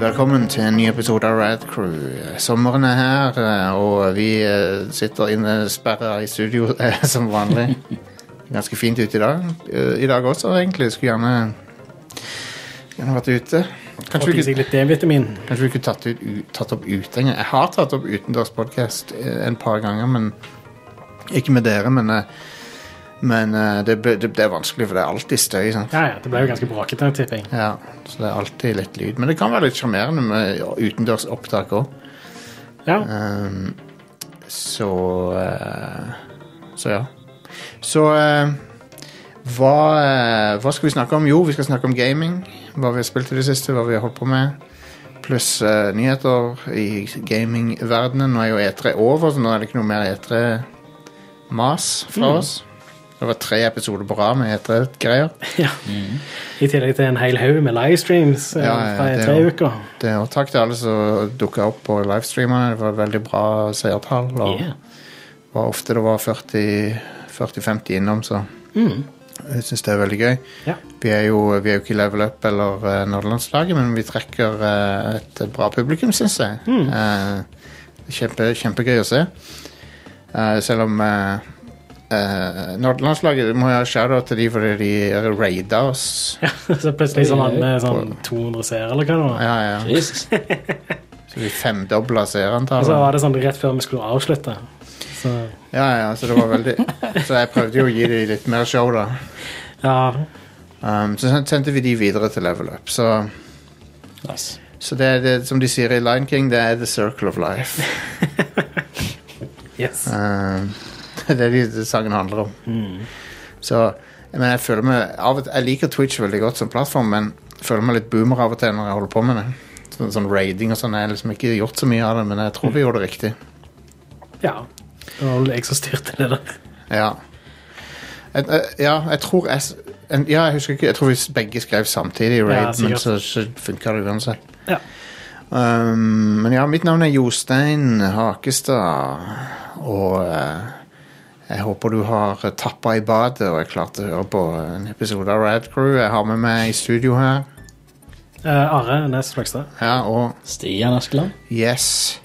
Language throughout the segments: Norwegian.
Velkommen til en ny episode av Rad Crew. Sommeren er her, eh, og vi eh, sitter innesperra i studio eh, som vanlig. Ganske fint ute i dag. Eh, I dag også, egentlig. Skulle gjerne, gjerne vært ute. Kanskje Fått vi, i seg litt D-vitamin. kunne- kanskje vi kunne tatt, ut, u- tatt opp ute engang. Jeg har tatt opp utendørspodkast en par ganger, men ikke med dere. Men, eh, men eh, det, ble- det, det er vanskelig, for det er alltid støy. Sant? Ja, ja, det ble jo ganske brakete, tipper jeg. Ja, så det er alltid litt lyd. Men det kan være litt sjarmerende med utendørsopptak òg. Ja, Ehm, så eh, Så ja. Så eh, hva, eh, hva skal vi snakke om? Jo, vi skal snakke om gaming. Hva vi har spilt i det siste, hva vi har holdt på med. Pluss eh, nyheter i gamingverdenen. Nå er jo E3 over, så nå er det ikke noe mer E3-mas fra oss. Det var tre episoder på rad med E E3-greier. ja. I tillegg til en hel haug med livestreams eh, Ja, ja, ja, fra det tre er jo- uker. Det, og takk til alle som dukka opp på livestreamene. Det var veldig bra seertall. Og Yeah. var ofte det var 40 40-50 innom, så Mm. jeg syns det er veldig gøy. Ja. Vi er jo, vi er jo ikke i level up eller uh, Nordlandslaget, men vi trekker eh, et bra publikum, syns jeg. Hmm. Eh, kjempe, kjempegøy å se. Eh, selv om uh, Nordlandslaget må jeg ha shout-out til de fordi de raida oss. ja, så plutselig sånn han med sånn 200 seere, eller hva det var. Ja, ja. Jesus. Så vi femdobla Og så seerantallet. var det sånn rett før vi skulle avslutte. Så, Ja, ja, så det var veldig Så jeg prøvde jo å gi dem litt mer show, da. ja, Um, så sen- sendte vi de videre til level up. Så, Nice. så det er det som de sier i Lion King, det er the circle of life. yes. Um, det er det de, det sangen handler om. Så men jeg føler meg av og til, Jeg liker Twitch veldig godt som plattform, men jeg føler meg litt boomer av og til når jeg holder på med det. Sånn, sånn raiding og sånn. Jeg har liksom ikke gjort så mye av det, men jeg tror vi gjorde det riktig. Ja. Det var vel jeg som styrte det der. Ja. Jeg, jeg, ja, jeg tror jeg, s- en- ja, jeg husker ikke Jeg tror vi begge skrev samtidig i Raid, men sikkert. så, så funka det uansett. Ja. Um, men ja, mitt navn er Jostein Hakestad, og eh, jeg håper du har tappa i badet og er klar til å høre på en episode av Rad Crew. Jeg har med meg i studio her, Eh, Are Næss Fløgstad. ja, og Stian Askeland. Yes.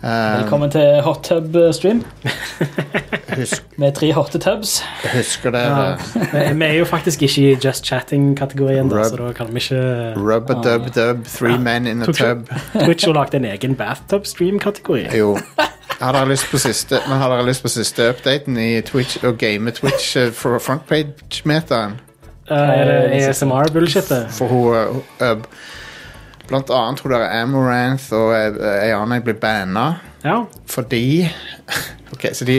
Um, Velkommen til hot tub eh, stream husk, med tre hotte tubs. husker dere Men Vi er jo faktisk ikke i Just Chatting-kategorien, da, Rub. så da kan vi ikke Rub-a-dub-dub, three men in a Tok ikke- tub. Twitch har lagd en egen bathtub-stream-kategori. Jo. Har dere lyst på siste, men har dere lyst på siste updaten i Twitch og game Twitch eh, for frontpage-metaen? Eh, er det ASMR-bullshitet? For hun eh, eh, Blant annet hun der Amaranth og eh, ei annen blir banna Ja. fordi Ok, så de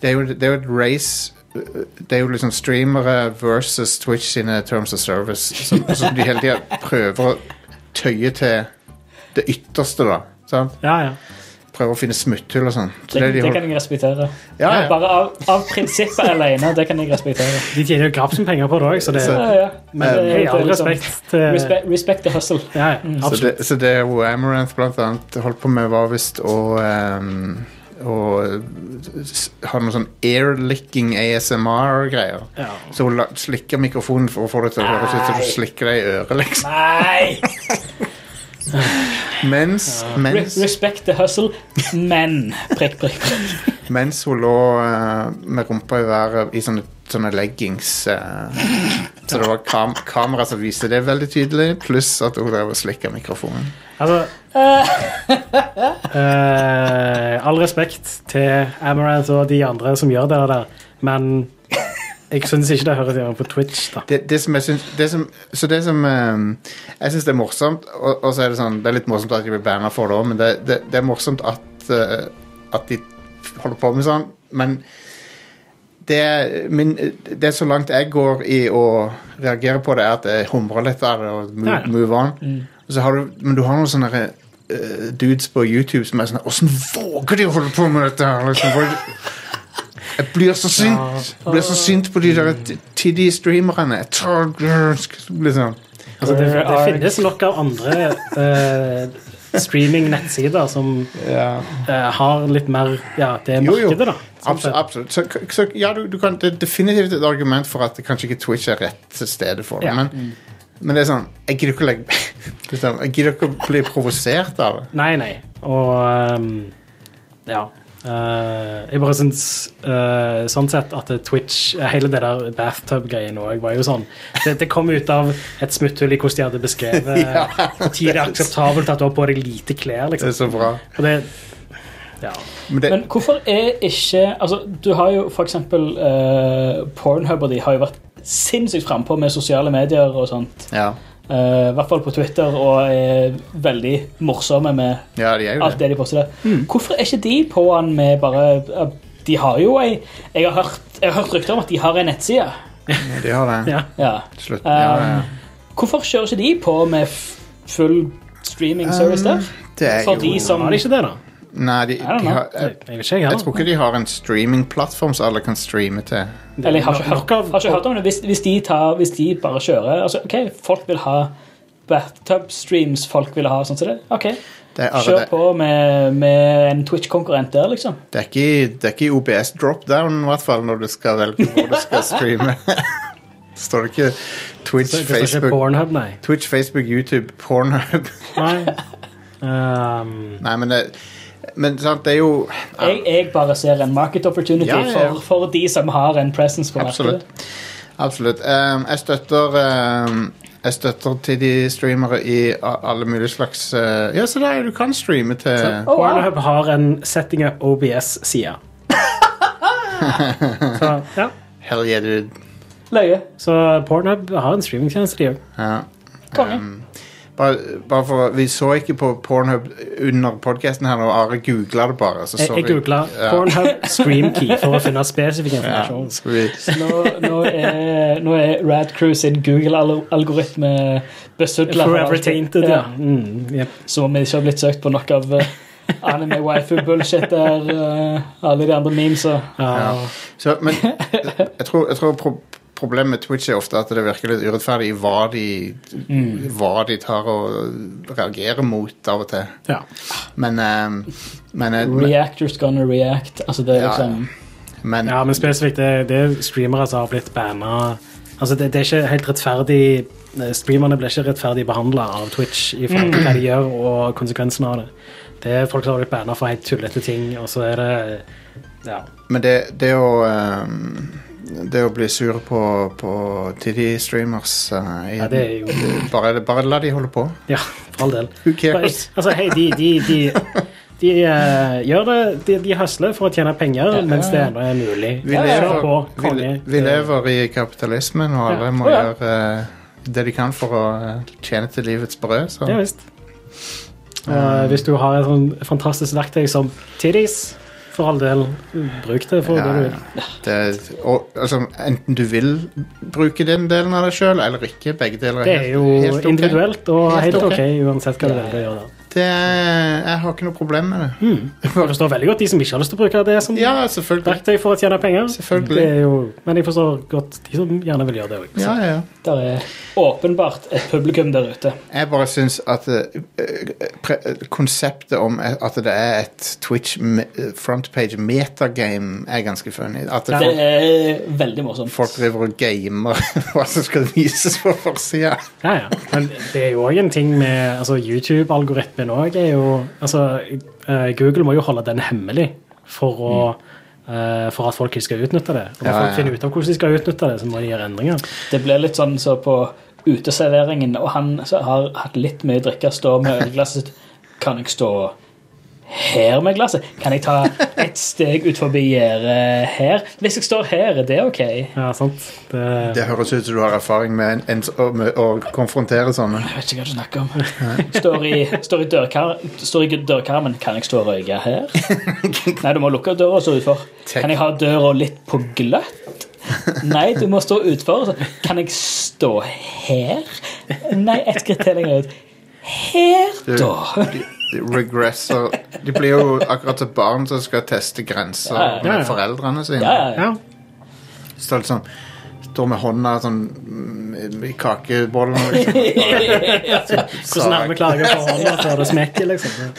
Det er jo, det er jo et race eh, det er jo liksom streamere versus Twitch sine terms of service, som, som de hele tida prøver å tøye til det ytterste, da. Sant? ja, ja. Prøver å finne smutthull og sånn. Så det Det, de det holder- kan jeg respektere. Ja, ja. Bare av, av prinsippet alene, det kan jeg respektere. De tjener jo grappsen penger på det òg, så det Så- er Ja, ja. Men Det er hei, jo all liksom- respekt eh, til Respect, respect the hustle. Ja, ja, Mm. Så absolutt. det, så det hun Amaranth blant annet holdt på med, var visst å ehm, å s- ha noe sånn airlicking ASMR-greier. Ja. Så hun la- slikker mikrofonen for å få det til å høres ut som du Nei. slikker deg i øret, liksom. Nei! Mens, Re mens, respect the hustle, men prikk, prikk, prikk. mens hun lå eh, med rumpa i været i sånne, sånne leggings eh, Så det var kam kamera som viste det veldig tydelig, pluss at hun drev og slikka mikrofonen. Altså eh, All respekt til Amaranth og de andre som gjør det der, men jeg syns ikke det høres hjemme på Twitch. da det, det som jeg syns det som, Så det som ehm, Jeg syns det er morsomt, og, og så er det sånn Det er litt morsomt at de blir banna for det òg, men det, det, det er morsomt at, eh, at de holder på med sånn, men det, er min, det er så langt jeg går i å reagere på det, er at jeg humrer litt av det og move, Ja. move on. Mm. Og så har du, men du har noen sånne eh, dudes på YouTube som er sånn Åssen våger de å holde på med dette her? Liksom, hvor- jeg blir så sint! Jeg blir så sint på de der tiddige streamerne. Jeg tar- Liksom. Altså, det, Where det are- finnes nok av andre eh, streaming-nettsider som Ja. eh, har litt mer Ja, det er Jo, jo. markedet, da. sånn Abs sett. absolutt. Så, k- så ja, du, du kan, det er definitivt et argument for at kanskje ikke Twitch er rett sted for det. Ja. Men, men det er sånn Jeg gidder ikke å legge det er sånn, Jeg gidder ikke å bli provosert av det. Nei, nei. Og ehm, ja. Eh, jeg bare syns eh, sånn sett at det Twitch eh, Hele det der bathtub-greiene òg var jo sånn. Det, det kom ut av et smutthull i hvordan de hadde beskrevet Ja. hvor tid det er akseptabelt at du har på deg lite klær. Det liksom. er så bra. Og det, ja. Men det, Men hvorfor er ikke altså, Du har jo for eksempel eh, Pornhub og de har jo vært sinnssykt frampå med sosiale medier og sånt. ja. Eh, I hvert fall på Twitter, og er veldig morsomme med ja, Mm. de er jo alt det. det de poster der. Hvorfor er ikke de på'n med bare eh, De har jo ei Jeg har hørt, jeg har hørt rykter om at de har ei nettside. De har det. ja. Ja. Slutt. Ja, ja, ja. Hvorfor kjører ikke de på med f full streaming service Um, der? Eh, Det er For jo de som- Var det ikke det, da? Nei, de, de don't know. har sånn- Jeg, jeg, jeg vet ikke, jeg jeg tror heller. ikke de har en streamingplattform som alle kan streame til. Eller jeg har ikke, Nok- hørt, nok av- har ikke hørt om det. Hvis, hvis, de tar, hvis de bare kjører altså, ok, Folk vil ha bathtub streams, folk vil ha sånn som det. Ok, Det er, Kjør altså, det, på med, med en Twitch-konkurrent der, liksom. det, er ikke, i- det er ikke i OBS dropdown, i hvert fall, når du skal velge hvor du skal streame. Står det ikke Twitch, Det står ikke Facebook Pornhub, nei. Twitch, Facebook, YouTube, Pornhub nei. Ehm, Nei, men det, men sant, det er jo Jeg, jeg bare ser en market opportunity Ja, ja, ja. For, for de som har en presence på Absolutt. markedet. Absolutt. Um, jeg støtter um, Jeg støtter til de streamere i a- alle mulige slags uh, Ja, se der, du kan streame til Å, wow. Pornhub har en setting up OBS-side. Så, ja. Hell yeah, dude. Løye. Så Pornhub har en streamingtjeneste, de òg. Ja. Konge. Um, bare, bare for, vi så ikke på Pornhub under podkasten her, og Are googla det bare. Så Jeg, så Eh, jeg vi- googla Ja. Pornhub Streamkey for å finne spesifikk Ja, informasjon. så vi, Nå, nå er, nå er Rad Crew sin Google-algoritme besudla. Forever tainted, ja. Mm, jep. Som om vi ikke har blitt søkt på nok av eh, anime waifu-bullshit der. eh, alle de andre memesa. ja. Ja. så, men jeg tror, jeg tror pro problemet med Twitch er ofte at det virker litt urettferdig i hva de, Mm. hva de tar og reagerer mot av og til. ja. Men, um, men, men, Reactors gonna react. Altså, det er Ja, liksom men Ja, men spesifikt det, det er streamere som har blitt banna. Altså, det, det er ikke helt rettferdig eh, Streamerne blir ikke rettferdig behandla av Twitch i forhold til hva de gjør, og konsekvensene av det. Det er folk som har blitt banna for helt tullete ting, og så er det Ja. Men det, det å ehm, Det å bli sur på, på Tiddy-streamers eh, Ja, det er jo- bare, bare la de holde på. ja for all del. Who Bare- cares? Altså, hei, de, de, de, de eh, gjør det De, de høsler for å tjene penger Ja. mens det ennå er mulig. Vi Ja, ja, ja. Kjør på, lever, vi, konge. vi lever i kapitalismen, og alle Ja. må Å, ja. gjøre eh, det de kan for å eh, tjene til livets brød. Så. Ja visst. Eh, hvis du har et sånn fantastisk verktøy som titties, for all del, bruk det for det du vil. ja. Det, og, altså, enten du vil bruke den delen av deg sjøl eller ikke. Begge deler Det er er helt, jo helt ok. individuelt og Helt helt ok. ok, uansett hva du velger å gjøre der. Det er, jeg har ikke noe problem med det. Jeg forstår veldig godt de som ikke har lyst til å bruke det som Ja, selvfølgelig. verktøy for å tjene penger. Selvfølgelig. Det er jo, men jeg forstår godt de som gjerne vil gjøre det òg. Ja, ja. Der er åpenbart et publikum der ute. Jeg bare syns at eh, eh, pre eh, konseptet om eh, at det er et Twitch me- eh, frontpage metagame, er ganske funny. At det, Det folk, er veldig morsomt. folk driver og gamer hva som skal vises på forsida. Ja, ja. Men det er jo òg en ting med altså, YouTube-algoritmen òg er jo altså, eh, Google må jo holde den hemmelig for å eh, for at folk ikke skal utnytte det. Og Når Ja, ja. folk finner ut av hvordan de skal utnytte det, så må de gjøre endringer. Det blir litt sånn så på uteserveringen, og han som har hatt litt mye drikke, står med ølglasset sitt. Kan jeg stå her med glasset? Kan jeg ta et steg ut forbi gjerdet her? Hvis jeg står her, er det ok? Ja, sant? Det, Det høres ut som du har erfaring med, en, en, å- med å konfrontere sånne. Jeg vet ikke hva du snakker om. Står i, står i, dørkar, står i dørkarmen. Kan jeg stå og røyke her? Nei, du må lukke døra og stå utfor. Kan jeg ha døra litt på gløtt? Nei, du må stå utfor. Kan jeg stå her? Nei, ett skritt til lenger ut. Her, Du, da. de, de regresser De blir jo akkurat som barn som skal teste grenser Ja, ja, ja. med foreldrene sine. Ja, ja, ja. ja. Så det er litt sånn står med hånda sånn mm, i kakebollen. Liksom. Hvordan har vi klager på hånda før det smekker, liksom?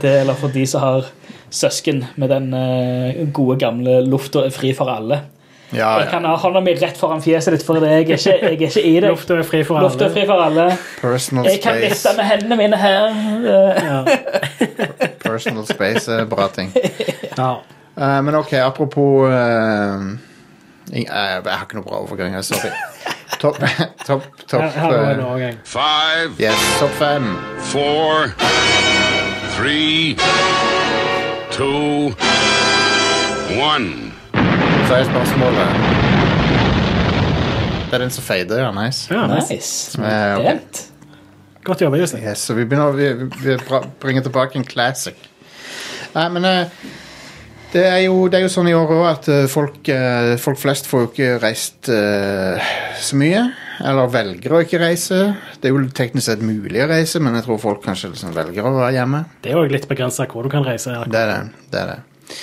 Det er eller for de som har søsken med den eh, gode gamle lufta er fri for alle. Ah, Ja, Jeg ja. kan ha hånda mi rett foran fjeset ditt, for det. jeg er ikke, jeg er ikke i det. Lufta er fri for alle. Lufta er fri for alle. Personal Jeg kan vifte space. med hendene mine her. Eh, Ja. Personal space er bra ting. Ja. Eh, men ok, apropos eh, ing- eh, Jeg har ikke noe bra overgang her, sorry. Topp topp, Her, topp her var det en eh, overgang. Five, Yes, topp fem. four, three, two, one. Så er spørsmålet Det er den som fader, ja. Nice. Ja, nice. Nice. Eh, ok. Pent. Godt jobba, Justin. Yes, så vi begynner å vi, vi bra- bringe tilbake en classic. Nei, men eh, det, er jo, det er jo sånn i år òg at eh, folk, eh, folk flest får jo ikke reist eh, så mye. Eller velger å ikke reise. Det er jo teknisk sett mulig å reise, men jeg tror folk kanskje liksom velger å være hjemme. Det er jo litt begrensa hvor du kan reise. Erik. Det er det. det, er det.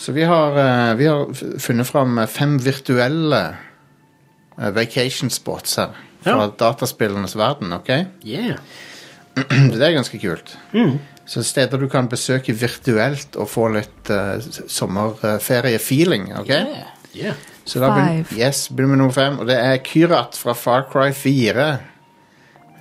Så vi har, eh, vi har f- funnet fram eh, fem virtuelle eh, vacation spots her. Fra Ja. dataspillenes verden, OK? Yeah. Det er ganske kult. Mm. Så steder du kan besøke virtuelt og få litt eh, s- sommerferiefeeling. ok? Yeah. Yeah. Så da begynner, Five. yes, begynner vi med nummer fem, og det er Kyrat fra Far Cry 4.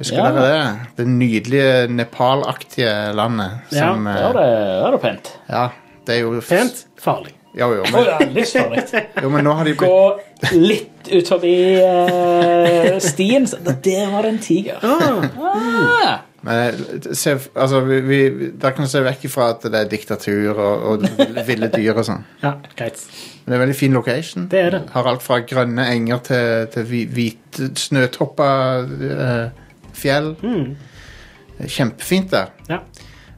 Husker Ja. dere det? Det nydelige Nepal-aktige landet. Ja, som, eh, Da er det, da er det pent. ja, det er jo Pent, farlig. Jo, jo, Å, men, ja, livsfarlig. jo, men nå har de Gå blitt litt ut forbi eh, stien. så- Der var det en tiger. Ah. men, eh, se, altså, vi, vi, Der kan du se vekk ifra at det er diktatur og, og ville- ville dyr og sånn. Ja, greit. Men Det er en veldig fin location. Det er det. Har alt fra grønne enger til, til hvi- hvite snøtoppa eh, fjell. Det er Kjempefint der. Ja.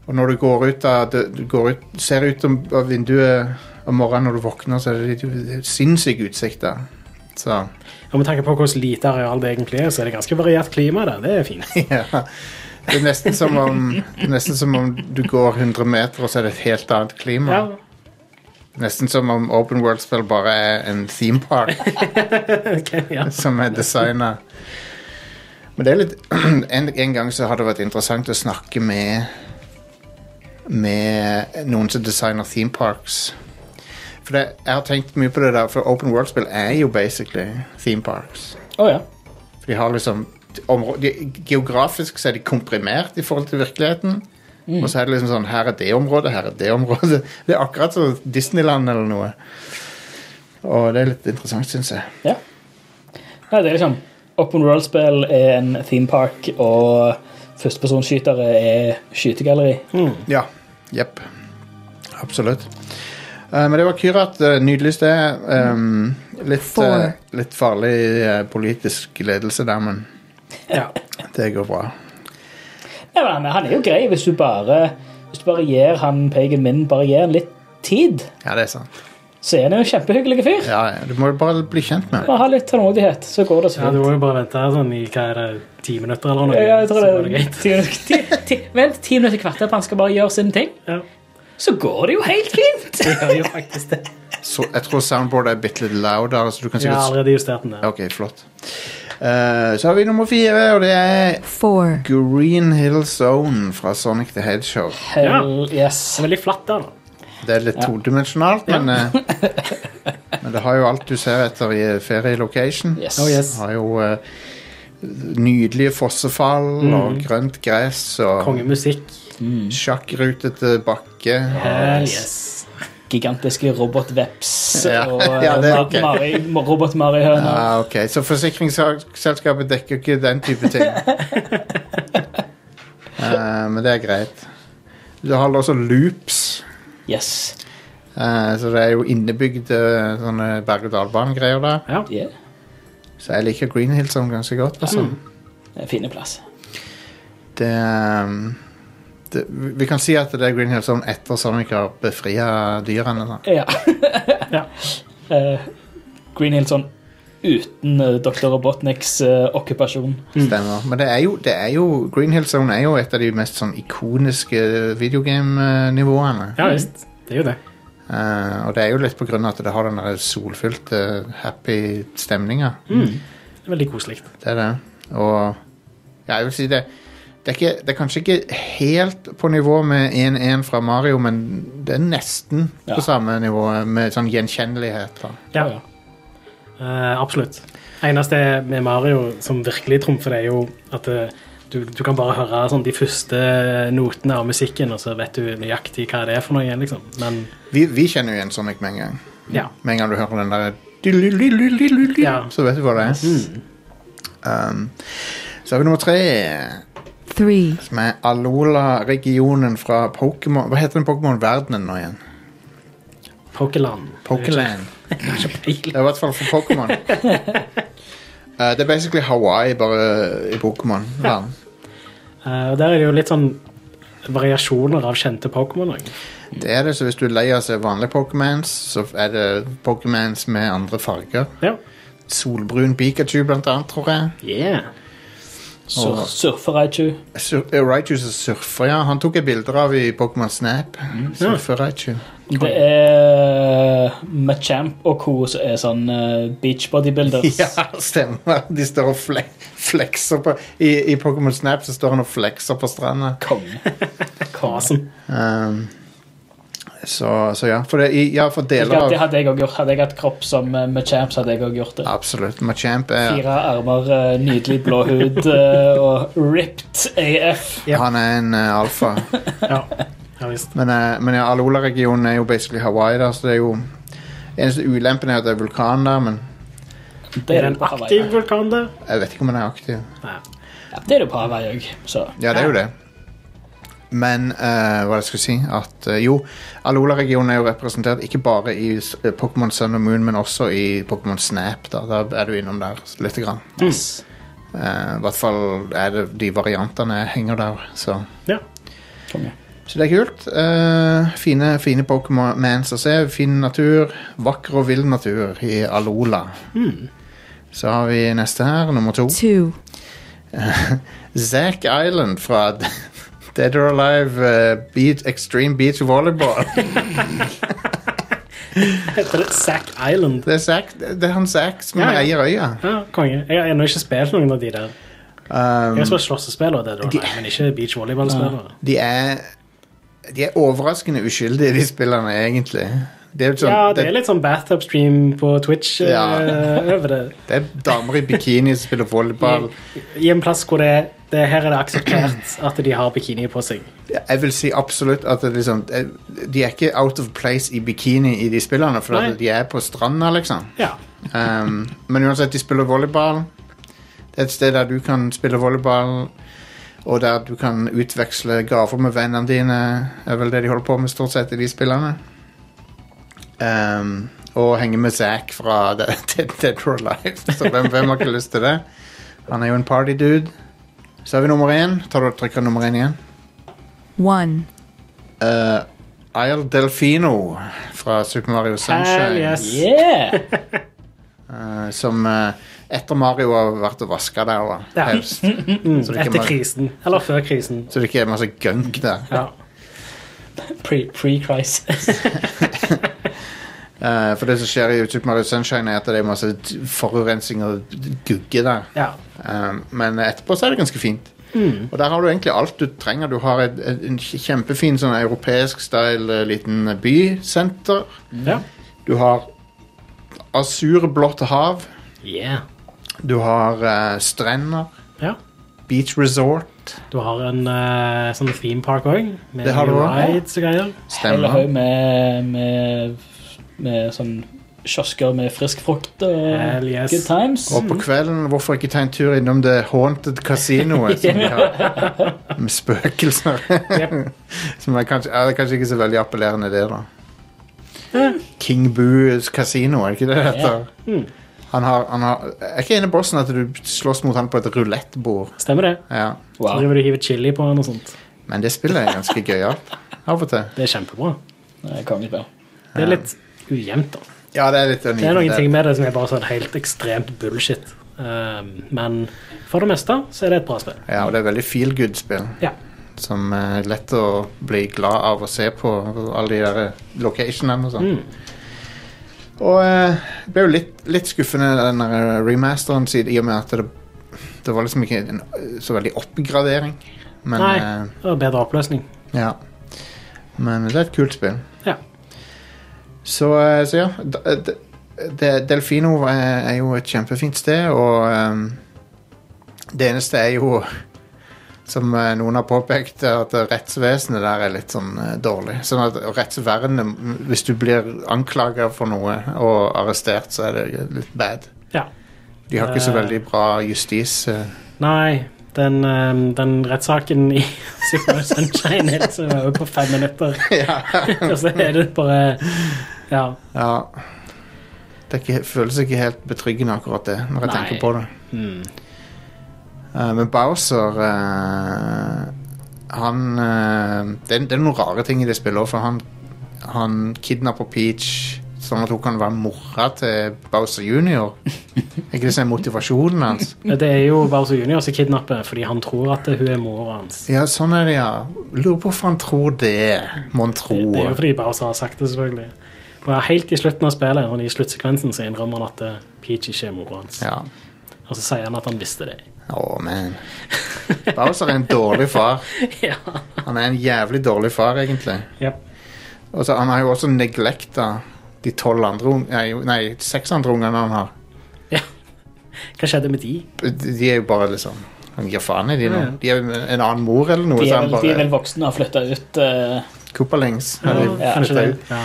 Og når du går ut av du, du går ut, ser ut om, av vinduet om morgenen når du våkner, så er det litt sinnssyk utsikt der. Så Og med tanke på hvordan lite areal det egentlig er, så er det ganske variert klima der. Det er fint. ja. Det er nesten som om, det er nesten som om du går 100 meter, og så er det et helt annet klima. Ja, Nesten som om Open World-spill bare er en theme park. ok, ja. som er designa. Men det er litt en, en gang så har det vært interessant å snakke med med noen som designer theme parks. For det, jeg har tenkt mye på det der, for Open World-spill er jo basically theme parks. Å, ja. For de har liksom områ- de, Geografisk så er de komprimert i forhold til virkeligheten. Og så er det liksom sånn Her er det området, her er det området. Det er akkurat som Disneyland eller noe. Og det er litt interessant, syns jeg. Ja. Nei, det er liksom Open World-spill er en theme park, og førstepersonskytere er skytegalleri. Ja. Jepp. Absolutt. Eh, men det var Kyrat. eh, nydelig sted. Um, litt, Four. eh, litt farlig eh, politisk ledelse der, men ja. det går bra. Ja, men han er jo grei hvis du bare Hvis du bare gir han pagen min bare gir han litt tid, Ja, det er sant. så er han jo en kjempehyggelig fyr. Ja, ja, du må jo bare bli kjent med det. Bare ha litt tålmodighet, så går det så ja, du fint. må jo bare vente sånn i hva er det, ti minutter eller noe. Ja, jeg tror så er det ti, ti, ti, Vent ti minutter i kvarter på han skal bare gjøre sine ting, Ja. så går det jo helt fint! Det gjør jo faktisk det. Så, jeg tror soundboardet er bitte litt loudere, så du kan Jeg har sikkert allerede justert den der. Ok, flott. Eh, så har vi nummer fire, og det er four, Green Hill Zone fra Sonic the Hedgehog. Hell yes. Det er veldig flatt der, da. Det er litt todimensjonalt, men, eh, men det har jo alt du ser etter i ferielocation. yes. Oh, yes. Har jo eh, nydelige fossefall og grønt gress og Kongemusikk. sjakkrutete bakke. Hell yes. yes. Gigantiske robotveps Ja. og eh, Ja, det er ok. robot-marihøner. Ah, ok, Så forsikringsselskapet dekker ikke den type ting. Eh, men det er greit. Du har også loops. Yes. eh, så det er jo innebygde sånne berg-og-dal-bane-greier der. Ja. Yeah. Så jeg liker Green Hill Zone ganske godt. Sånn. Altså. Mm. Det er fine plass. Det, ehm, det, vi kan si at det er Green Hill Zone etter Sonic har befria dyrene. Da. Ja. Ja. Eh, Green Hillson uten eh, Dr. Robotniks eh, okkupasjon. Stemmer. Men det er, jo, det er jo Green Hill Zone er jo et av de mest sånn ikoniske videogame-nivåene. ja visst. Det er jo det. Eh, og det er jo litt på grunn av at det har den der solfylte, happy stemninga. Mm. Veldig koselig. Det er det. Og ja, jeg vil si det det er, ikke, det er kanskje ikke helt på nivå med 1-1 fra Mario, men det er nesten Ja. på samme nivå med sånn gjenkjennelighet. Da. Ja. Eh, absolutt. Eneste med Mario som virkelig trumfer, det er jo at eh, du, du kan bare høre sånn, de første notene av musikken, og så vet du nøyaktig hva det er for noe igjen, liksom. Men Vi, vi kjenner jo igjen Sonic med en gang. ja. Med en gang du hører den der Ja. Så vet du hva det er. Um, så har vi nummer tre, three, som er Alola-regionen fra Pokémon Hva heter den Pokémon-verdenen nå igjen? Pokéland. Pokéland. Peiling. Det er i hvert fall for Pokémon. Eh, det er basically Hawaii, bare i Pokémon-land. Eh, og der er det jo litt sånn variasjoner av kjente Pokémon. også. Det er det, så hvis du er lei av å se vanlige Pokémons, så er det Pokémons med andre farger. Ja. Solbrun Pikachu, blant annet, tror jeg. Yeah. Sur, Surfer-Raichu. Sur eh, Raichu som surfer, ja. Han tok jeg bilder av i Pokémon Snap. Surfer Raichu. Det er Machamp og co. som er sånn eh, beach bodybuilders. Ja, stemmer. De står og fle flekser på I, i Pokémon Snap så står han og flekser på stranda. Konge. Awesome. Um, så, så ja. For, det, i- ja, for deler Det av hadde jeg også gjort. Hadde jeg hatt kropp som eh, Machamp, så hadde jeg også gjort det. Absolutt. Machamp er Fire armer, eh, nydelig blå hud eh, og ripped AF. Ja. Han er en eh, alfa. Ja, ja visst. Men, eh, men ja, Alola-regionen er jo basically Hawaii, da, så det er jo Eneste ulempen er at det er vulkan der, men Er Det er det det en på aktiv Hawaii. vulkan der? jeg vet ikke om den er aktiv. Nei. Ja, Det er det på Hawaii òg, så Ja, det er jo det. Men eh, hva jeg skulle si at eh, Jo, Alola-regionen er jo representert ikke bare i s- eh, Pokémon Sun og Moon, men også i Pokémon Snap. Da, da er du innom der lite grann. nice. Eh, I hvert fall er det de variantene henger der, så Ja. Konge. Så det er kult. Eh, fine fine Pokémons å se. Fin natur. Vakker og vill natur i Alola. Mm. Så har vi neste her, nummer to. two, Zack Island fra Dead or Alive eh, Beach, Extreme Beach Volleyball. Heter det Sack Island? Det er, Zack, det er han Zack som Ja, ja. eier øya. Ja, konge. Jeg har ennå ikke spilt noen av de der. Um, Jeg har spilt slåssespill, og det da, nei, men ikke beachvolleyballspillere. de er De er overraskende uskyldige, de spillerne, egentlig. Det er, jo sånn, Ja, det det, er litt sånn bathtub stream på Twitch eh, Ja. over det. det er damer i bikini som spiller volleyball. I, I en plass hvor det, er- det her er det akseptert at de har bikini på seg. Jeg vil si absolutt at det liksom, de er ikke out of place i bikini i de spillene, for Nei. at de er på stranda, liksom. Ja. Um, men uansett, de spiller volleyball. Det er et sted der du kan spille volleyball, og der du kan utveksle gaver med vennene dine, er vel det de holder på med stort sett i de spillene. Um, og henge med Zack fra Dead Dead or Alive, så hvem, hvem har ikke lyst til det? Han er jo en party dude. Så har vi nummer én. Tar du og trykker nummer én igjen? one, Uh, Isle Delfino fra Super Mario Hell Sunshine. yes. Yeah! Eh, som eh, etter Mario har vært og vaska der, da, Ja. Mm, helst. så, det ikke Etter er ma- krisen. Eller før krisen. så det ikke er masse gunk der. Ja. Pre- Pre-crisis. Eh, for det som skjer i Super Mario Sunshine, er at det er masse t- forurensning og gugge der. ja. Eh, men etterpå så er det ganske fint. Mm. Og der har du egentlig alt du trenger. Du har et, et, en kjempefin sånn europeisk style eh, liten bysenter. ja. Du har asurblått hav. Yeah. Du har eh, strender. Ja. Beach resort. Du har en eh, sånn theme park òg, med Det har du også. rides og greier. Hele Stemmer. haug med, med, med sånn kiosker med frisk frukt og Hell yes. good times. Og på kvelden, hvorfor ikke ta en tur innom The Haunted Casinoet? Som de har med spøkelser. Yep. som er kanskje, er kanskje ikke så veldig appellerende, det, da. King Boos kasino, er det ikke det det heter? Han har, han har, er ikke ene bossen at du slåss mot han på et rulettbord? Stemmer det. Ja. Så Wow. driver du og hiver chili på den og sånt. Men det spillet er ganske gøyalt. Av og til. Det er kjempebra. Det er Kongespill. Det er litt ujevnt, da. Ja, det er litt Det er noen unik. ting med det som er bare sånn helt ekstremt bullshit. Um, men for det meste så er det et bra spill. Ja, og det er veldig feel good-spill. Ja. som er lett å bli glad av å se på. og Alle de der locationene og sånn. Og eh, det ble jo litt, litt skuffende den der eh, remasteren, siden- i og med at det, det var liksom ikke en eh, så veldig oppgradering. Men, Nei. eh, Det var bedre oppløsning. ja. Men det er et kult spill. Ja. Så, eh, så ja. d- d- det- Delfino eh, er er jo et kjempefint sted, og ehm, det eneste er jo som eh, noen har påpekt, er at rettsvesenet der er litt sånn eh, dårlig. Sånn at rettsvernet, m, hvis du blir anklaga for noe og arrestert, så er det litt bad. ja. De har ikke så Eh. veldig bra justis. eh. Nei, den, ehm, den rettssaken i Super Sunshine er liksom over på fem minutter. Og så er det bare Ja. Ja. Det er ikke, føles ikke helt betryggende, akkurat det, når jeg Nei. tenker på det. Eh, men Bowser eh, Han eh, det, er- det er noen rare ting i det spillet òg, for han, han kidnapper Peach sånn at hun kan være mora til Bowser jr. Er ikke det som er motivasjonen hans? Det er jo Bowser Junior som kidnapper fordi han tror at hun er mora hans. Ja, sånn er det, ja. Lurer på hvorfor han tror det, mon tro. Det er jo fordi Bowser har sagt det, selvfølgelig. Og helt i slutten av spillet sånn i sluttsekvensen, så innrømmer han at eh, Peach ikke er mora hans. Ja. Og så sier han at han visste det. Å, man. Bowser er en dårlig far. ja. Han er en jævlig dårlig far, egentlig. Yep. Og så han har jo også neglekta de tolv andre ung- nei, nei, seks andre ungene han har. ja. Hva skjedde med de? De er jo bare liksom Han gir faen i de nå. Ja, ja. De er jo med en annen mor eller noe. De så er han vel, de er bare vel voksne og har flytta ut. eh. Koopalings. har de Ja, flyttet kanskje det. ut. Ja.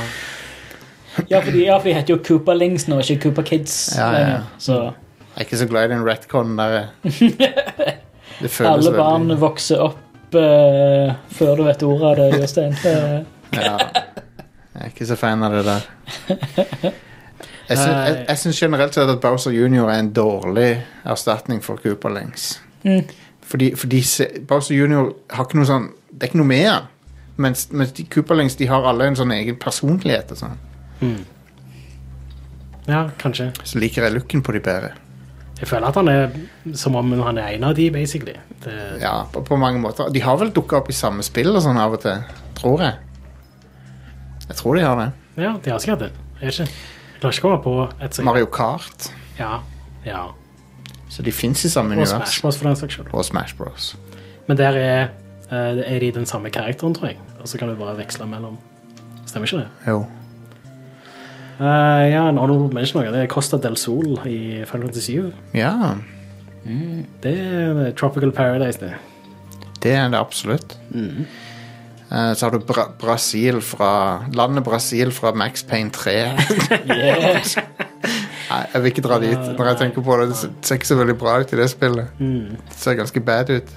ja, for de, ja, for de heter jo Koopalings nå, ikke Koopa Kids. Ja, ja, Mm. ja. lenger. Så Jeg er ikke så glad i den retconen der. eh. Det føles alle barn veldig vokser opp eh, før du vet ordet av det, Jostein. Eh, ja. Jeg er ikke så fan av det der. Jeg syns, jeg, jeg syns generelt sett at Bowser Jr. er en dårlig erstatning for Koopalings. Mm. Fordi, fordi se- Bowser Jr. har ikke noe sånn Det er ikke noe med han. Mens, mens de Koopalings de har alle en sånn egen personlighet. Og sånn. ja, kanskje. Så liker jeg looken på de bedre. Jeg føler at han er som om han er en av de, basically. Det, Ja, på, på mange måter. De har vel dukka opp i samme spill og sånn av og til, tror jeg. Jeg tror de har det. ja, de har sikkert det. Jeg vet ikke. Jeg klarer ikke å komme på et sekund. Mario Kart. Ja. ja. Så de fins i samme Og univers. Smash Bros. for den saks skyld. Og Smash Bros. Men der er, eh, er de den samme karakteren, tror jeg. Og så kan du bare veksle mellom. Stemmer ikke det? Jo. Eh, ja, en honorable mention også. Det er Costa del Sol i Final Fantasy 7. Ja, Det er eh, Tropical Paradise, det. det er det absolutt. Eh, Så har du Bra Brasil fra Landet Brasil fra Max Payne 3. yes. Nei, jeg vil ikke dra dit. Når jeg tenker på det, det ser ikke så veldig bra ut i det spillet. Det ser ganske bad ut.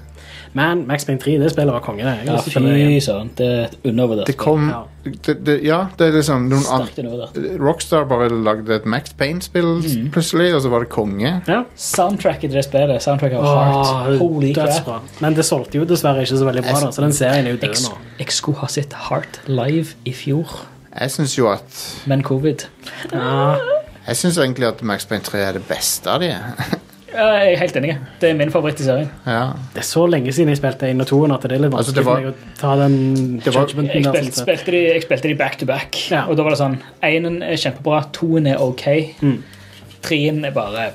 Men Max Payne 3, det spillet var konge, det. Jeg Ja, har lyst til å spille det fy igjen. søren. Det er et undervurdert. Det kom Ja. det, det, Ja, det er liksom noen andre Sterkt undervurdert. Rockstar bare lagde et Max Payne-spill plutselig, og så var det konge. Ja. Soundtracket i det spillet, Soundtrack of Åh, Heart. Holy crap. dødsbra. Men det solgte jo dessverre ikke så veldig bra, da, så den serien er jo Jeg, død nå. jeg skulle ha sett Heart live i fjor, Jeg syns jo at men covid. Ja, Jeg synes egentlig at Max Payne 3 er det beste av de. Ja, Jeg er helt enig. Det er min favoritt i serien. ja. det er så lenge siden jeg spilte 1 og 2 at det er litt Altså, vanskelig det var- for meg å ta den var- judgmenten Jeg der. Sånn spilte, sett. spilte de, jeg spilte de back to back, Ja. og da var det sånn Einen er kjempebra, toen er ok, Mm. treen er bare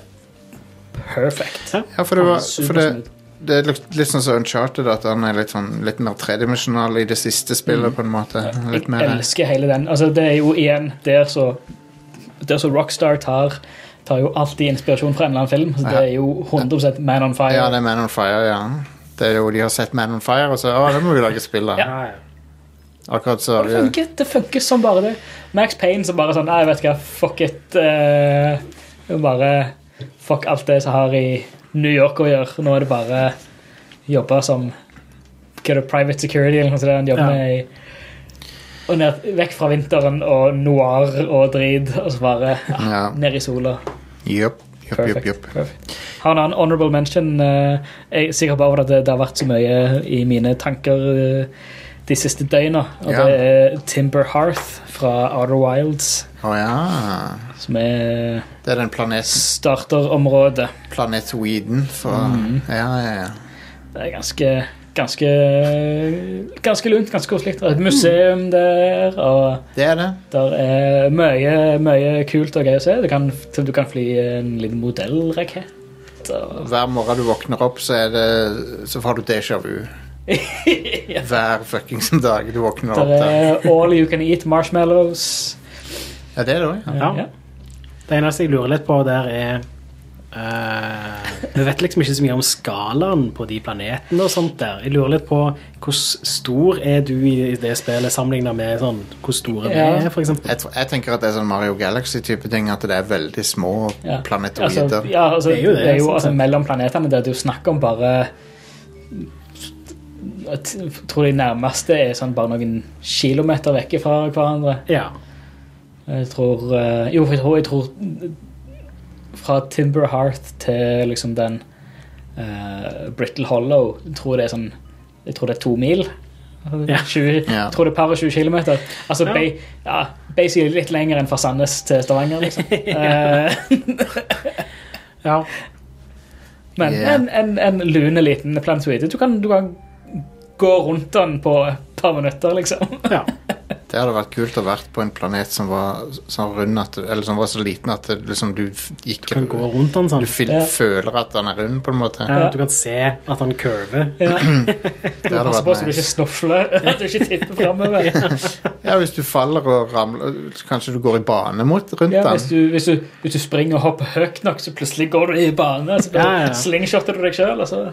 perfect. ja, for det var for det, Supersmooth. det er litt litt sånn som Uncharted, at han er litt, sånn, litt mer tredimensjonal i det siste spillet, på en måte. Litt Mm. Jeg mer elsker hele den. Altså, det er jo igjen der så, der så Rockstar tar Tar jo alltid inspirasjon fra en eller annen film. Så det er jo 100 Man on Fire. Ja, det er Man on Fire, ja. Det er jo, de har sett Man on Fire, og så Å, det må vi lage spill av. Ja, ja. Akkurat så Det funker, det funker som bare det. Max Payne som bare sånn Nei, vet du hva, fuck it. eh, det er bare fuck alt det som har i New York å gjøre. Nå er det bare jobbe som hva er det, private security eller noe sånt. Han jobber Ja. med i- og ned, vekk fra vinteren og noir og drit, og så bare ah, Ja. ned i sola. Jupp, jupp, jupp, Perfect. jupp. Perfect. Har en annen honorable mention. eh, jeg er sikker på at det, det har vært så mye eh, i mine tanker eh, de siste døgna. Og Ja. det er Timber Hearth fra Outer Wilds, Å ja. som er Det er den planet, starterområdet. Mm. planet Sweden fra Ja, ja, ja. Det er ganske ganske, ganske lunt, ganske koselig. Det er et museum der, og Det er det. der er mye, mye kult og gøy å se. Du kan, du kan fly en liten modellrakett. og- Hver morgen du våkner opp, så, er det, så har du déjà vu. Hver fuckings dag du våkner Der opp. Der. er All You Can Eat Marshmallows. Ja, det er det òg, ja. Ja. Det eneste jeg lurer litt på der, er eh, Vi vet liksom ikke så mye om skalaen på de planetene og sånt der. Jeg lurer litt på hvor stor er du i det spillet sammenlignet med sånn hvor store vi Ja. er, for eksempel. Jeg, tr- jeg tenker at det er sånn Mario Galaxy-type ting, at det er veldig små Ja. planetoider. Altså, ja, altså, Det er jo det, det er jo, sånn altså, sett. mellom planetene der det er jo snakk om bare jeg t- tror de nærmeste er sånn bare noen kilometer vekk fra hverandre. Ja. Jeg tror eh, Jo, jeg tror, jeg tror Fra Timber Heart til liksom den eh, Brittle Hollow jeg tror det er sånn Jeg tror det er to mil. Ja. 20, Ja. Jeg tror det er par og 20 kilometer. Altså Ja. ba, ja, basically litt lenger enn fra Sandnes til Stavanger, liksom. Eh, ja. Men Yeah. en, en, en lune liten planetoide. Du kan, du kan gå rundt den på et par minutter, liksom. ja. Det hadde vært kult å vært på en planet som var, sånn rund at, eller som var så liten at det, liksom, du f- gikk Du kan gå rundt den sånn. Du fil, Ja. føler at den er rund, på en måte. Ja, du kan se at han curver. Ja. Det hadde Pass på Altså, så vært du ikke nice. snufler, at du ikke tipper framover. Ja, hvis du faller og ramler, så kanskje du går i bane mot rundt Ja, hvis, den. du- hvis, du- hvis du springer og hopper høyt nok, så plutselig går du i bane. Så bare Ja, ja. slingshotter du deg sjøl. Altså.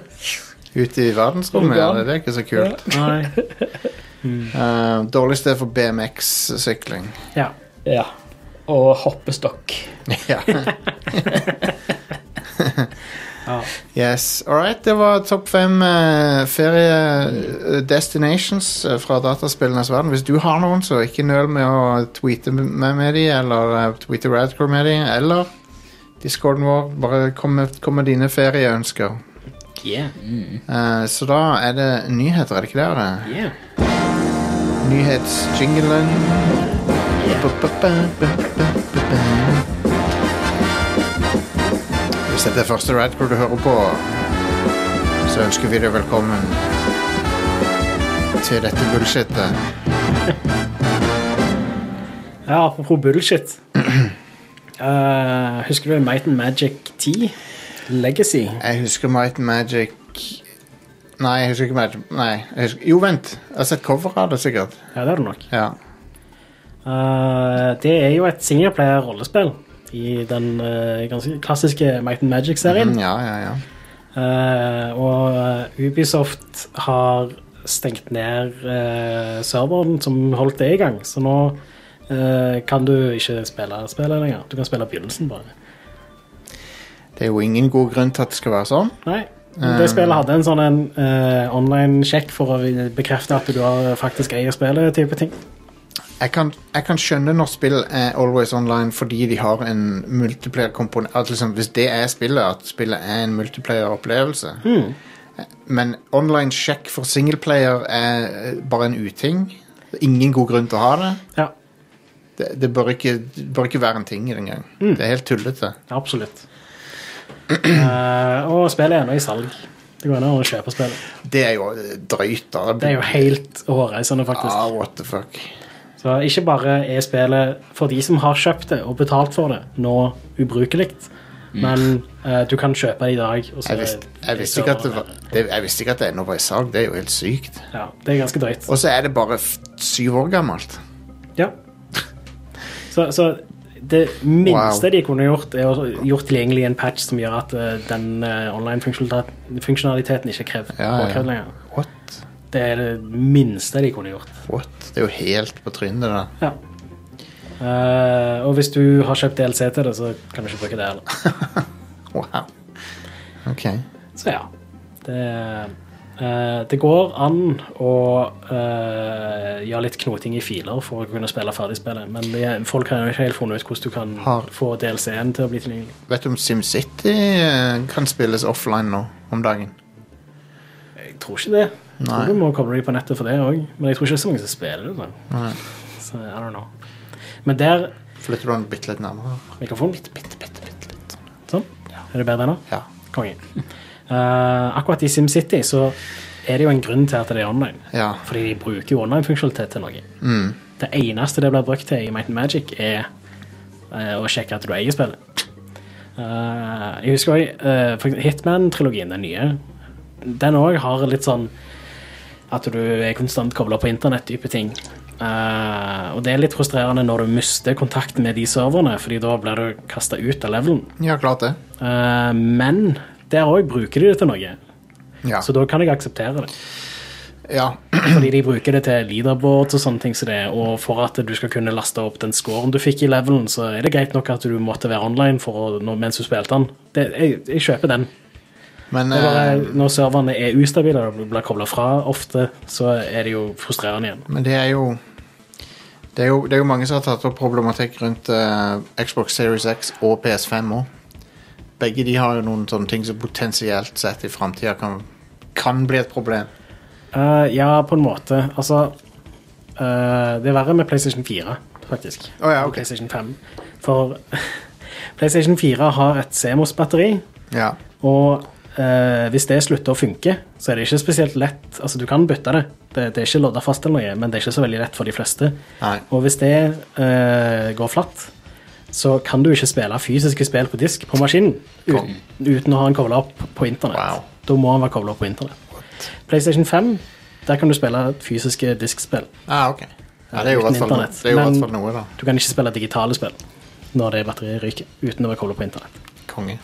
Ute i verdensrommet, ja. Det er ikke så kult. Nei. Eh, dårlig sted for BMX-sykling. Ja. Ja. Og hoppestokk. Ja. ja. Yes. All right, det var topp fem eh, ferie-destinations eh, fra dataspillenes verden. Hvis du har noen, så ikke nøl med å tweete meg med de, eller eh, tweete Radcore med de, eller discorden vår. Bare kom med, kom med dine ferieønsker. Yeah. Eh, så da er det nyheter, er det ikke det? Are? Yeah. Nyhetsjinglen. Hvis dette er første Radcore du hører på, så ønsker vi deg velkommen til dette bullshitet. Ja, apropos bullshit. Eh, husker du Might and Magic 10? Legacy? Jeg husker Might and Magic Nei, jeg husker ikke Magic Nei, jeg husker... Jo, vent. Jeg har sett cover av det, sikkert. Ja, det har du nok. Ja. Eh, det er jo et singleplayer-rollespill i den eh, ganske klassiske Might and Magic-serien. Mm, ja, ja, ja. Eh, og eh, Ubisoft har stengt ned eh, serveren som holdt det i gang, så nå eh, kan du ikke spille spillet lenger. Du kan spille begynnelsen, bare. Det er jo ingen god grunn til at det skal være sånn. Nei. Det spillet hadde en sånn en, eh, online sjekk for å bekrefte at du har faktisk eier spillet. type ting. jeg kan, jeg kan skjønne når spill er always online fordi de har en multiplayer-komponent. At liksom, hvis det er spillet, at spillet er en multiplayer-opplevelse. Mm. Men online sjekk for singleplayer er eh, bare en uting. Det er ingen god grunn til å ha det. Ja, Det, det, bør, ikke, det bør ikke være en ting engang. Mm. Det er helt tullete. absolutt. Eh, og spillet er ennå i salg. Det går an å kjøpe spillet. Det er jo eh, drøyt, da. Det er jo helt hårreisende, faktisk. ah, what the fuck. Så ikke bare er spillet for de som har kjøpt det og betalt for det, nå ubrukelig, men eh, du kan kjøpe det i dag. Og så Mm. Jeg visste, jeg visste ikke at det var det, Jeg visste ikke at det ennå var i salg. Det er jo helt sykt. Ja, det er ganske drøyt. Og så er det bare f syv år gammelt. Ja. Så, så det minste de kunne gjort, er å gjort tilgjengelig en patch som gjør at eh, den eh, online funksjonalitet- funksjonaliteten ikke er krevd Ja, ja. påkrevd lenger. What? Det er det minste de kunne gjort. What? Det er jo helt på trynet, da. Ja. Eh, og hvis du har kjøpt DLC til det, så kan du ikke bruke det heller. Wow. Ok. Så ja. Det, eh, det går an å eh, gjøre litt knoting i filer for å kunne spille ferdig spillet, men det, folk har jo ikke helt funnet ut hvordan du kan Har- få DLC-en til å bli tilgjengelig. Vet du om SimCity eh, kan spilles offline nå om dagen? Jeg tror ikke det. Nei. Jeg tror du må koble deg på nettet for det òg. Men jeg tror ikke det er så mange som spiller det. da. Nei. Så I don't know. Men der Flytter du den bitte litt nærmere? Mikrofonen. Bitte, bitte, bitte, bitte, bitte. Sånn. Er det bedre nå? Ja. Konge. Eh, akkurat i SimCity så er det jo en grunn til at det er online. Ja. Fordi de bruker jo online-funksjonalitet til noe. Det eneste det blir brukt til i Might and Magic, er eh, å sjekke at du eier spillet. Eh, jeg husker òg Hitman-trilogien, den nye. Den òg har litt sånn at du er konstant kobla på internett-type ting. Eh, og det er litt frustrerende når du mister kontakt med de serverne, fordi da blir du kasta ut av levelen. Ja, klart det. Eh, men der òg bruker de det til noe, Ja. så da kan jeg akseptere det. ja. Fordi de bruker det til leaderboards og sånne ting som det, og for at du skal kunne laste opp den scoren du fikk i levelen, så er det greit nok at du måtte være online for å, nå- mens du spilte den. Det, jeg, jeg kjøper den. Men Det er eh, bare, når serverne er ustabile og blir kobla fra ofte, så er det jo frustrerende igjen. Men det er jo det er jo, det er jo mange som har tatt opp problematikk rundt eh, Xbox Series X og PS5 òg. Begge de har jo noen sånne ting som potensielt sett i framtida kan, kan bli et problem. Eh, ja, på en måte. Altså eh, Det er verre med PlayStation 4, faktisk. Å ja, enn ok. PlayStation 5. For PlayStation 4 har et CMOS-batteri, Ja. og eh, hvis det slutter å funke, så er det ikke spesielt lett Altså, du kan bytte det, det, det er ikke lodda fast, eller noe, men det er ikke så veldig lett for de fleste. Nei. Og hvis det eh, går flatt, så kan du ikke spille fysiske spill på disk på maskinen uten, uten å ha den kobla opp på internett. Wow. Da må den være kobla opp på internett. PlayStation 5, der kan du spille fysiske diskspill. Ah, ok. Ja, det er jo i Uten hvert fall, internett. det er jo i Men- hvert fall noe, da. Du kan ikke spille digitale spill når det batteriet ryker, uten å være kobla på internett. Konge.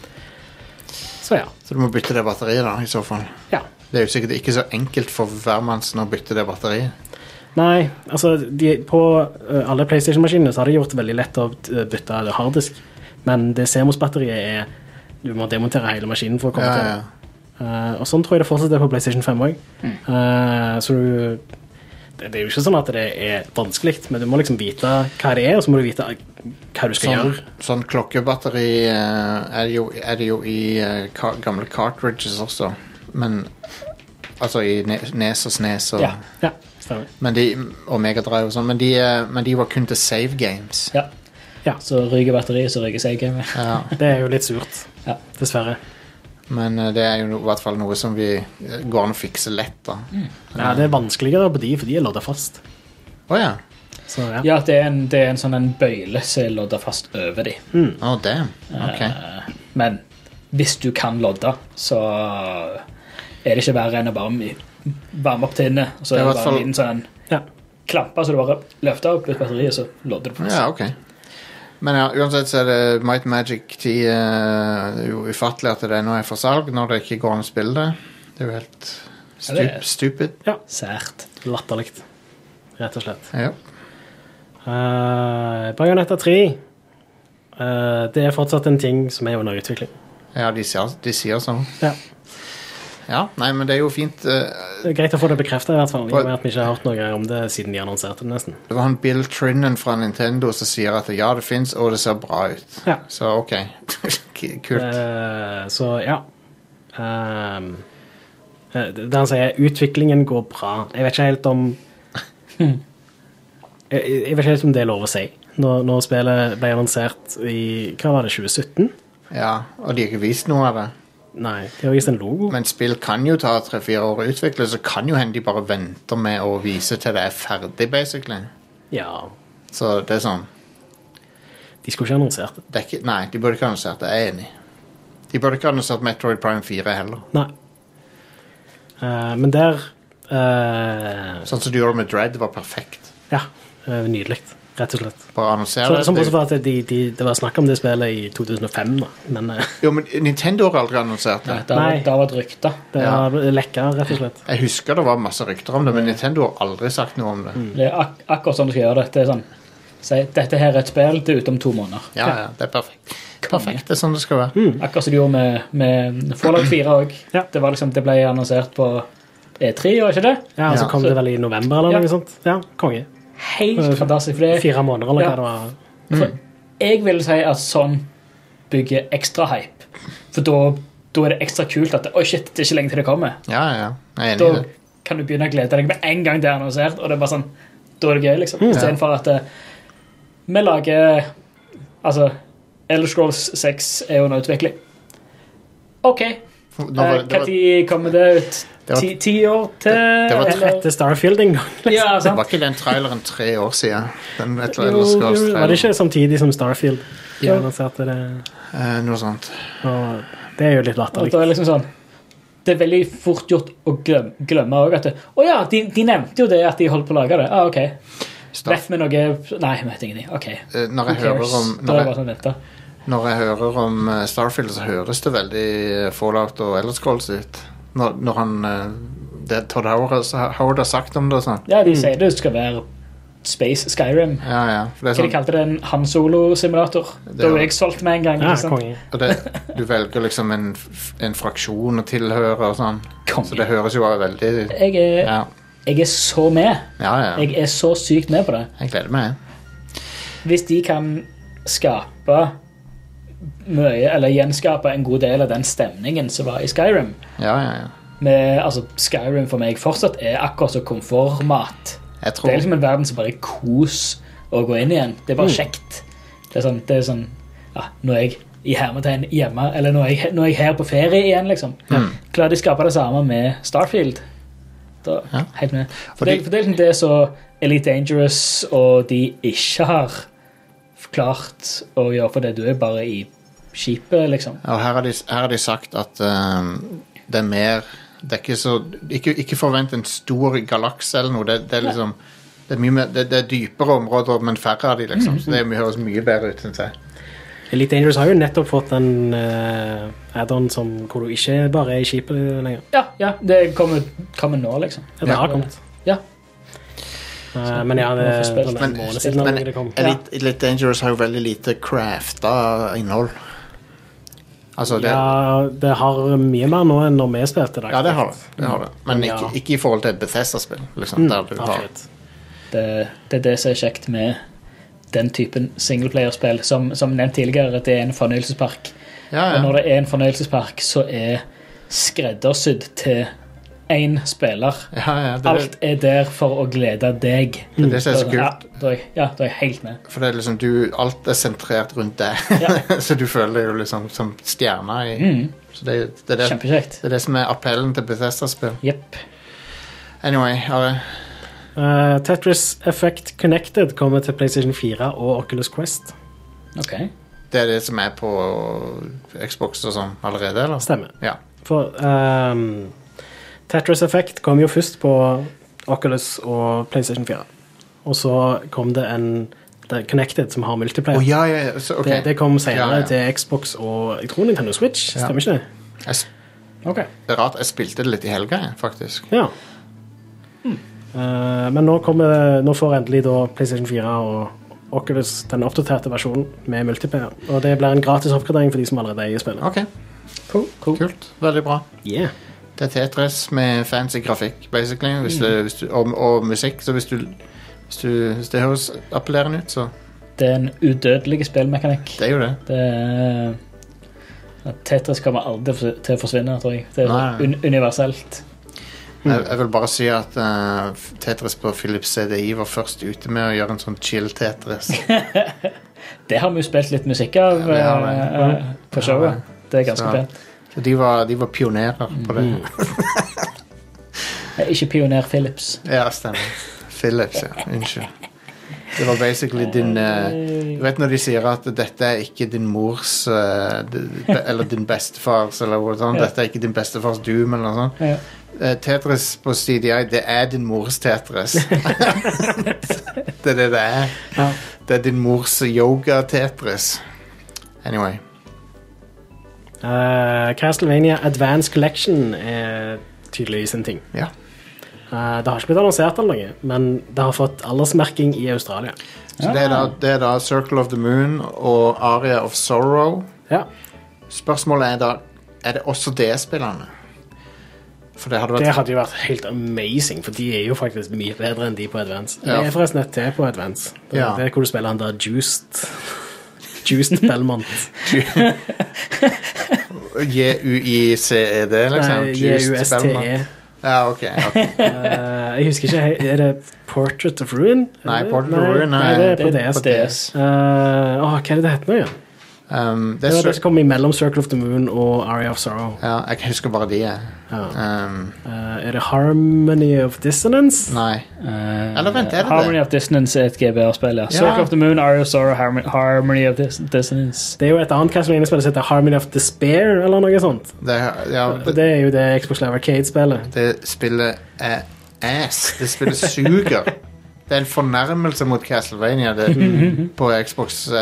Så ja. Så du må bytte det batteriet, da, i så fall. ja. Det er jo sikkert ikke så enkelt for hvermannsen å bytte det batteriet. Nei, altså de, På eh, alle PlayStation-maskinene så har de gjort det veldig lett å eh, bytte harddisk, men det CMOS-batteriet er Du må demontere hele maskinen for å komme Ja, til det. ja. Eh, og sånn tror jeg det fortsatt er på PlayStation 5 òg. Mm. så du det, det er jo ikke sånn at det er vanskelig, men du må liksom vite hva det er, og så må du vite hva du skal Sånn, gjøre. sånn klokkebatteri eh, er, det jo, er det jo i eh, ka- gamle cartridges også. Men Altså i ne Nes og Snes og, Ja. Ja, stemmer. men de, og Megadrive og sånn. Men, de, eh, men de var kun til save games. Ja. Ja. Så ryker batteriet, så ryker seg gamet. Ja, Det er jo litt surt, Ja. dessverre. men eh, det er jo no- i hvert fall noe som vi eh, går an å fikse lett, da. Å Ja, det er vanskeligere på de, for de er lodda fast. ja. Så ja. Ja, det er en, det er en sånn en bøyle som er lodda fast over de. Oh, damn. Ok. Men hvis du kan lodde, så er det ikke verre enn å bare mi- varme opp tinnet, og så Det er i er det hvert bare en fall- liten sånn Ja. klampe, så du bare løfter opp et batteri, og så lodder du på plass. Ja, ok. Men ja, uansett så er det Might Magic 10 eh, Det er jo ufattelig at det ennå er for salg når det ikke går an å spille det. Det er jo helt Ja, det stup, er- stupid. Sært. Latterlig. Rett og slett. Ja. Uh, Bajonetta 3 eh, Det er fortsatt en ting som er under utvikling. ja, de sier, de sier sånn. Ja. Ja, nei, men det er jo fint. eh, Det er greit å få det bekrefta, i hvert fall. I og med at vi ikke har hørt noe om det siden de annonserte det, nesten. Det var han Bill Trinnen fra Nintendo som sier at ja, det fins, og det ser bra ut. Ja. Så ok. K- Kult. Eh, så ja. Ehm, eh, det han sier, utviklingen går bra. Jeg vet ikke helt om jeg, jeg vet ikke helt om det er lov å si. Når, når spillet ble annonsert i hva var det, 2017? Ja, Og de har ikke vist noe av det. Nei, de har vist en logo. Men spill kan jo ta tre-fire år å utvikle, så kan jo hende de bare venter med å vise til det er ferdig, basically. Ja, Så det er sånn De skulle ikke annonsert det. det er ikke, Nei, de burde ikke annonsert det. Jeg er enig. De burde ikke annonsert Metroid Prime 4 heller. Nei. Eh, men der eh, Sånn som du gjorde med Dread, var perfekt. Ja. Uh, Nydelig, rett og slett. Bare annonsere Så, som det. bortsett fra at de, de, det var snakk om det spillet i 2005, da. Men eh, Jo, men Nintendo har aldri annonsert det. Da var, Nei. da var det rykte. det Ja. har lekka, rett og slett. Jeg husker det var masse rykter om det, men Nintendo har aldri sagt noe om det. Mm. Det er ak akkurat sånn du skal gjøre det. Det er sånn si, Dette her er et spill, det er ute om to måneder. Ja, ja, det er perfekt. Perfekt, det er sånn det skal Mm. være. Akkurat som du gjorde med, med Fallout 4 òg. Ja. Det, var liksom, det ble annonsert på E3, var ikke det? Ja, og Ja. så kom det vel i november eller Ja. noe sånt. Ja, konge. Helt fantastisk. For det, Fire måneder eller Ja. hva det var. for Mm. jeg vil si at sånn bygger ekstra hype. For da, da er det ekstra kult at Oi, shit, det er ikke lenge til det kommer. Ja, ja, jeg er enig Da i det. kan du begynne å glede deg med en gang det er annonsert, og det er bare sånn Da er det gøy, Mm. liksom. Istedenfor at eh, vi lager Altså, Elder Scrolls 6 er under utvikling. OK, eh, Eh, Nå var, det, var, Når kommer det ut? Det var, Ti, ti år til Det- det var eller- Etter Starfield en gang. liksom. Ja, det sant. var ikke den traileren tre år siden? Den et eller Jo, annet jo, skåls Var det trailer. ikke samtidig som Starfield? Jo. Ja. Annonserte det. Eh, noe sånt. Og det er jo litt Og latterlig. det er liksom sånn Det er veldig fort gjort å glem- glemme òg at det- Å ja, de, de nevnte jo det at de holdt på å lage det. Ah, OK. Star, Vet vi noe Nei, vi vet ingenting. OK. eh, når, Who jeg hører cares? om, når, Da er det bare jeg, sånn vente. når jeg hører om eh, Starfield, så høres det veldig eh, Fallout og Elder Scrolls ut. Når, når han eh, det Todd Howard, Howard har sagt om det og sånn. Ja, de sier det skal være Space Skyrim. Ja, ja. For det Hva er de sånn, kalte det? En Han Solo-simulator? Det Da var- var jeg solgt med en gang. Ja, liksom. Ah, konge. og det, du velger liksom en, f- en fraksjon å tilhøre og sånn. Så det Konge. høres jo bare veldig Jeg er, Ja, jeg er så med. ja. ja. Eh, Jeg er så sykt med på det. Jeg gleder meg. Hvis de kan skape mye, eller gjenskape en god del av den stemningen som var i Skyrim Ja, ja, ja. med, altså, Skyrim for meg fortsatt er akkurat som komfortmat. Jeg Det er tror liksom en verden som bare er kos å gå inn igjen. Det er Mm. bare kjekt. Det er sånn, det er sånn ja, Nå er jeg i hermetegn hjemme, eller nå er jeg, nå er jeg her på ferie igjen, liksom. Klarer de å skape det samme med Starfield? Da, Ja. Helt med. For Fordi- det, for det er liksom det som Elite Dangerous og de ikke har klart å gjøre, for det du er bare i skipet, liksom. Og her har de, her har de sagt at ehm, det er mer Det er ikke så Ikke, ikke forvent en stor galakse eller noe. Det, det er liksom det er, mye mer, det, det er dypere områder, men færre av de, liksom. Så det er- høres mye bedre ut, syns jeg. Elite Dangerous har jo nettopp fått en uh, add-on som- hvor du ikke bare er i skipet lenger. Ja, ja, det kommer, kommer nå, liksom. Ja, det Ja. har kommet. Ja. Eh, men ja, det man får er spilt. sånn Men, en måned siden men eller det kom. Elite, Elite Dangerous har jo veldig lite crafta innhold. Altså, det Ja, Ja, det har mye mer nå enn når vi spilte det. det har det. det, har det. Men Ja. Mm. ikke, ikke i forhold til et Bethesda-spill, liksom. Der du har Absolutt. Det, eh, det er det som er kjekt med den typen singleplayerspill. Som, som nevnt tidligere, det er en fornøyelsespark. Ja, Og når ja. det er en fornøyelsespark, så er skreddersydd til én spiller. ja, ja det, er- Alt er der for å glede deg. det er det som er så Ja, kult. da er jeg, ja, da er jeg helt med. For det er liksom du, alt er sentrert rundt deg. så du føler deg jo liksom som stjerna i Mm. Så det, det, er det, Mm, Kjempekjekt. det er det som er appellen til Bethesda-spill. Jepp. Anyway, Are. Eh, Tetris Effect Connected kommer til PlayStation 4 og Oculus Quest. Ok. det er det som er på Xbox og sånn allerede, eller? Stemmer. Ja. For ehm, Tetris Effect kom jo først på Oculus og PlayStation 4. Og så kom det en det er Connected som har Å multiplayer. ja, ja, ja, så, ok. det, det kom Ja, senere ja. til Xbox og jeg tror Nintendo Switch. Ja. Stemmer ikke det? Jeg, s- Ok. det er rart, jeg spilte det litt i helga, jeg, faktisk. Ja. Eh, men nå, kommer, nå får endelig da PlayStation 4 og Oculus den oppdaterte versjonen med multiplayer. Og det blir en gratis oppgradering for de som allerede er i spillet. Ok, Cool. cool. kult. Veldig bra. Yeah. Det er Tetris med fancy grafikk, basically, hvis Mm. det, hvis du, og, og musikk. Så hvis du, hvis du Hvis det høres appellerende ut, så Det er en udødelig spillmekanikk. Det er jo det. Det er at Tetris kommer aldri for- til å forsvinne, tror jeg. Det er Nei. un universelt. Jeg, jeg vil bare si at eh, Tetris på Philips CDI var først ute med å gjøre en sånn chill Tetris. Det har vi jo spilt litt musikk av Ja, det har vi. eh, eh, på showet. Det er ganske Så- pent. Så de var, de var pionerer på det. Eh, Ikke pioner Philips. Ja, stemmer. Philips, ja. Unnskyld. Det var basically din eh, Du vet når de sier at dette er ikke din mors eh, d- be- Eller din bestefars, eller noe sånt. Ja. Dette er ikke din bestefars Doom, eller noe sånt. Ja. Eh, Tetris på CDI, det er din mors Tetris. det er det det er. Ja. Det er din mors yoga-Tetris. Anyway. Eh, Castlevania Advance Collection er tydeligvis en ting. Ja. Eh, det har ikke blitt annonsert eller noe, men det har fått aldersmerking i Australia. Så det er, da, Ah. det er da Circle of the Moon og Aria of Sorrow. Ja. Spørsmålet er da Er det også DS-spillerne? For det hadde Det vært hadde jo vært helt amazing, for de er jo faktisk mye bedre enn de på Advance. Ja. Det er forresten et til på Advance. Det, Ja. det er hvor du spiller han der Juiced. Juiced Belmont. J-U-I-C-E-D, liksom. Nei, Juiced JUSTE. Spellman. Ja, ok. ok. E. Eh, jeg husker ikke he- Er det Portrait of Ruin? Er Nei, det- Portrait of Ruin, Nei, nei. det er Det på er DS. på DS. Eh, åh, hva er det det heter nå igjen? Um, det Det er var det så, som kom imellom Circle of the Moon og Aria of Sorrow. ja, jeg husker bare de. jeg. Ja. Um, Eh, er det Harmony of Dissonance? nei. Eh, Eller vent, er det det? Harmony of Dissonance er et GBR-spill. Ja. Circle of the Moon, Aria of Sorrow, Harmony, Harmony of Dis Dissonance. Det er jo et annet Castlevania-spill som heter Harmony of Despair, eller noe sånt. Det, ja, Og det, det er jo det Xbox Live Arcade-spillet. det spillet er ass. Det spillet suger. Det er en fornærmelse mot Castlevania det, på Xbox eh,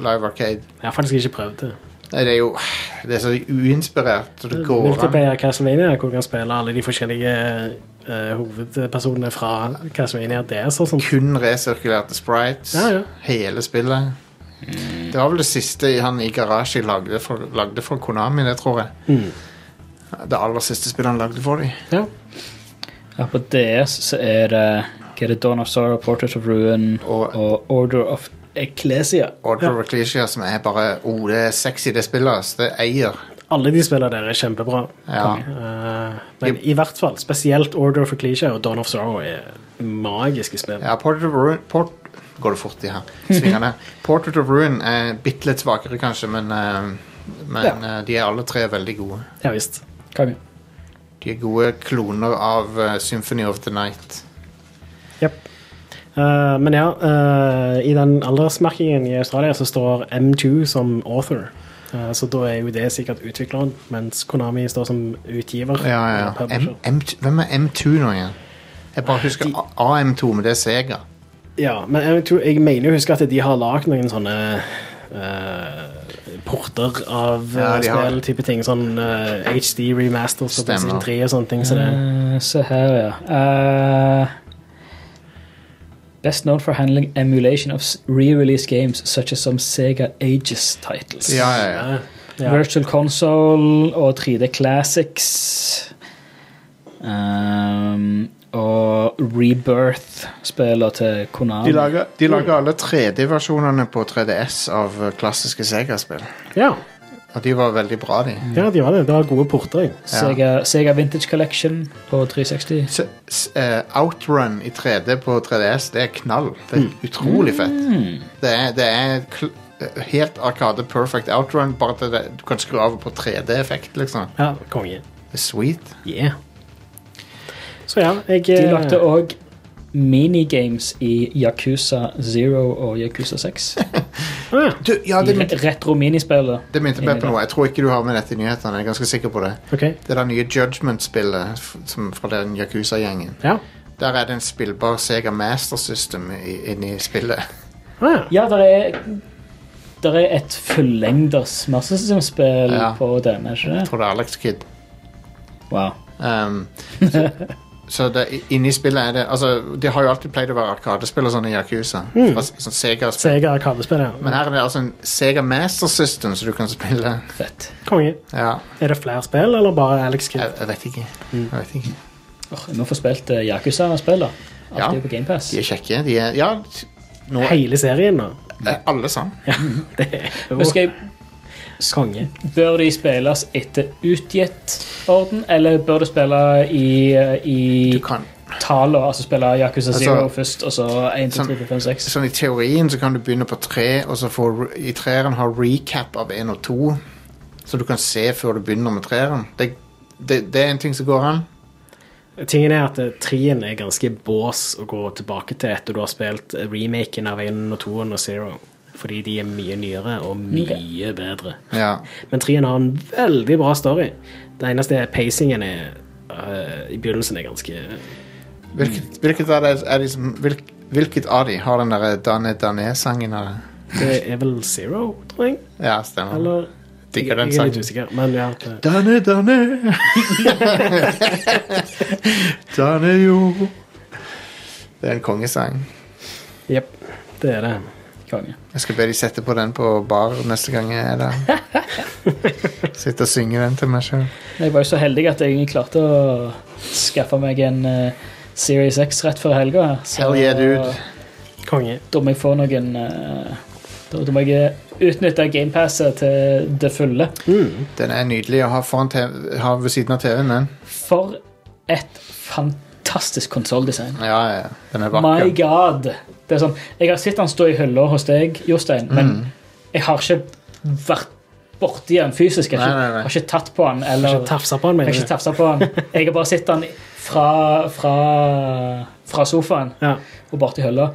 Live Arcade. Jeg har faktisk ikke prøvd det. Nei, Det er jo det er så uinspirert. Så det går an. Multiplayer Castlevania, hvor du kan spille alle de forskjellige eh, hovedpersonene fra Castlevania DS og sånt. Kun resirkulerte sprites. Ja, ja. Hele spillet. Det var vel det siste han i Garashi lagde for, lagde for Konami, det tror jeg. Mm. Det aller siste spillet han lagde for dem. Ja. Ja, på DS så er det hva er det Dawn of Sorrow, Portrait of Ruin Og- og, Order of Ecclesia. Order of Ecclesia, som er bare oh, det er sexy, det spillet. ass. Det eier. Alle de spillene der er kjempebra. Ja. Eh, men i hvert fall, spesielt Order of Ecclesia og Dawn of Sorrow er magiske spill. ja Portrait of Ruin Port, Går det fort i her? Svingene. Portrait of Ruin er bitte litt svakere, kanskje, men, eh, men eh, de er alle tre veldig gode. Ja visst. Konge. De er gode kloner av eh, Symphony of the Night. Jep. Eh, men ja, eh, i den aldersmerkingen i Australia så står M2 som author. Eh, så da er jo det sikkert utvikleren, mens Konami står som utgiver. Ja, ja, eller ja. publisher. M, M2 hvem er M2 nå igjen? Jeg bare husker A- AM2, men det er Sega. Ja, men jeg, tror, jeg mener jo husker at de har lagd noen sånne eh, porter av ja, Ja, de har spill, type ting. Sånn eh, HD remasters på Stemmer. Mm. PlayStation 3 og sånne ting. Så det, Eh, se her, ja. Eh, best known for handling emulation of s- re-release games such as some Sega Ages titles. Ja, ja, ja. ja. Ja. Virtual Console og 3D Classics. Um, og Rebirth-spiller til Konami. De lager, de lager alle 3D-versjonene på 3DS av eh, klassiske Sega-spill. Ja, Og de var veldig bra, de. ja, de har det. De har gode porter. jeg. Sega, Sega Vintage Collection på 360. S s eh, Outrun i 3D på 3DS, det er knall. Det er utrolig fett. Det er, det er kl eh, helt Arkade perfect outrun, bare at det, du kan skru av på 3D-effekt, liksom. Ja, konge. Det er sweet. Yeah. Så ja, jeg De eh, lagde òg minigames i Yakuza Zero og Yakuza 6. ah, ja. Du, ja, det, min- Re- Retro minispillet. det minte meg på noe. Jeg tror ikke du har med dette i nyhetene. Jeg er ganske sikker på det. Ok. Det der nye Judgment-spillet f- som- fra den Yakuza-gjengen. Ja. Der er det en spillbar Sega Master System i- inni spillet. Ah, ja. Ja, der er der er et fullengders massesystemspill Ja. på den, er ikke Jeg det? tror det er Alex Kid. Wow. Um, så så det, inni spillet er det Altså, de har jo alltid pleid å være arkadespill og sånn i Yakuza. Fra s- Sånn Sega-spill. Sega Arkadespill, ja. Men her er det altså en Sega Master System som du kan spille. Fett. Konge. Ja, Er det flere spill, eller bare Alex Kidd? jeg, jeg vet ikke. Jeg vet ikke. Åh, jeg må få spilt eh, Yakuza-spill, da. Alt Ja. er jo på GamePass. De er kjekke. De er Ja, nå er Hele serien, da? alle sammen. Men skal jeg, Konge. bør de spilles etter utgitt orden, eller bør du spille i, eh, Du i kan taler? Altså spille Yakuza Altså, Zero først, og så 1, 2, sånn- 3, 4, 5, 6? Sånn I teorien så kan du begynne på tre, og så få, re- i treeren ha recap av én og to. Så du kan se før du begynner med treeren. Det, det, det er en ting som går an. Tingen er at eh, trien er ganske bås å gå tilbake til etter du har spilt eh, remaken av 1 og 2 og Zero. Fordi de er mye nyere og mye bedre. Ja. Men trien har en veldig bra story. Det eneste er pacingen er, eh, i begynnelsen er ganske Hvilket, hvilket, av det er de som, hvilk, hvilket av de har den derre Dane Dane-sangen av det? Det er vel Zero, tror jeg? Ja, stemmer. Eller? Jeg, Digger den jeg er litt sangen. usikker, men ja. det- Dane Dane Dane jo Det er en kongesang. Jepp, det er det. Konge. Jeg skal be de sette på den på bar neste gang jeg er der. Sitte og synge den til meg sjøl. Jeg var jo så heldig at jeg klarte å skaffe meg en eh, Series X rett før helga. Så Hell yeah, dude. Konge. da må jeg få noen eh, Da da må jeg utnytte GamePasset til det fulle. Den er nydelig å ha, foran TV, ha ved siden av TV-en, den. For et fantastisk konsolldesign. Ja, ja, ja. Den er vakker. My Mm. god! Det er sånn, jeg har sett han stå i hylla hos deg, Jostein, men jeg har ikke vært borti han fysisk. Jeg har Nei, nei, ikke, nei. har ikke tatt på han eller Ikke tafsa på han, jeg har mener ikke du? tafsa på han. Jeg har bare sett han fra, fra, fra sofaen Ja. og bort i hylla.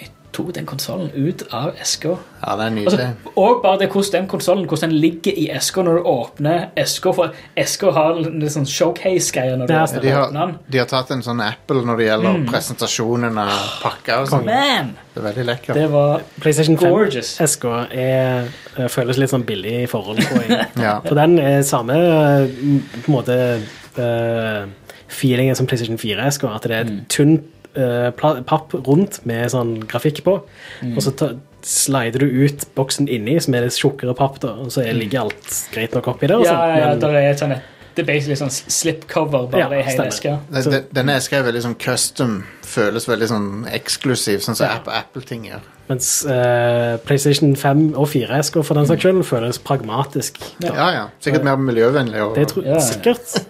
Jeg tok den konsollen ut av eska. Ja, det er Altså, nydelig. og bare det hvordan den konsollen hvordan den ligger i eska når du åpner eska. For eska har en litt sånn showcase-greier når du Ja, De åpner har, den. Mm. de har tatt en sånn Apple når det gjelder presentasjonen av pakker og sånn. Man! Det er veldig lekkert. Det var PlayStation 5 gorgeous. SK er, eh, føles litt sånn billig i forhold til Ja. For den er samme eh, m- på en måte eh, feelingen som PlayStation 4 SK, at det er Mm. et tynt eh, pla- papp rundt med sånn grafikk på, Mm. og så ta, slider du ut boksen inni, som er litt tjukkere papp, da, og så er, ligger alt greit nok oppi der. og Mm. Ja, sånt, ja, ja men- der er et sånn et- Det er basically sånn slipcover bare Ja, i hele stemmer. eska. Den- den- Denne eska er veldig sånn custom. Føles veldig sånn eksklusiv, sånn som App- Apple-ting gjør. Mens eh, PlayStation 5 og 4 SK Mm. for den saks skyld føles pragmatisk. da. Ja, ja. Sikkert mer miljøvennlig. Det tror Og, Ja, ja. sikkert.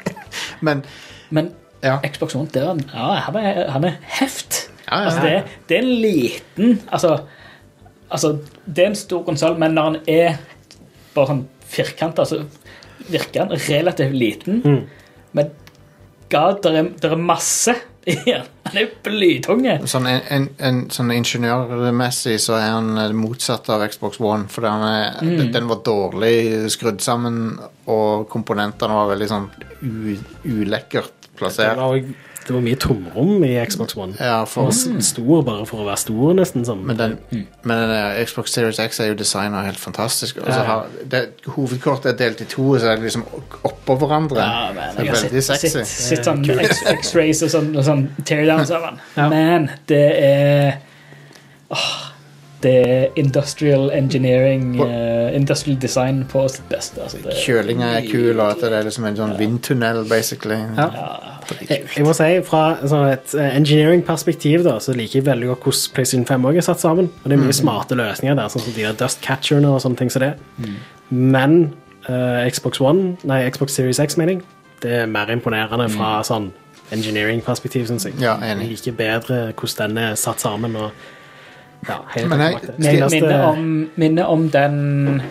men Men ja. Xbox One, der er den- ja, her er her er heft. Ja, ja, Altså, det, er- det er en liten altså, altså, det er en stor konsoll, men når den er bare sånn firkanta, så virker den relativt liten. Mm. Men god, der er, der er masse i den. Den er blytunge. Sånn, en, en, en, sånn ingeniørmessig så er han eh, motsatt av Xbox One, for den, er, den, den var dårlig skrudd sammen, og komponentene var veldig sånn u, ulekkert Det plassert. var, jo- det var mye tomrom i Xbox One. Ja, Den var for, s- stor bare for å være stor, nesten. Som. men den, men den der Xbox Series X er jo designa helt fantastisk. Og så Ja. har, det, hovedkortet er delt i to, så er det liksom oppå hverandre. det er veldig sexy. Sitt, sitt sånn X- X-rays og sånn, og sånn teardowns av den. Ja. Men det er åh, Det er industrial engineering, eh, industrial design på sitt beste. Altså det, Kjølinga er kul, og at det er liksom en sånn vindtunnel, basically. Ja. ja, Jeg, jeg må si, Fra sånn et eh, engineering-perspektiv da, så liker jeg veldig godt hvordan PlayStation 5 også er satt sammen. Og Det er Mm. mye smarte løsninger der, sånn som de der dust catcherne og sånne ting som det. Mm. Men eh, Xbox One, nei, Xbox Series X, mener jeg, det er mer imponerende fra sånn engineering-perspektiv, syns jeg. Mm. Ja, enig. Jeg liker bedre hvordan den er satt sammen. og ja, helt eh, Men jeg- opplagt. Min- Eneste- Minne om, minne om den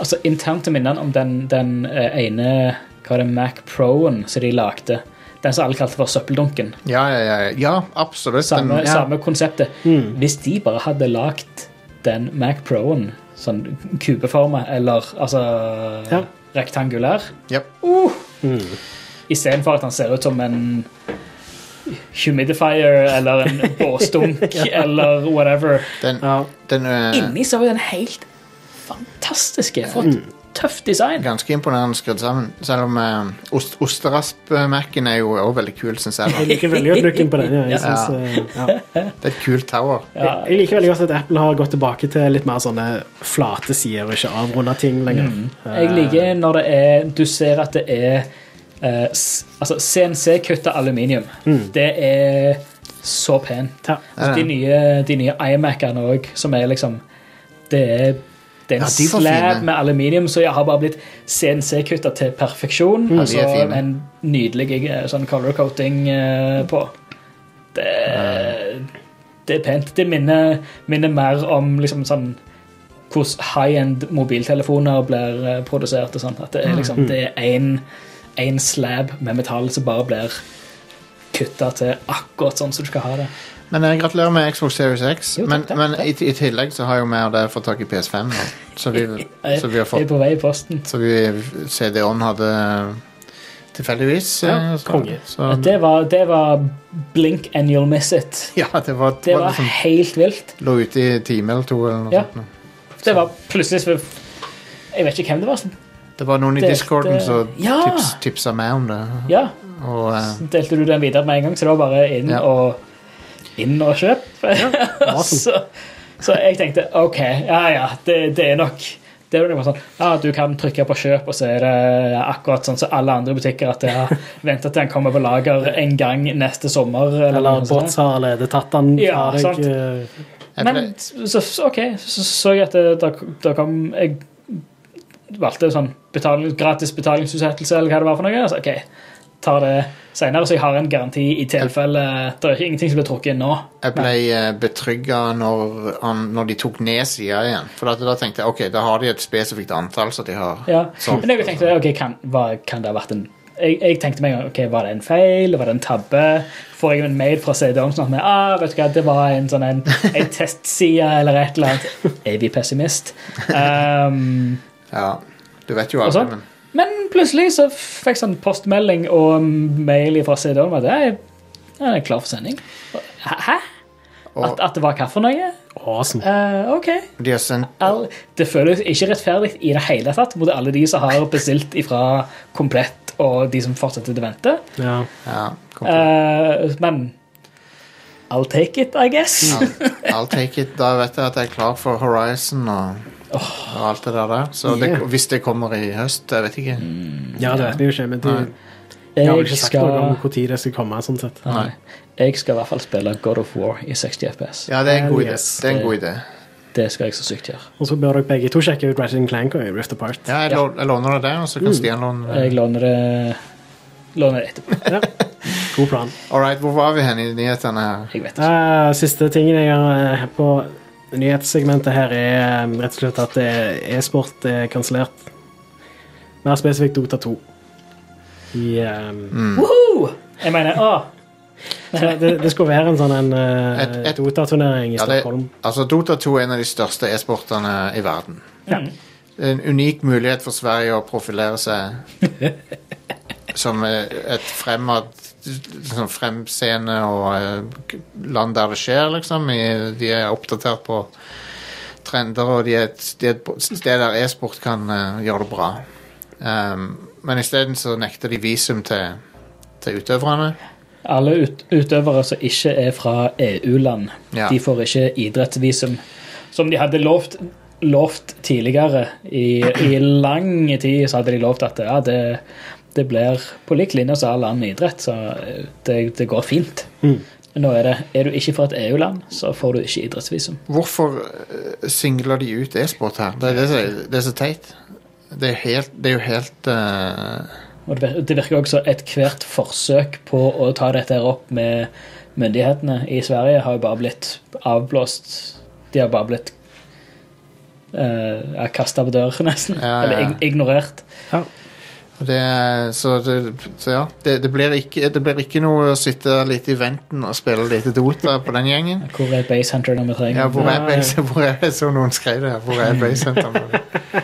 Altså internt til minnene om den, den eh, ene hva er det, Mac Pro-en som de lagde. Den som alle kalte for søppeldunken. Ja, ja, ja, ja. ja absolutt. Samme, Den, ja. samme konseptet. Hvis de bare hadde lagd den Mac Pro-en sånn kubeforma eller altså Ja. rektangulær, Yep. istedenfor at han ser ut som en humidifier eller en båsdunk eller whatever. Den, ja. den er Inni så er jo den helt fantastiske. For et tøft design. ganske imponerende skrudd sammen. Selv om eh, ost, osterasp-Mac-en er jo også veldig kul, syns jeg. da. Jeg liker veldig godt looken på den. Ja. Jeg, Ja. synes, eh, ja. Det er et kult tower. Ja. jeg liker veldig godt at Apple har gått tilbake til litt mer sånne flate sider og ikke avrunda ting lenger. Mm. Jeg liker når det er Du ser at det er eh, s- Altså, CNC kutta aluminium. Det er så pent. Ja. Altså, de nye, de nye iMac-ene òg, som er liksom Det er, det er en Ja, de var slab fine. med aluminium, så jeg har bare blitt CNC-kutta til perfeksjon. Ja, Og de er så fine. en nydelig eh, sånn color coating eh, på. Det, det er pent. Det minner, minner mer om liksom sånn hvordan high-end mobiltelefoner blir eh, produsert. og sånt. At det er liksom, det er en, en slab med metall som bare blir kutta til akkurat sånn som du skal ha det. Men jeg gratulerer med Xbox Series X. Jo, takk, men takk, men I, i tillegg så har jo vi og deg fått tak i PS5, nå. så vi, Jeg, så vi har jeg er fått på vei i posten. Så vi CD-on hadde tilfeldigvis. eh, Ja, så- konge. så- Det var, det var blink and you'll miss it. Ja, det var, Det var var liksom, helt vilt. lå ute i en time eller to. Eller noe Ja. sånt. nå. Det var plutselig så- Jeg vet ikke hvem det var. som- Det var noen i Delte- discorden som Ja. tips, tipsa meg om det. Ja, Og eh, så delte du den videre med en gang, så det var bare inn Ja. og inn og kjøp. så, så jeg tenkte OK, ja ja, det, det er nok det er jo bare sånn, ja, Du kan trykke på kjøp, og så er det ja, akkurat sånn som alle andre butikker. At jeg venter til den kommer på lager en gang neste sommer. Eller, Eller noe sånt. Bots har allerede tatt den fra altså. Ja, deg. sant. eh, jeg ble, Men så, så- OK, så så jeg at det- da, da kom Jeg valgte sånn betaling, gratis betalingsutsettelse, eller hva det var for noe. og Så, ok, tar det senere, så jeg har en garanti i tilfelle Det er ikke ingenting som blir trukket inn nå. Jeg ble eh, betrygget når, han- når de tok ned sida igjen. For at, da tenkte jeg ok, da har de et spesifikt antall som de har Ja. solgt. Men jeg tenkte, ok, kan, hva, kan det ha vært en jeg, jeg tenkte meg, ok, Var det en feil? Var det en tabbe? Får jeg en mail fra CD-OM sånn at vi, ah, vet du hva, det var en sånn en, en testside eller et eller annet? Er vi pessimist? Um, Ja. Du vet jo aldri, Altså? men Men plutselig så fikk jeg sånn postmelding og mail fra CD om at det er, det er klar for sending. Hæ? Og- At, at det var hva for noe? Awesome. Eh, OK. de har sendt All, det føles ikke rettferdig i det hele tatt mot alle de som har bestilt ifra Komplett og de som fortsetter å vente. Ja. Ja, kom på. Eh, men I'll take it, I guess. I'll take it. Da vet jeg at jeg er klar for Horizon og, og alt det der der. Så det, Yeah. hvis det kommer i høst, jeg vet ikke. ja, det vet vi jo ikke, men de, de har vel Jeg ikke sagt skal, noe om når det skal komme. sånn sett. nei, jeg skal i hvert fall spille God of War i 60 FPS. Ja, det er en god idé. Yes, Det er en god idé. Det skal jeg så sykt gjøre. Og så bør dere begge to sjekke ut Ratchet Clank og Rift Apart. Ja, jeg, Ja. lå- jeg låner det der, og så kan Stian låne Jeg det. låner det, låner det etterpå. Ja. God plan. All right, hvor var vi hen i nyhetene her? Jeg vet ikke. Eh, siste tingen jeg har eh, på nyhetssegmentet her, er eh, rett og slett at eh, e-sport er kansellert. Mer spesifikt Dota 2. I, eh, Mm. Woohoo! Jeg mener, å, så det, det skulle være en sånn en eh, Et- et- Dota-turnering i Ja, det, Stockholm. altså Dota 2 er en av de største e-sportene i verden. Det er En unik mulighet for Sverige å profilere seg som eh, et fremad liksom fremscene og eh, land der det skjer, liksom. I- De er oppdatert på trender, og de er et sted, på- sted der e-sport kan eh, gjøre det bra. Um, men isteden så nekter de visum til, til utøverne. alle ut, utøvere som ikke er fra EU-land, Ja. de får ikke idrettsvisum. Som de hadde lovt, lovt tidligere. I, I lang tid så hadde de lovt at ja, det, det blir på lik linje som all annen idrett, så eh, det, det går fint. Men Nå er det Er du ikke fra et EU-land, så får du ikke idrettsvisum. Hvorfor eh, singler de ut e-sport her? Det er, det, som er- det er så teit. Det er, helt, det er jo helt eh, Og det vir- det virker også som ethvert forsøk på å ta dette her opp med myndighetene i Sverige har jo bare blitt avblåst. De har bare blitt uh, kasta på døren, nesten. Ja, ja, ja. Eller ig ignorert. det er, så, det, så ja, det, det, blir ikke, det blir ikke noe å sitte litt i venten og spille litt Dota på den gjengen. Hvor er Base Hunter når vi trenger Ja, hvor er Nei. base, hvor er det som noen skrev det? her? Hvor er basehenteren når,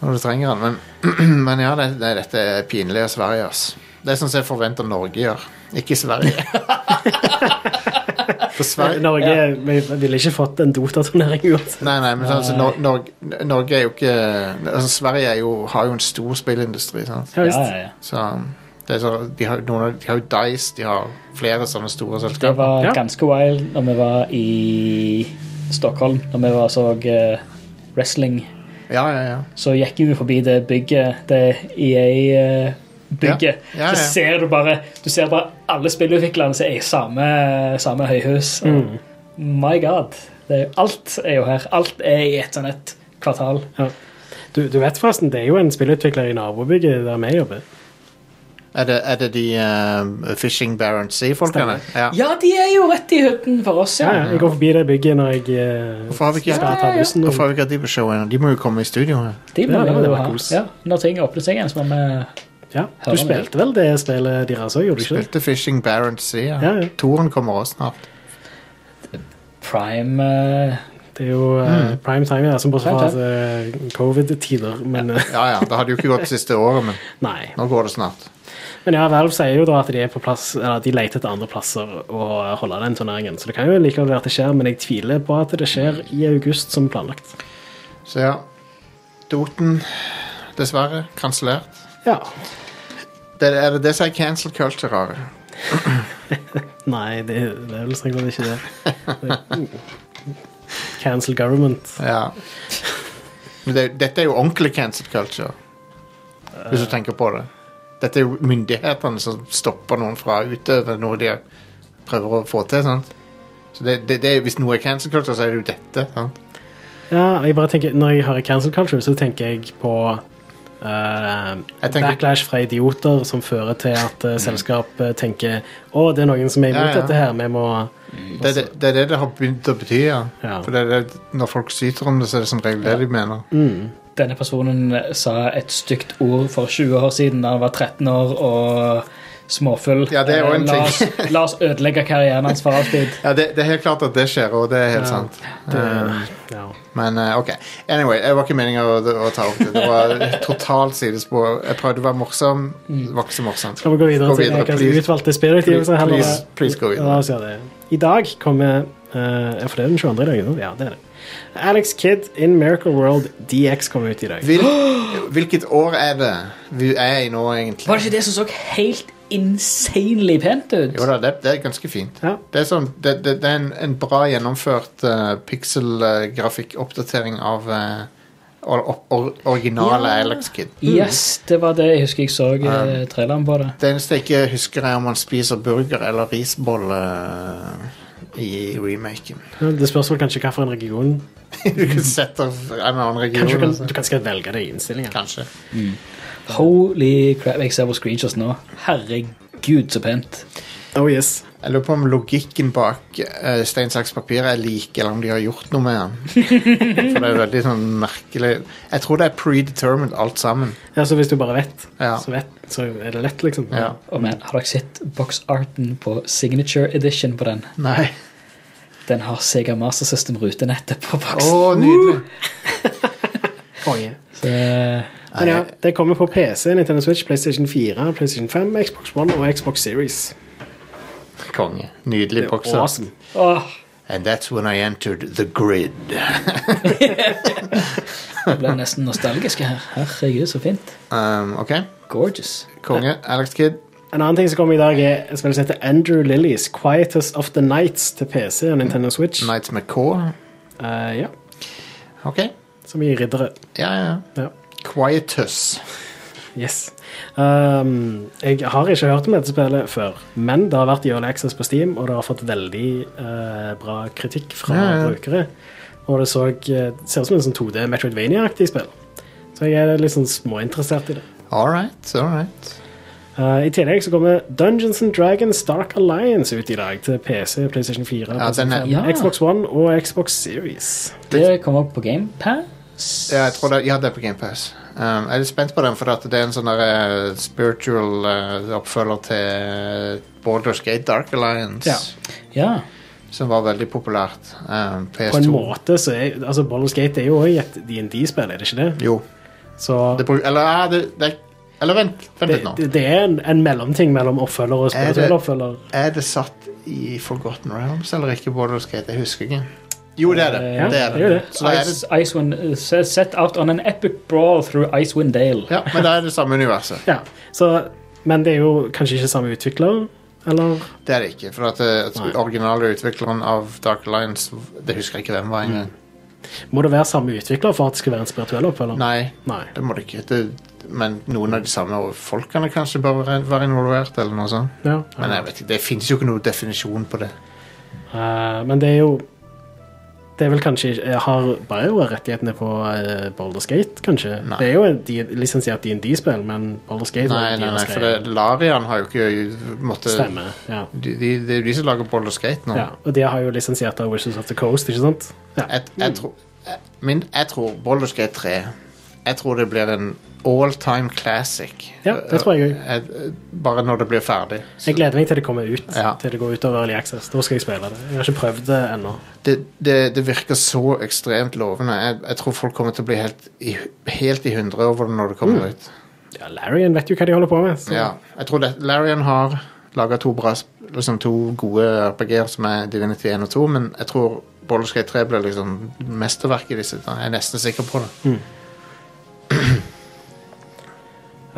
når du trenger den? Men, men ja, det, det, dette er pinlig av Sverige, ass. Det er sånn som jeg forventer Norge gjør, ikke Sverige. For Sverige Eh, Norge vi ville ikke fått en Dota-turnering uansett. Nei, nei, men sånn, altså, Nor Norge, Norge er jo ikke altså, Sverige er jo, har jo en stor spillindustri. Sant? Ja, Ja, visst. ja, ja. Så, det er så de, har, noen, av- de har jo Dice, de har flere sånne store Det selskaper. var Ja. ganske wild når vi var i Stockholm, når vi var så eh, wrestling. Ja, ja, ja. så gikk vi forbi det bygget, det E EA-bygget. Ja. Ja, ja. Så ser du bare Du ser bare alle spillutviklerne som er i samme, samme høyhus. Mm. My God. Det er, jo- alt er jo her. Alt er i et sånt et kvartal. Du, du vet forresten, det er jo en spillutvikler i nabobygget der vi jobber. Er det, er det de eh, Fishing Barents Sea-folkene? Ja. Ja, de er jo rett i hytten for oss, Ja, ja. ja. Jeg går forbi det bygget når jeg eh, Hvorfor har vi ikke- skal ta bussen. Hvorfor har vi ikke hatt de på show ennå? De må jo komme i studio. her. De må Ja, det vi var jo ha. kos. Ja, når ting åpner seg igjen, så må vi Ja, Hører du vi. spilte vel det spillet deres òg, gjorde du ikke? det? Spilte Fishing Barents Sea. Ja. Ja, ja. Toren kommer også snart. Prime eh, Det er jo eh, prime time, ja, som bortsett fra Prime at, eh, covid-tider. Men eh, Ja, ja, Det hadde jo ikke gått det siste året, men nei. nå går det snart. Men ja, Valve sier jo da at de er på plass Eller at de leter etter andre plasser å holde den turneringen. Så det kan jo likevel være at det skjer, men jeg tviler på at det skjer i august som planlagt. Så ja. Doten, dessverre, kansellert. Ja. Det er det det som er cancel culture har. Nei, det, det er vel strengt tatt ikke det. Cancel government. Ja. Men det, dette er jo ordentlig cancel culture, hvis du tenker på det. Dette er jo myndighetene som stopper noen fra å utøve noe de prøver å få til. sant? Så det, det, det, er- Hvis noe er cancel culture, så er det jo dette. sant? Ja, jeg bare tenker, Når jeg hører cancel culture, så tenker jeg på eh, Jeg tenker- backlash fra idioter som fører til at eh, selskap eh, tenker å, det er noen som er imot Ja, ja. dette her, vi må Det, er det, det er det det har begynt å bety, ja. Ja. For det er det, når folk syter om det, så er det som regel det de mener. Mm. Denne personen sa et stygt ord for 20 år siden da han var 13 år og småfull. Ja, det er jo en Eh, la oss- La oss ødelegge karrieren hans for alltid. Ja, det, det er helt klart at det skjer, og det er helt Ja. sant. det, Eh, ja. Men eh, ok. Anyway, det var ikke meninga å, å ta opp det. Det var et totalt sidespor. Jeg prøvde å være morsom, det var ikke så morsomt. Skal vi gå videre Gå til videre, ukas please. utvalgte spirit? Please- User, heller? please- please gå videre. La oss gjøre det. I dag kommer eh, ja, For det er den 22. i dag? ikke sant? Ja, det er det. Alex Kidd in Miracle World DX kommer ut i dag. Hvil, hvilket år er det vi er i nå, egentlig? Var det ikke det som så helt insanely pent ut? Jo da, det, det er ganske fint. Ja. Det er, sånn, det, det, det er en, en bra gjennomført uh, pikselgrafikkoppdatering av eh, or, or, or, originale Ja. Alex Kid. Mm. Yes, det var det jeg husker jeg så eh, traileren på det. Det eneste jeg ikke husker, er om han spiser burger eller risbolle eh, i remaken. Det spørs vel kanskje hvilken region. du kan sette en annen region. Kanskje du kan, altså. du kan sikkert velge det i innstillingen. Kanskje. Holy crap, jeg ser på screenshots nå. Herregud, så pent. Oh yes. Jeg lurer på om logikken bak eh, stein, saks, papir er lik, eller om de har gjort noe med den. For det er veldig sånn merkelig Jeg tror det er predetermined alt sammen. Ja, så hvis du bare vet, Ja. så, vet så er det lett, liksom. Ja. Oh man, har dere sett boxarten på Signature Edition på den? Nei. Den har Sega Master System-rutenettet på Å, boksen. nydelig. Konge. Så, eh, Men ja, det kommer på PC, Nintendo Switch, PlayStation 4, PlayStation 5, Xbox One og Xbox Series. Konge. Nydelig Det er bokser. awesome. åh, And that's when I entered the grid. jeg ble nesten nostalgisk her. Herregud, så fint. Um, OK. Gorgeous. Konge. Alex Kid. En annen ting som kommer i dag, er et spill som heter Andrew Lillies Quietest of the Nights til PC og Nintendo Switch. Knights McCaw. Eh, ja, OK. Som i riddere. Ja, ja. Ja. Quietus. Yes. Um, jeg har ikke hørt om dette spillet før, men det har vært i Early Access på Steam, og det har fått veldig eh, bra kritikk fra Ja, ja. brukere. Og det så, eh, ser ut som en sånn 2D Metroidvania-aktig spill. Så jeg er litt sånn småinteressert i det. All right, all right. Eh, I tillegg så kommer Dungeons and Dragons Stark Alliance ut i dag til PC, PlayStation 4, Ja, den er- PlayStation 5, Ja. Xbox One og Xbox Series. Det kom opp på GamePass. Ja, jeg tror det, ja, det er på GamePass. Um, jeg er litt spent på den, for at det er en sånn der, eh, spiritual eh, oppfølger til eh, Baldur's Gate Dark Alliance, Ja. Ja. som var veldig populært. Um, PS2. På en måte så er altså Baldur's Gate er jo også et D&D-spill, er det ikke det? Jo. Så Det, bru- eller, ja, det, det, eller vent, vent det, litt nå. det, det er en, en mellomting mellom oppfølger og Er det- spirituell oppfølger. Er det satt i Forgotten Realms eller ikke Baldur's Gate? Jeg husker ikke. Jo, det er det. Eh, Ja, det, er det er jo det. det. Så da er det Ice- Icewind uh, set set out on an epic brawl through Icewind Dale. ja, men da er det samme universet. Ja, så, men det er jo kanskje ikke samme utvikler, eller? Det er det ikke. For at, eh, at Nei. originale utvikleren av Dark Alliance Det husker jeg ikke hvem var engang. Må det være samme utvikler for at det skal være en spirituell oppfølger? Nei, Nei. det må det ikke. Det, men noen av de samme folkene kanskje bør være- være involvert, eller noe sånt. Ja. Men jeg vet ikke, det finnes jo ikke noen definisjon på det. Eh, men det er jo Det er vel kanskje ikke- eh, Har BioWare rettighetene på uh, Baldur's Gate, kanskje? Nei. Det er jo et D- lisensiert D&D-spill, men Baldur's Gate Nei, nei, nei, for det, eh, Larian har jo ikke måttet Stemmer. Ja. de, de, Det er jo de som lager Boulder Skate nå. ja. Og det har jo lisensiert av Wishes of the Coast, ikke sant? Ja. Jeg, jeg, tror- jeg, min, jeg tror Boulder Skate 3 Jeg tror det blir en all time classic. Ja, det tror jeg også. jeg, Bare når det blir ferdig. Jeg gleder meg til det kommer ut. Ja. Til det går ut over Early Access. Da skal jeg spille det. Jeg har ikke prøvd det ennå. det, det, det virker så ekstremt lovende. Jeg, jeg tror folk kommer til å bli helt i, helt i hundre over det når det Mm. kommer ut. Ja, Larryen vet jo hva de holder på med. Så. Ja, jeg tror det, Larian har laga to, bra sp- liksom to gode RPG-er som er Divinity 1 og 2, men jeg tror Baldur's Gate 3 blir liksom mesterverket i disse. Jeg er nesten sikker på det.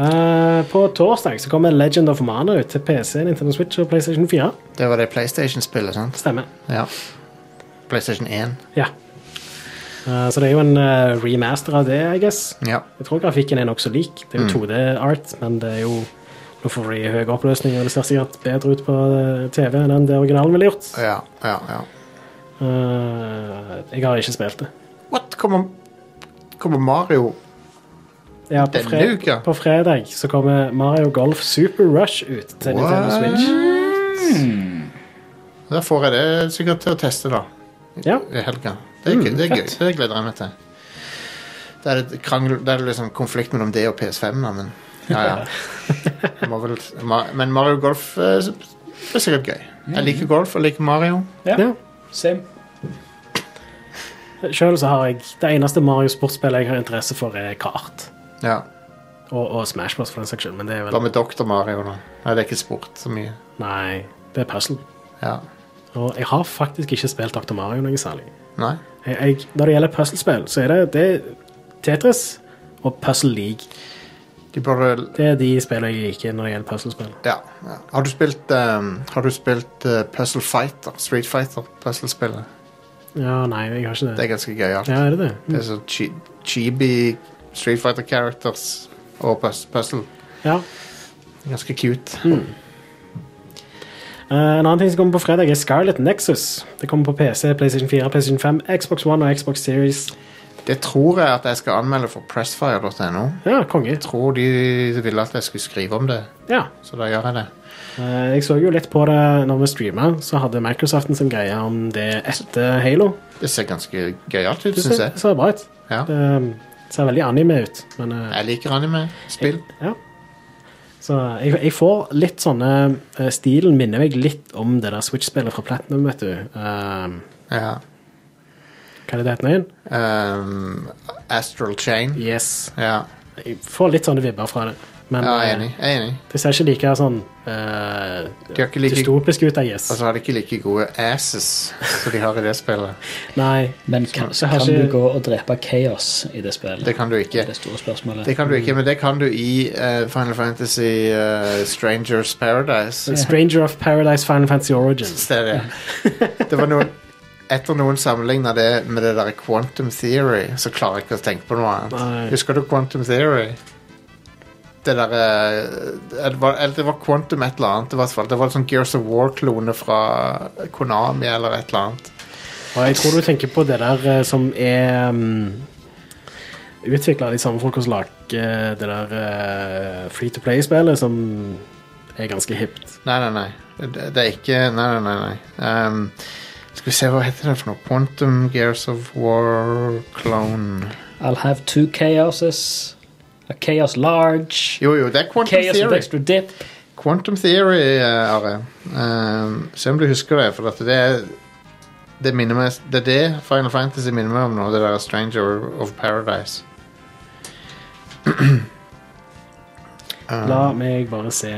Eh, på torsdag så kommer Legend of Mana ut til PC, Nintendo Switch og PlayStation 4. Det var det PlayStation-spillet, sant? Stemmer. Ja. PlayStation 1. Ja. Eh, så det er jo en eh, remaster av det, I guess. Ja. Jeg tror grafikken er nokså lik. Det er jo 2D-art, men det er jo nå får vi høy oppløsning, og det ser sikkert bedre ut på eh, TV enn det originalen ville gjort. Ja, ja, ja. Eh, jeg har ikke spilt det. What? Kommer, kommer Mario Ja, på, Denne fre- uka? på fredag så kommer Mario Golf Super Rush ut til Nintendo What? Switch. Da får jeg det sikkert til å teste, da. Ja. I helga. Det er, gøy- det er gøy. Det gleder jeg meg til. Det er, et krangel, det er liksom konflikt mellom det og PS5, da, men ja, ja. Jeg Må vel, Ma- men Mario Golf eh, det er sikkert gøy. Jeg liker golf og liker Mario. ja. Same. Sjøl så har jeg Det eneste Mario sportsspillet jeg har interesse for, er kart. Ja, Og, og Smash Bros, for den saks skyld, men det er Hva vel med Doktor Mario, da? Nei, det er ikke sport så mye. Nei, det er puzzle. Ja. Og jeg har faktisk ikke spilt Dr. Mario noe særlig. Nei? Jeg, jeg, når det gjelder puzzlespill, så er det, det er Tetris og Puzzle League. De burde Det er de spillene jeg liker når det gjelder puzzlespill. Ja. ja. Har du spilt, ehm, har du spilt eh, Puzzle Fighter? Street Fighter, puzzlespillet. Ja, nei, jeg har ikke Det det. er ganske gøyalt. Ja, er det det? Det er så chi chibi Street Fighter characters og pus puzzle. Ja. Ganske cute. Eh, en annen ting som kommer på fredag, er Scarlet Nexus. Det kommer på PC, PlayStation 4, PlayStation 5, Xbox One og Xbox Series. Det tror jeg at jeg skal anmelde for pressfire.no. Ja, konge. Jeg tror de ville at jeg skulle skrive om det, Ja. så da gjør jeg det. Eh, Jeg så jo litt på det når vi streama, så hadde Microsoften sin greie om det etter Halo. Det ser ganske gøyalt ut, Det syns ser, jeg. ser bra ut. Ja. Det um, ser veldig anime ut, men eh, Jeg liker anime-spill. ja. Så jeg, jeg får litt sånne eh, Stilen minner meg litt om det der Switch-spillet fra Platinum, vet du. Um, Ja. hva er det det heter nå igjen? Um, Astral Chain. Yes. Ja, Jeg får litt sånne vibber fra det. Men ja jeg er eh, enig. Jeg er enig. det ser ikke like sånn eh, De har ikke like- dystopisk ut, I guess. Og så har de ikke like gode asses som de har i det spillet. Nei. Men kan, så har kan ikke- du gå og drepe Chaos i det spillet? Det kan du Det ikke. er det store spørsmålet. Det kan du ikke, men det kan du i eh, Final Fantasy eh, Strangers Paradise. Stranger of Paradise Final Fantasy Origins. Det, er det. det var noen Etter noen sammenligna det med det der Quantum Theory, så klarer jeg ikke å tenke på noe annet. Nei. Husker du Quantum Theory? Det derre det, var- eller det var Quantum et eller annet. i hvert fall. Det var en sånn Gears of War-klone fra Konami eller et eller annet. Og jeg tror du tenker på det der eh, som er um, utvikla av de samme folka som lager det der eh, Free to Play-spillet, som er ganske hipt. Nei, nei, nei. Det, det er ikke Nei, nei, nei. nei. Um, skal vi se, hva heter det for noe? Quantum Gears of War-klone I'll have two chaoses. A chaos large. Jo, jo, det er Quantum chaos with Theory. extra dip. Quantum Theory, eh, Are. Ehm, se om du husker det, for at det er det, minner meg, det er det Final Fantasy minner meg om nå, det der Stranger of Paradise. La meg bare se.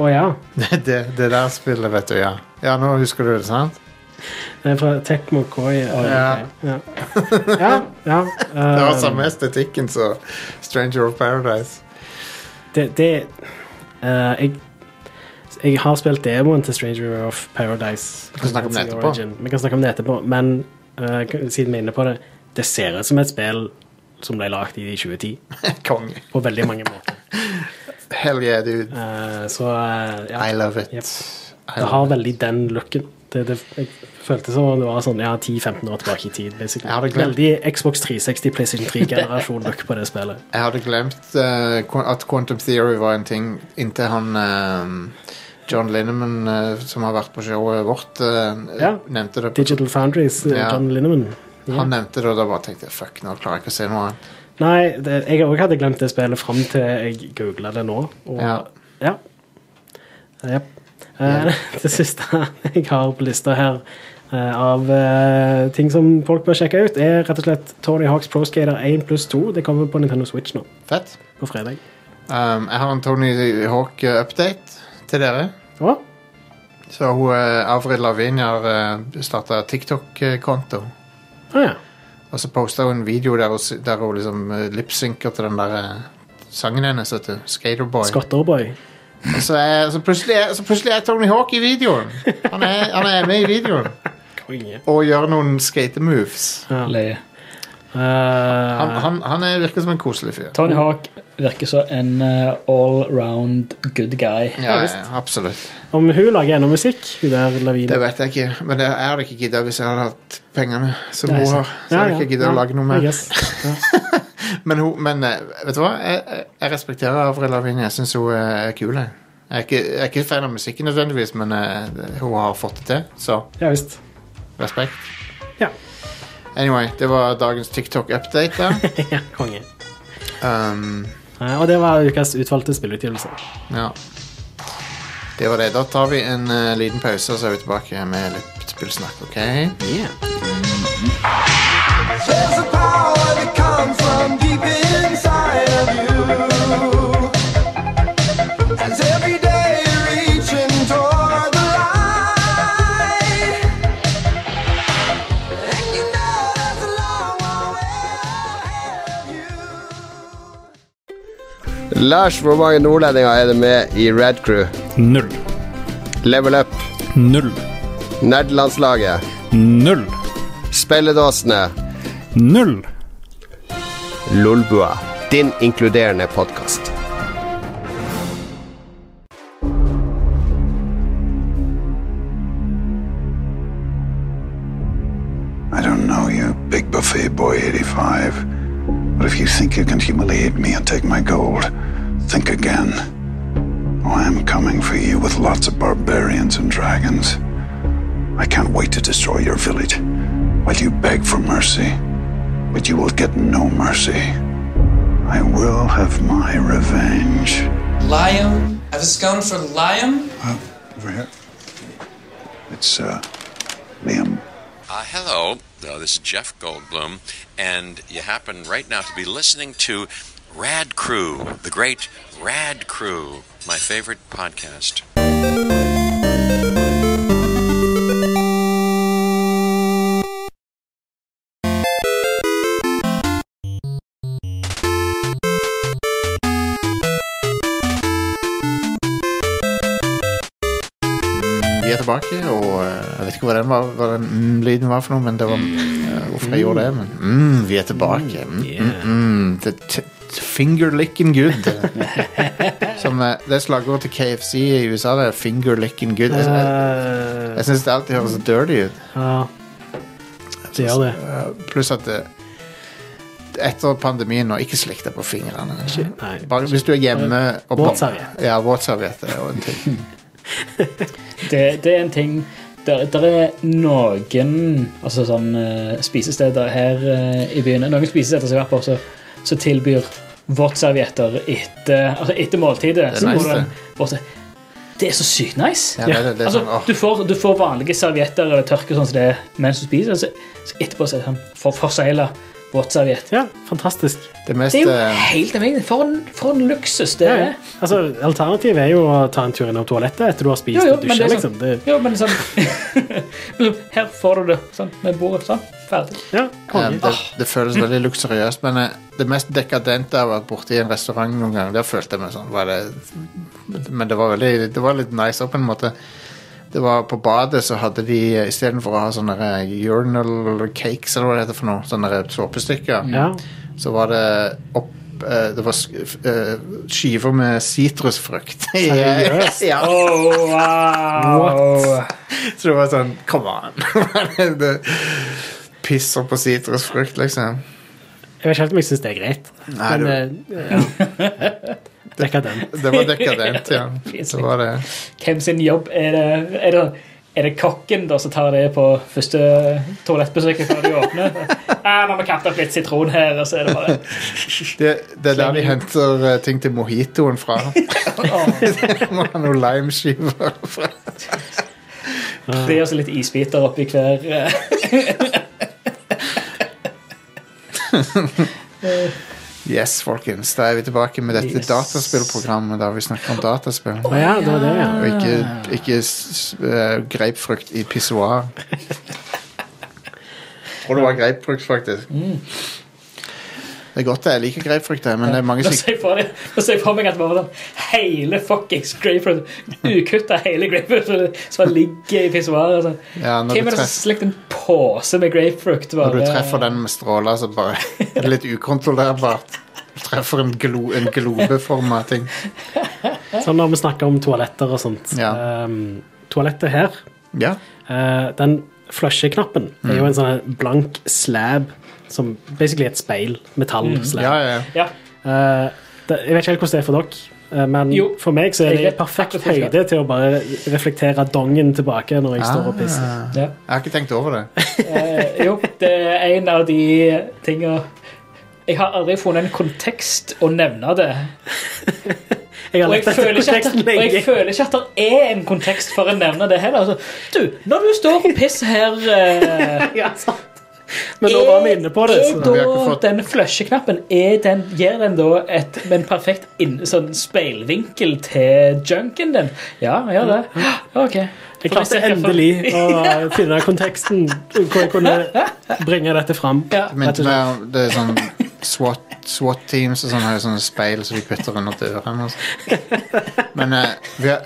Oh, Å ja. Det, det, det der spillet, vet du, ja. Ja, nå husker du det, sant? Det er fra Tekmo Koi. Oh, Ja. ja. ja. ja Det eh, har samme estetikken som Stranger of Paradise. det, det eh, jeg, jeg har spilt demoen til Stranger of Paradise. Vi kan snakke om det etterpå. Origin. Vi kan snakke om det etterpå, men eh, siden vi er inne på det, det ser ut som et spill som ble lagd i 2010, Konge. på veldig mange måter. Hell yeah, dude. Eh, så eh, ja, I love it. Yep. I det love har it. veldig den looken. Det, det, jeg følte som om det var sånn ja, 10-15 år tilbake i tid. basically. Jeg hadde glemt- Veldig Xbox 360, PlayStation 3-generasjon-look på det spillet. Jeg hadde glemt eh, qu- at quantum theory var en ting inntil han eh, John Linneman, eh, som har vært på showet vårt, eh, Ja. nevnte det. På, Digital Foundries, eh, Ja. John Linneman. Ja. Han nevnte det, og da bare tenkte jeg fuck, nå klarer jeg ikke å se noe annet. Nei, det, jeg òg hadde glemt det spillet fram til jeg googla det nå. Og, Ja. ja. Jep. Eh, det siste jeg har på lista her eh, av eh, ting som folk bør sjekke ut, er rett og slett Tony Hawks Pro Skater 1 pluss 2. Det kommer på Nintendo Switch nå Fett. på fredag. Um, jeg har en Tony Hawk-update til dere. Å, Så hun, eh, Avril Lavigne har uh, starta TikTok-konto. ah, ja. Og så posta hun en video der hun, s- der hun liksom eh, lipsynker til den der eh, sangen hennes, vet du. Skaterboy. Scotterboy. Og Så, er, så, plutselig er, så plutselig er Tony Hawk i videoen. Han er, han er med i videoen. Konge. Og gjør noen skatemoves. Ja. Løye. Han, Eh, han, han er, virker som en koselig fyr. Tony Hawk virker som en uh, all-round good guy. Ja, visst. ja, absolutt. om hun lager ennå musikk, hun der Det Lavine vet jeg ikke, men det jeg hadde ikke gidda hvis jeg hadde hatt pengene som Nei, hun sant. har. Så hadde jeg ikke gidda å lage noe I mer. guess. Ja. Men, hun, men eh, vet du hva? Jeg, jeg- jeg respekterer Avril Lavigne. Jeg syns hun er kul. Jeg. Jeg, er ikke, jeg er ikke fan av musikken nødvendigvis, men eh, hun har fått det til, så Ja visst. respekt. Ja. Anyway, det var dagens TikTok-update. da. ja, konge. Um, Eh, Og det var ukas utvalgte spillutgivelser. ja. Det var det. Da tar vi en eh, liten pause, og så er vi tilbake med litt spillsnakk. ok? There's a power that comes from deep inside of you. As every day you're reaching toward the light, and you know there's a long, long way ahead of you. Lars, hvor mange nordlendinger er det med i Red Crew? Null. Level Up, Null. Nerdelandslaget, Null. Spelledåsene, Null. Lolbua. Din inkluderende podkast. I don't know you, Big Buffet Boy 85. But if you think you can humiliate me and take my gold, think again. Oh, I'm coming for you with lots of barbarians and dragons. I can't wait to destroy your village while you beg for mercy. But you will get no mercy. I will have my revenge. Liam? I have a scone for Liam? Over here. It's, uh, Liam. Uh, hello, uh, this is Jeff Goldblum, and you happen right now to be listening to Rad Crew, the great Rad Crew, my favorite podcast. Vi er tilbake, og eh, jeg vet ikke hva den, var, hva den mm, lyden var for noe, men det var eh, hvorfor jeg gjorde det. Men mm, vi er tilbake. Mm, mm, mm. Det er t- t- Finger licking good. Som, eh, det er slagordet til KFC i USA. Det er finger licking good. Jeg, jeg, Eh, jeg syns det alltid høres dirty ut. ja. Det gjør det. Eh, Pluss at eh, etter pandemien nå, ikke slikk deg på fingrene. Ikke- nei. Bare hvis du er hjemme og ba- Våtserviett. Ja, våtserviett er jo en ting. Det, det er en ting der, der er noen altså sånn, eh, spisesteder her eh, i byen Noen spisesteder som jeg har vært på så- som tilbyr våtservietter etter, altså etter måltidet. Det er Så får nice, du en det. våtser- det er så sykt nice. Ja, det er- det er altså, sånn, åh. du, får, du får vanlige servietter eller tørke sånn som det er mens du spiser, så, så etterpå så er det sånn for forsegla våtserviett. Ja, fantastisk. Det mest Det er jo eh, helt amazing. For en, for en luksus det Ja, er. ja. Altså, Alternativet er jo å ta en tur innom toalettet etter du har spist Jo, jo, og men dusja. det er Liksom. sånn- Det- Jo, men sånn Her får du det sånn med bordet. Sånn. Ferdig. Ja, Eh, konge. det, det føles veldig luksuriøst, men eh, det mest dekadente jeg har vært borti en restaurant noen gang, der følte jeg meg sånn var det, Men det var, veldig, det var litt nice også, på en måte. Det var På badet så hadde de eh, istedenfor å ha sånne eh, urinal cakes, eller hva det heter for noe, sånne eh, såpestykker, Ja. så var det opp eh, det var sk- f- eh, skiver med sitrusfrukt. Seriøst? ja. Oh, wow. Så det var sånn Come on! det pisser på sitrusfrukt, liksom. Jeg vet ikke helt om jeg syns det er greit. Nei, men det- eh, ja. Dekadent. Det var dekadent, ja. Fint. Det var det. Hvem sin jobb er det? Er det, er det kokken da som tar det på første toalettbesøket før de åpner? Ah, nå må vi kappe opp litt sitron her, og så er det bare Det, det er der de henter eh, ting til mojitoen fra. Åh. Må ha noen limeskiver. fra. Det er også litt isbiter oppi hver eh. Yes, folkens. Da er vi tilbake med dette Yes. dataspillprogrammet der vi snakker om dataspill. Å ja, det var det, ja. Og ikke, ikke s- eh, grapefrukt i pissoar. Tror det var grapefrukt, faktisk. Det er godt det. Jeg liker grapefrukt, jeg, men det er mange Nå som ikke ser jeg for, deg- nå ser jeg for meg at det var sånn hele fuckings grapefruit Ukutta hele grapefruit som bare ligger i pissoaret. Sånn. ja, når, Hvem du er det som treffer, slekter en pose med grapefruit? når du treffer den med stråler, så bare er det litt ukontrollerbart. Du treffer en, glo, en globeforma ting. Sånn når vi snakker om toaletter og sånt. Ja. Ehm, toalettet her, Ja. eh, den flushe-knappen er jo en sånn blank slab som basically er et speil. Metall-slab. Ja, ja, Mm. ja. Eh, det, jeg vet ikke helt hvordan det er for dere, eh, men Jo, for meg så er jeg det vet perfekt akkurat hvordan det høyde til å bare reflektere dongen tilbake når jeg står og pisser. Ah. Ja. Jeg har ikke tenkt over det. Eh, jo, det er en av de tinga Jeg har aldri funnet en kontekst å nevne det. Jeg har Og jeg lett etter føler ikke at, konteksten og jeg lenge. føler ikke at det er en kontekst for å nevne det heller. Altså, du, når du står og pisser her eh, Ja, sant. Men nå var vi inne på det. Er Så. Vi har ikke da fått- den flushe-knappen er den, Gir den da et, en perfekt inn, sånn speilvinkel til junken din? Ja, ja det. Ja, OK. Jeg klarte endelig å finne konteksten hvor jeg kunne bringe dette fram. Ja. Men Rett og det, det er sånn SWAT, SWAT teams og sånn har jo sånne speil som de putter under dørene. og sånn. Men, eh, vi har-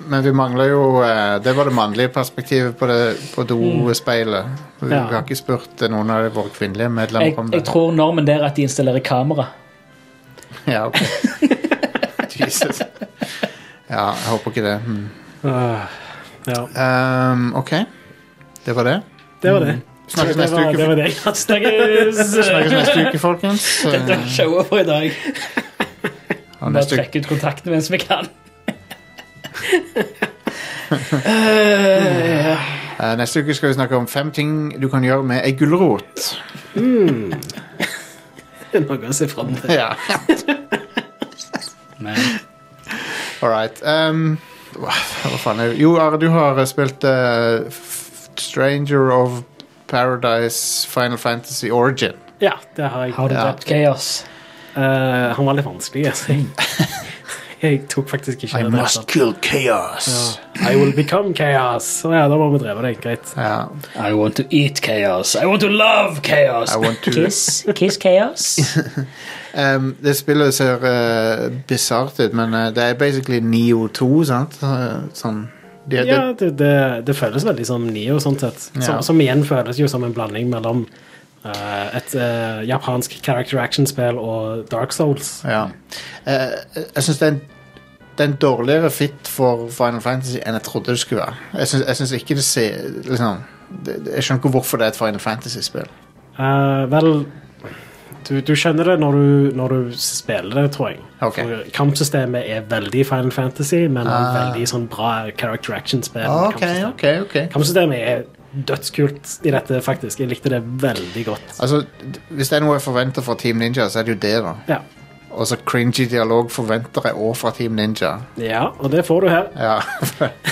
men vi mangler jo eh, Det var det mannlige perspektivet på, det- på dospeilet. Vi Ja. har ikke spurt eh, noen av våre kvinnelige medlemmer Jeg, om det. jeg tror normen der er at de installerer kamera. Ja, ok. Jesus. Ja, jeg håper ikke det. Mm. Ah, Ja, Ehm, ok, det var det. det var det. Mm. Snakkes Det neste var det. uke, Var det. jeg hadde. snakkes neste uke folkens. Dette er Eh, showet for i dag. Og Bare neste uke trekke ut kontakten mens vi kan. Eh, ja. Eh, Neste uke skal vi snakke om fem ting du kan gjøre med ei gulrot. Noe å se fram til. Ja. All right. ehm, hva hva faen er det? Jo, Are, du har eh, spilt eh, F- Stranger of Paradise Final Fantasy Origin. Ja, det har jeg. Har du Ja. drept Chaos? Eh, han var litt vanskelig, altså. Jeg tok faktisk ikke det. altså. kill chaos. I will become chaos. Så ja, da må vi dreve det. Greit. Ja. I want to eat chaos. I want to love I chaos. want to- Kiss, kiss chaos. Ehm, det spillet ser uh, bisart ut, men eh, det er basically Neo 2, sant? Eh, sånn. Det, det, Ja, det, det, det føles veldig som Neo, sånn sett. Som, Ja. som igjen føles jo som en blanding mellom eh, et eh, japansk character action-spill og Dark Souls. ja. Eh, jeg syns det er en det er en dårligere fit for Final Fantasy enn jeg trodde det skulle være. Jeg syns, jeg synes ikke det ser liksom, det, det- Jeg skjønner ikke hvorfor det er et Final Fantasy-spill. Eh, vel du, du skjønner det når du, når du spiller det, tror jeg. Ok. For kampsystemet er veldig Final Fantasy, men Ah. veldig sånn bra character action-spill. Ok, kampsystem. ok, ok. Kampsystemet er dødskult i dette, faktisk. Jeg likte det veldig godt. Altså, d- Hvis det er noe jeg forventer fra Team Ninja, så er det jo det, da. Ja, Og så cringy dialog forventer jeg òg fra Team Ninja. ja og det får du her. Ja.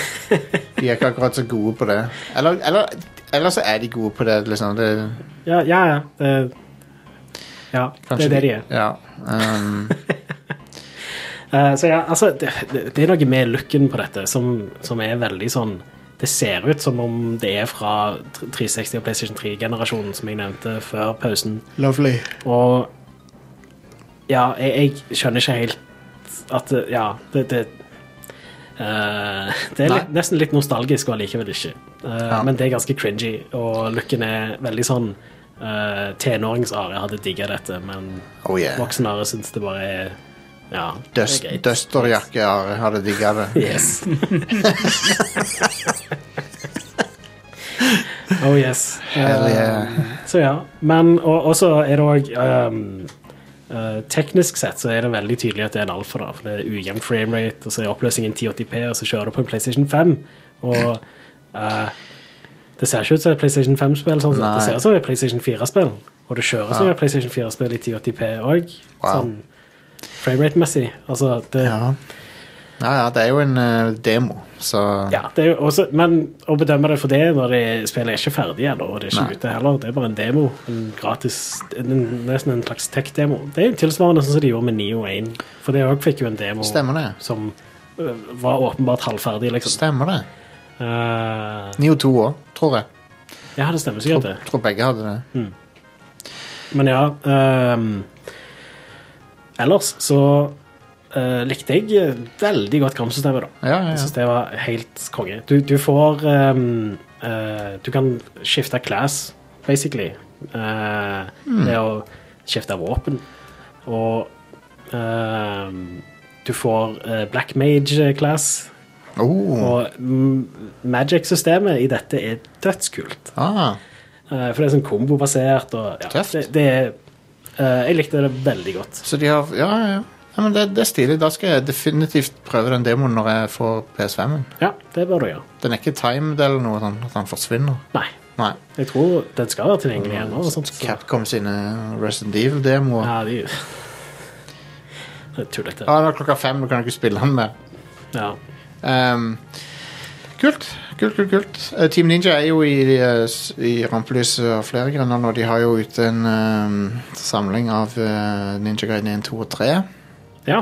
de er ikke akkurat så gode på det. Eller, eller, eller så er de gode på det, liksom. Det, Ja, ja. ja. Det, ja, det kanskje er det de er. Ja. Um, Eh, så ja, altså, det, det det er noe med looken på dette som, som er veldig sånn Det ser ut som om det er fra 360 og PlayStation 3-generasjonen, som jeg nevnte før pausen. Lovely. Og ja, jeg, jeg skjønner ikke helt at det- Ja, det det, eh, det er Nei. litt, nesten litt nostalgisk og allikevel ikke. Eh, Ja. Men det er ganske cringy, og looken er veldig sånn uh, Tenårings-Are hadde digga dette, men Oh yeah. voksen-Are syns det bare er Ja. det er Dust, greit. Dusterjakke har, hadde digga det. Yes. oh yes. Hell yeah. Um, så ja. Men og, og så er det òg um, eh, Teknisk sett så er det veldig tydelig at det er en alfa, da, for det er ujevn framerate, og så er oppløsningen 1080P, og så kjører du på en PlayStation 5. Og eh, det ser ikke ut som et PlayStation 5-spill, sånn, sett. Nei. det ser ut som et PlayStation 4-spill. Og det kjører som et PlayStation 4-spill i 1080P òg, Wow. sånn framerate-messig. Altså, det, Ja. ja, ja, det er jo en eh, demo, så Ja, det er jo også, men å bedømme det for det når det spillet er ikke ferdig ennå, og det er ikke Nei. ute heller, det er bare en demo. En gratis, en, nesten en slags tech-demo. Det er jo tilsvarende sånn som de gjorde med Neo 1, for det òg fikk jo en demo Stemmer det. som øh, var åpenbart halvferdig, liksom. Stemmer det. Eh, Neo 2 òg, tror jeg. ja, det stemmer sikkert, det. Tror begge hadde det. Men ja ehm, Ellers så eh, likte jeg eh, veldig godt kampsystemet, da. Ja, ja, Jeg ja. synes det var helt konge. Du, du får ehm, eh, Du kan skifte class, basically. eh, Mm. Ved å skifte våpen. Og ehm, du får eh, black mage class. Oh, Og mm, Magic-systemet i dette er dødskult. ah, Eh, For det er sånn kombobasert og ja, det, det er eh, Jeg likte det veldig godt. Så de har Ja, ja, ja. ja men det, det er stilig. Da skal jeg definitivt prøve den demoen når jeg får PS5-en. Ja, det bør du gjøre. Den er ikke timed eller noe sånn at den forsvinner. Nei. Nei. Jeg tror den skal være tilgjengelig ennå. og sånt, så- Capcom sine Resident Evil-demoer. Ja, de Det er tullete. Ja, det er klokka fem, du kan ikke spille den mer. Ja. Ehm, kult. Kult, kult, kult. Eh, Team Ninja er jo i, eh, s- i rampelyset av flere grunner nå. De har jo ute en ehm, samling av eh, Ninja Guiden 1, 2 og 3. Ja.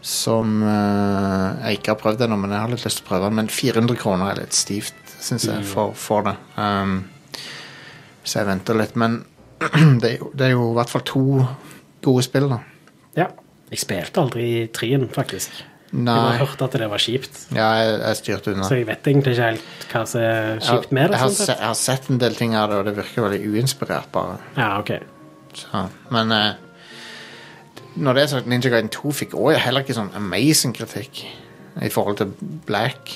Som eh, jeg ikke har prøvd ennå, men jeg har litt lyst til å prøve den. Men 400 kroner er litt stivt, syns jeg, for, for det. Ehm, så jeg venter litt. Men det, er jo- det er jo i hvert fall to gode spill, da. ja. Jeg spilte aldri trien, faktisk. Jeg Nei. bare hørte at det var kjipt, Ja, jeg, jeg styrte unna. så jeg vet egentlig ikke helt hva som er kjipt med det. Jeg har, sånn se, sett. jeg har sett en del ting av det, og det virker veldig uinspirert, bare. Ja, ok. Så, men eh, når det er sagt, Ninja Gaiden 2 fikk også heller ikke sånn amazing kritikk i forhold til Black.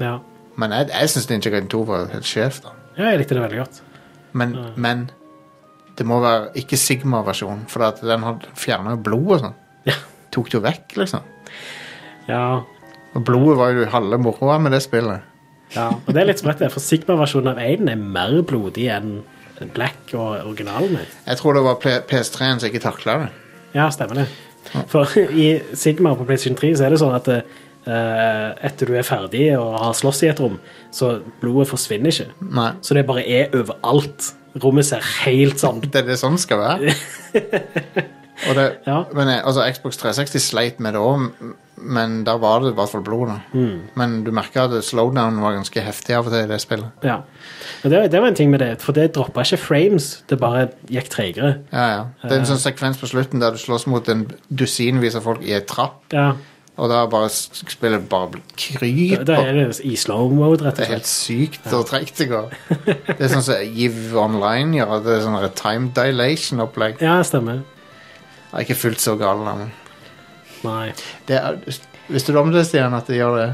Ja. Men jeg, jeg syns Ninja Gaiden 2 var helt sjef, da. ja, jeg likte det veldig godt. Men, men det må være ikke Sigma-versjonen, for at den had- fjernet jo blod og sånn. Tok det jo vekk, liksom. Ja. Og blodet var jo halve moroa med det spillet. Ja, og det er litt sprøtt, det, for Sigma-versjonen av Aiden er mer blodig enn Black og originalen. er. Jeg tror det var P- PS3-en som ikke takla det. Ja, stemmer det. For i Sigma på PlayStation 3 så er det sånn at eh, etter du er ferdig og har slåss i et rom, så blodet forsvinner ikke. Nei. Så det bare er overalt. Rommet ser helt sånn Det er det sånn skal være. Og det, men jeg, altså, Xbox 360 sleit med det òg, men der var det i hvert fall blod. Da. Mm. Men du merka at slowdown var ganske heftig av og til i det spillet. Ja. Og det, det var en ting med det, for det droppa ikke frames, det bare gikk tregere. Ja, ja. Det er en Eh. sånn sekvens på slutten der du slåss mot en dusinvis av folk i ei trapp, Ja. og da bare s- spillet bare Da, da er kryper. det i slow mode, rett Det og er helt slett. sykt og treigt det går. Det er sånn som Give Online gjør, at det er sånn der time dilation-opplegg. Ja, stemmer. Jeg er ikke fullt så gal, da. men- Nei. Det er, visste du om det, Stian, at de gjør det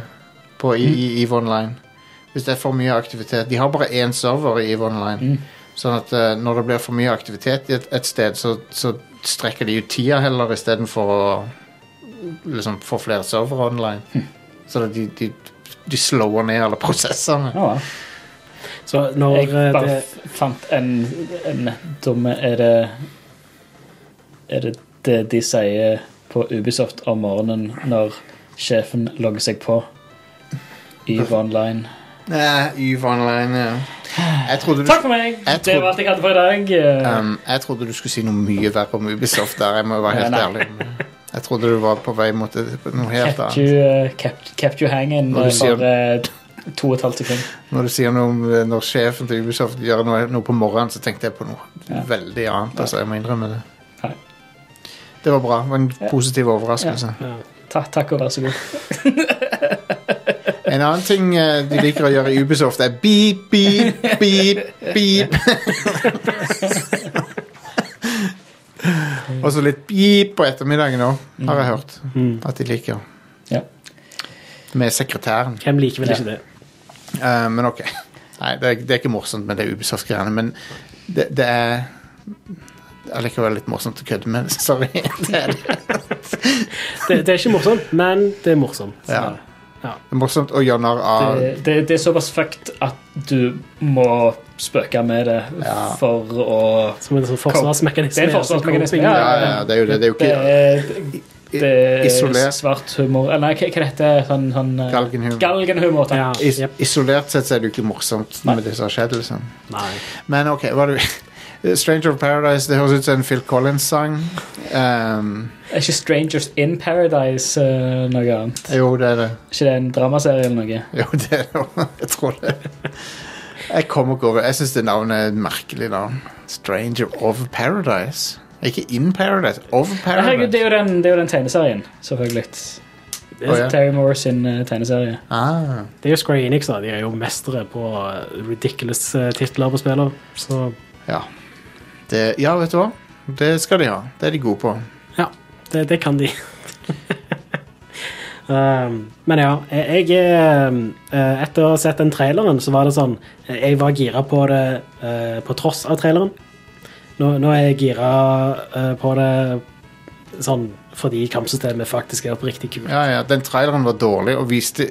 på i, i EVE Online? Hvis det er for mye aktivitet. De har bare én server i EVE Online. Mm. Sånn at eh, når det blir for mye aktivitet i et, et sted, så, så strekker de ut tida heller istedenfor å liksom, få flere servere online. Hm. Så de, de, de slower ned alle prosessene. Ah, Ja, ja. Så når Jeg eh, bare det f- fant en, en dumme Er det Er det det de sier på Ubisoft om morgenen når sjefen logger seg på? EVE Online. Nei, EVE Online, ja. Jeg trodde du Takk for meg! Jeg Det var alt jeg hadde for i dag. Eh, Um, jeg trodde du skulle si noe mye verre om Ubisoft der. Jeg må være helt Nei, nei. ærlig. Jeg trodde du var på vei mot et- noe helt Kept annet. you, eh, kept, kept you hanging Når du eh, sier- for eh, to og et halvt sekund. Når du sier noe om eh, når sjefen til Ubisoft gjør noe, noe på morgenen, så tenkte jeg på noe Ja. veldig annet. Altså, jeg må innrømme det. Nei. Det var bra. Det var en positiv overraskelse. ja. Ta, takk og vær så god. En annen ting eh, de liker å gjøre i Ubisoft, er beep, beep, beep, beep. Og så litt beep på ettermiddagen òg, har jeg hørt Mm. at de liker. Ja. Med sekretæren. Hvem liker vel Ja. ikke det? Eh, men ok. Nei, det er, det er ikke morsomt med det Ubisoft-greiene, men det, det er allikevel litt morsomt å kødde med. Sorry. Det er, det. det? Det er ikke morsomt, men det er morsomt. Ja. Ja. det er morsomt å gjøre narr av Det, det, det er såpass fucked at du må spøke med det Ja. for å Som en sånn forsvarsmekanisme. Det er en altså, forsvarsmekanisme, ja, ja, ja, det er jo det. Det er jo Det ikke er- det er Isolert. svart humor Eller nei, hva hva heter det? Sånn, sånn, eh, galgenhumor. Galgenhumor. takk. Ja, Is jep. Isolert sett så er det jo ikke morsomt Nei. med det som har skjedd. Liksom. Nei. Men ok, hva er det Stranger of Paradise, det høres ut som en Phil Collins-sang. Ehm, Er ikke Strangers in Paradise eh, noe annet? jo, det er det. Er ikke det en dramaserie eller noe? Jo, det er det. Jeg tror det. Jeg kommer ikke over Jeg syns det navnet er et merkelig navn. Stranger of Paradise. Ikke In Paradise, Of Nei, Herregud, Paradise. det er jo den, det er jo den tegneserien, selvfølgelig. Det er Å, ja. Terry Moore sin eh, tegneserie. Ah, Det er jo Square Enix, da. De er jo mestere på eh, ridiculous eh, titler på spiller. Så ja. Det, ja, vet du hva? Det skal de ha. Det er de gode på. det, det kan de. Um, men ja, jeg, jeg um, eh, Etter å ha sett den traileren, så var det sånn eh, Jeg var gira på det eh, på tross av traileren. Nå, nå er jeg gira eh, på det sånn fordi kampsystemet faktisk er oppriktig kult. Ja, ja, Den traileren var dårlig og viste,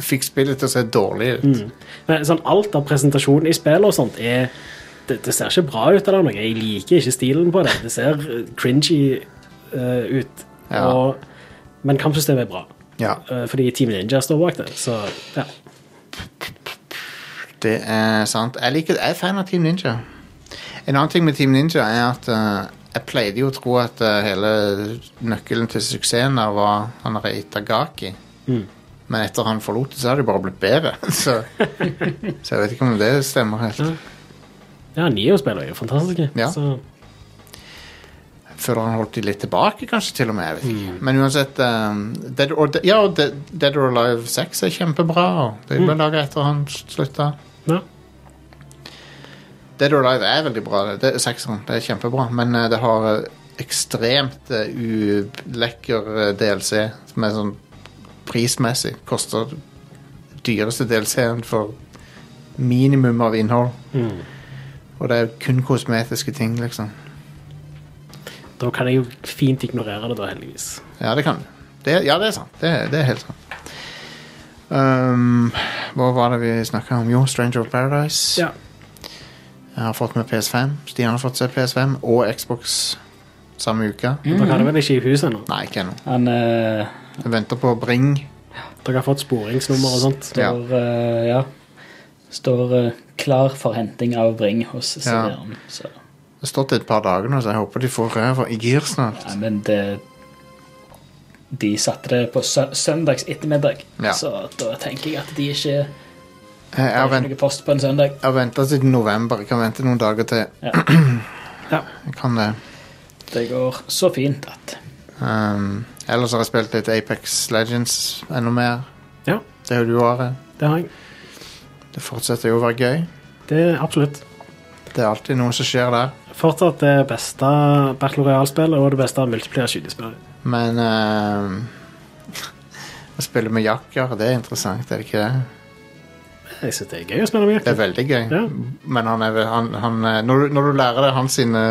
fikk spillet til å se dårlig ut. Mm. Men sånn alt av presentasjon i spillet og sånt er det, det ser ikke bra ut av det noe. Jeg liker ikke stilen på det. Det ser eh, cringy eh, ut. Ja. Og, men kampsystemet er bra. Ja. Eh, fordi Team Ninja står bak det. Så ja. Det er sant. Jeg, liker, jeg er fan av Team Ninja. En annen ting med Team Ninja er at eh, jeg pleide jo å tro at eh, hele nøkkelen til suksessen der var han derre Itagaki. Mm. Men etter han forlot det, så har det bare blitt bedre. så, så jeg vet ikke om det stemmer helt. ja Nio-spillere er jo fantastiske. Ja. Så, Før han holdt de litt tilbake, kanskje, til og med. Jeg vet ikke. Mm. Men uansett eh, Dead or, Ja, og Dead, Dead or Alive 6 er kjempebra. og Det ble Mm. laga etter han slutta. Ja. Dead or Alive er veldig bra. det- Det er sekseren. Det er kjempebra. Men eh, det har eh, ekstremt eh, ulekker eh, DLC, som er sånn prismessig. Koster dyreste DLC-en for minimum av innhold. Mm. Og det er kun kosmetiske ting, liksom. da kan jeg jo fint ignorere det, da, heldigvis. Ja, det kan du. Det, ja, det er sant. Det, det er helt sant. Um, hva var det vi snakka om? Jo, Stranger of Paradise. Ja. Jeg har fått med PS5. Stian har fått seg PS5 og Xbox samme uke. Dere har det vel ikke i huset ennå? Nei, ikke ennå. Han eh, Jeg venter på Bring. Dere har fått sporingsnummer og sånt? Ja. står, eh, ja. står eh, klar for henting av Bring hos CD-en. Så, Det har stått et par dager nå, så jeg håper de får ræva i gir snart. ja, men det De satte det på sø søndags ettermiddag, Ja. så da tenker jeg at de ikke Jeg jeg har har vent- noe post på en søndag. jeg har venta siden november. Jeg kan vente noen dager til. Ja. Ja. Jeg kan det. Det går så fint at Um, ellers har jeg spilt litt Apex Legends enda mer. Ja. Det er jo du, Are. Det har jeg. Det fortsetter jo å være gøy. Det er absolutt. Det er alltid noe som skjer der. Fortsatt det beste Battle Royale-spillet og det beste multiplier-skytespillet. Men ehm, å spille med jakker, det er interessant, er det ikke det? Jeg synes det er gøy å spille med Det er jakker. veldig gøy. Ja. Men han er, vel- han, han, eh, når, du, når du lærer deg hans sine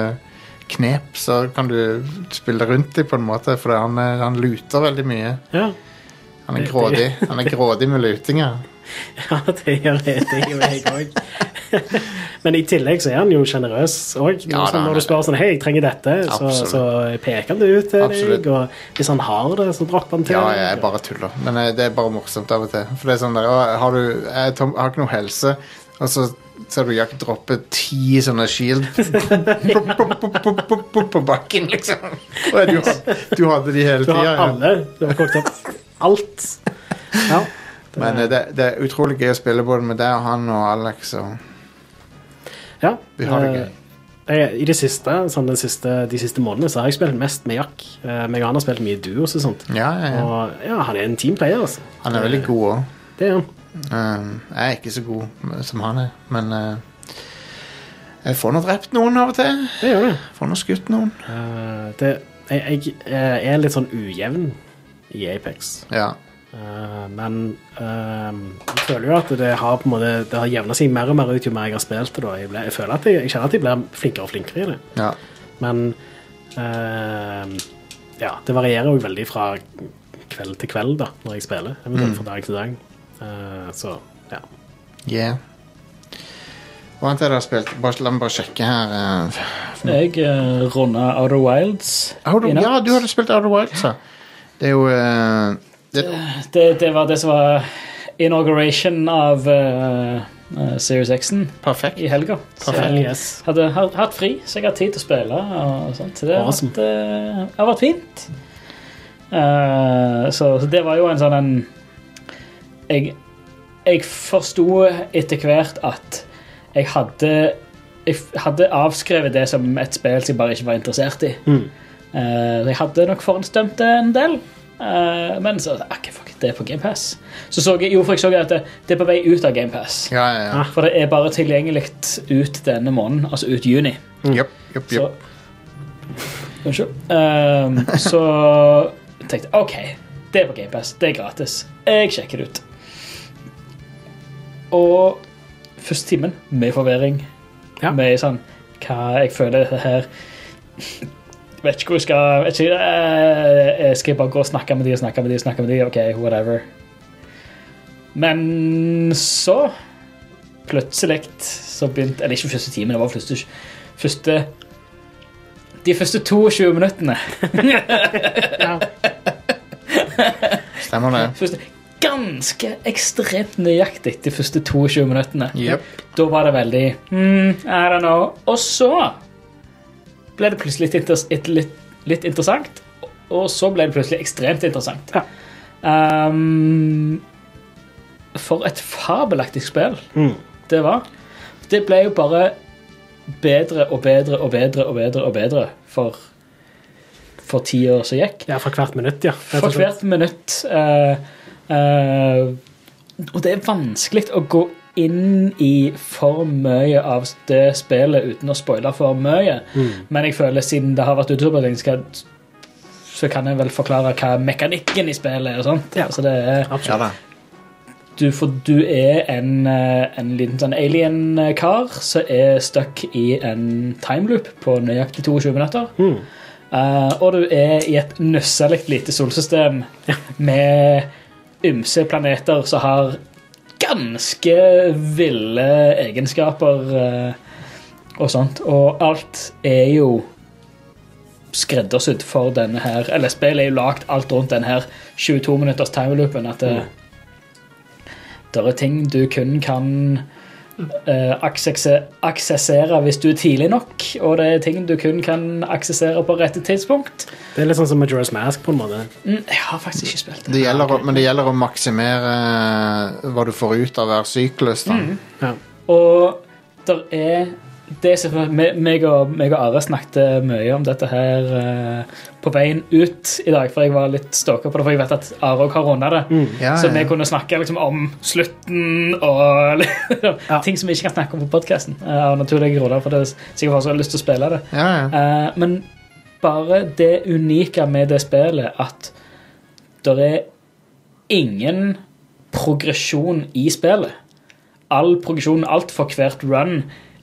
knep, så kan du spille rundt dem på en måte, for han, er- han luter veldig mye. Ja. Han er Det- grådig, han er grådig med lutinger. Ja, det gjør jeg, det gjør jeg òg. Men i tillegg så er han jo sjenerøs òg. Ja, da, han når er du spør sånn, hei, jeg trenger dette, så, Absolutt. så peker han det ut til Absolutt. deg. Og hvis han har det, så dropper han til Ja, deg. jeg bare tuller. Men eh, det er bare morsomt av og til. For det er sånn der, «Å, har du, jeg, er tom, jeg har ikke noe helse, og så ser du Jack droppe ti sånne shield pop, pop, pop, pop, pop, pop, på bakken, liksom. Og du, had- du hadde de hele Du har tida. alle. Du har kokt opp alt. Ja. Men eh, det, det er utrolig gøy å spille både med deg og han og Alex. Og ja. vi har det Eh, gøy. Jeg, I det siste, sånn den siste, de siste månedene så har jeg spilt mest med Jack. Eh, meg og han har spilt mye duos og sånt. Ja, ja, ja. Og ja, han er en teamplayer, altså. Han er veldig god òg. Det er han. Um, jeg er ikke så god som han er, men eh, jeg får nå drept noen av og til. Det gjør det. Får nå skutt noen. Eh, det jeg, jeg eh, er litt sånn ujevn i Apex. Ja. Eh, men ehm, jeg føler jo at det har på en måte Det har jevna seg mer og mer ut jo mer jeg har spilt det. da Jeg, ble, jeg føler at jeg, jeg kjenner at jeg blir flinkere og flinkere i det. ja. Men ehm, ja, det varierer jo veldig fra kveld til kveld da når jeg spiller. Eventuelt Mm. fra dag til dag. Eh, så ja. Yeah. Hva annet er det jeg har spilt? Bare, la meg bare sjekke her. eh. jeg uh, runda Outer Wilds Har du, i natt. ja, du hadde spilt Outer Wilds, ja. Det er jo eh, det, det, det var det som var inauguration av eh, eh, Series X-en perfekt. i helga. Så Hell jeg yes. hadde hatt hatt fri, så jeg har tid til å spille. Og sånt. Så det har Awesome. vært, eh, det har vært fint. Eh, så, så det var jo en sånn en Jeg, jeg forsto etter hvert at jeg hadde jeg f- hadde avskrevet det som et spill som jeg bare ikke var interessert i. Mm. Eh, jeg hadde nok forhåndsdømt det en del, eh, men så okay, fuck, it, det er på GamePass. Så så jeg, jo, for jeg så at det, det er på vei ut av GamePass. Ja, ja, ja. Ah. For det er bare tilgjengelig ut denne måneden, altså ut juni. Jepp, jepp, Så jepp. Unnskyld. Ehm, så tenkte jeg OK, Det er på GamePass. Det er gratis. Jeg sjekker det ut. Og første timen med forvirring. Med sånn Hva jeg føler dette her Vet ikke hvor jeg skal vet ikke, eh, Skal jeg bare gå og snakke med de og snakke med de? snakke med de, OK, whatever. Men så Plutselig så begynte Eller ikke første timen, det var første, første De første 22 minuttene. Stemmer det. Første, ganske ekstremt nøyaktig de første 22 minuttene. Da var det veldig hmm, I don't know. Og så ble det plutselig litt, inter et, litt, litt interessant, og så ble det plutselig ekstremt interessant. Um, for et fabelaktig spill det var. Det ble jo bare bedre og bedre og bedre og bedre og bedre for, for tida som gikk. Ja, for hvert minutt, ja. Rett For og slett. hvert minutt. eh, eh, og det er vanskelig å gå inn i for mye av det spillet uten å spoile for mye. Mm. Men jeg føler siden det har vært ute såpass lenge, skal- så kan jeg vel forklare hva mekanikken i spillet er. og sånt. Altså det er, Ja da. du, for du er en, eh, en liten sånn alien-kar som er stuck i en timeloop på nøyaktig 22 minutter. Eh, og du er i et nusselig lite solsystem med ymse planeter som har ganske ville egenskaper eh, og sånt. Og alt er jo skreddersydd for denne her Eller spillet er jo lagd alt rundt denne her 22 minutters timeloopen. At eh, det, der er ting du kun kan eh, aksesse- aksessere hvis du er tidlig nok, og det er ting du kun kan aksessere på rette tidspunkt. Det er litt sånn som Majora's Mask, på en måte. Mm, Jeg har faktisk ikke spilt det. Det gjelder, å- Men det gjelder å maksimere eh, hva du får ut av hver syklus. Da. Mm. Og der er det som me- meg og, meg og Are snakket mye om dette her eh, på veien ut i dag, for jeg var litt stalker på det, for jeg vet at Are også har runda det. Ja, så ja, vi ja. kunne snakke liksom, om slutten og liksom, ting som vi ikke kan snakke om på podkasten. Av naturlige grunner, for det er sikkert folk som har lyst til å spille det. Eh, men bare det unike med det spillet, at det er ingen progresjon i spillet. All progresjon, alt for hvert run,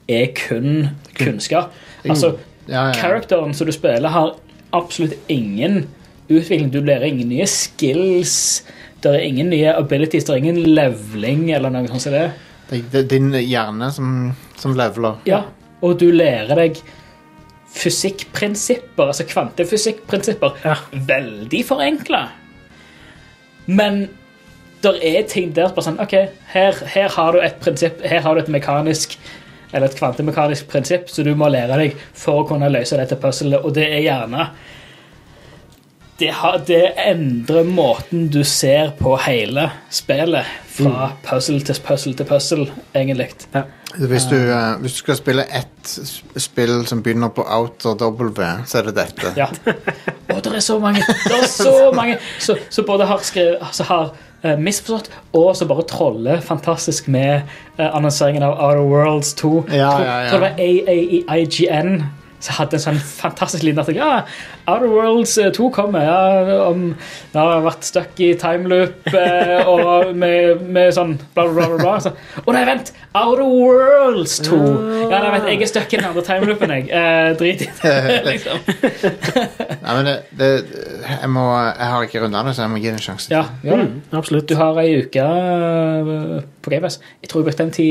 er kun kunnskap. Altså, Ja, ja, ja. characteren som du spiller, har absolutt ingen utvikling. Du lærer ingen nye skills, det er ingen nye abilities, det er ingen leveling eller noe sånt som det. Det, det er din hjerne som, som leveler. Ja, og du lærer deg fysikkprinsipper, altså kvantefysikkprinsipper, veldig forenkla. Men der er ting der som bare sånn OK, her, her har du et prinsipp, her har du et mekanisk eller et kvantemekanisk prinsipp som du må lære deg for å kunne løse dette puzzlet, og det er gjerne det, har, det endrer måten du ser på hele spillet, fra puzzle til puzzle til puzzle, egentlig. Hvis du, Ah. eh, hvis du skal spille ett s- spill som begynner på outer W, så er det dette. Ja. Og det er så mange Det er så mange Så, så både har, skrevet, altså har eh, misforstått, og så bare troller fantastisk med eh, annonseringen av Outer Worlds 2. Ja, Tror- ja, ja. tror det var AA i IGN som hadde en sånn fantastisk liten artikkel. Ja, Outer Worlds eh, 2 kommer. Ja, om det har vært stuck i timeloop eh, og med, med sånn bla, bla, bla. bla. Så, å nei, vent! Outer Worlds 2. Ja, nei, vent, jeg er stuck i den andre timeloopen, jeg. Eh, drit i det. liksom. Nei, men det, det jeg, må, jeg har ikke runda det, så jeg må gi det en sjanse. Ja, Mm. gjør Mm, det. Mm. Du har ei uke øh, på GamePass. Jeg tror jeg brukte en ti,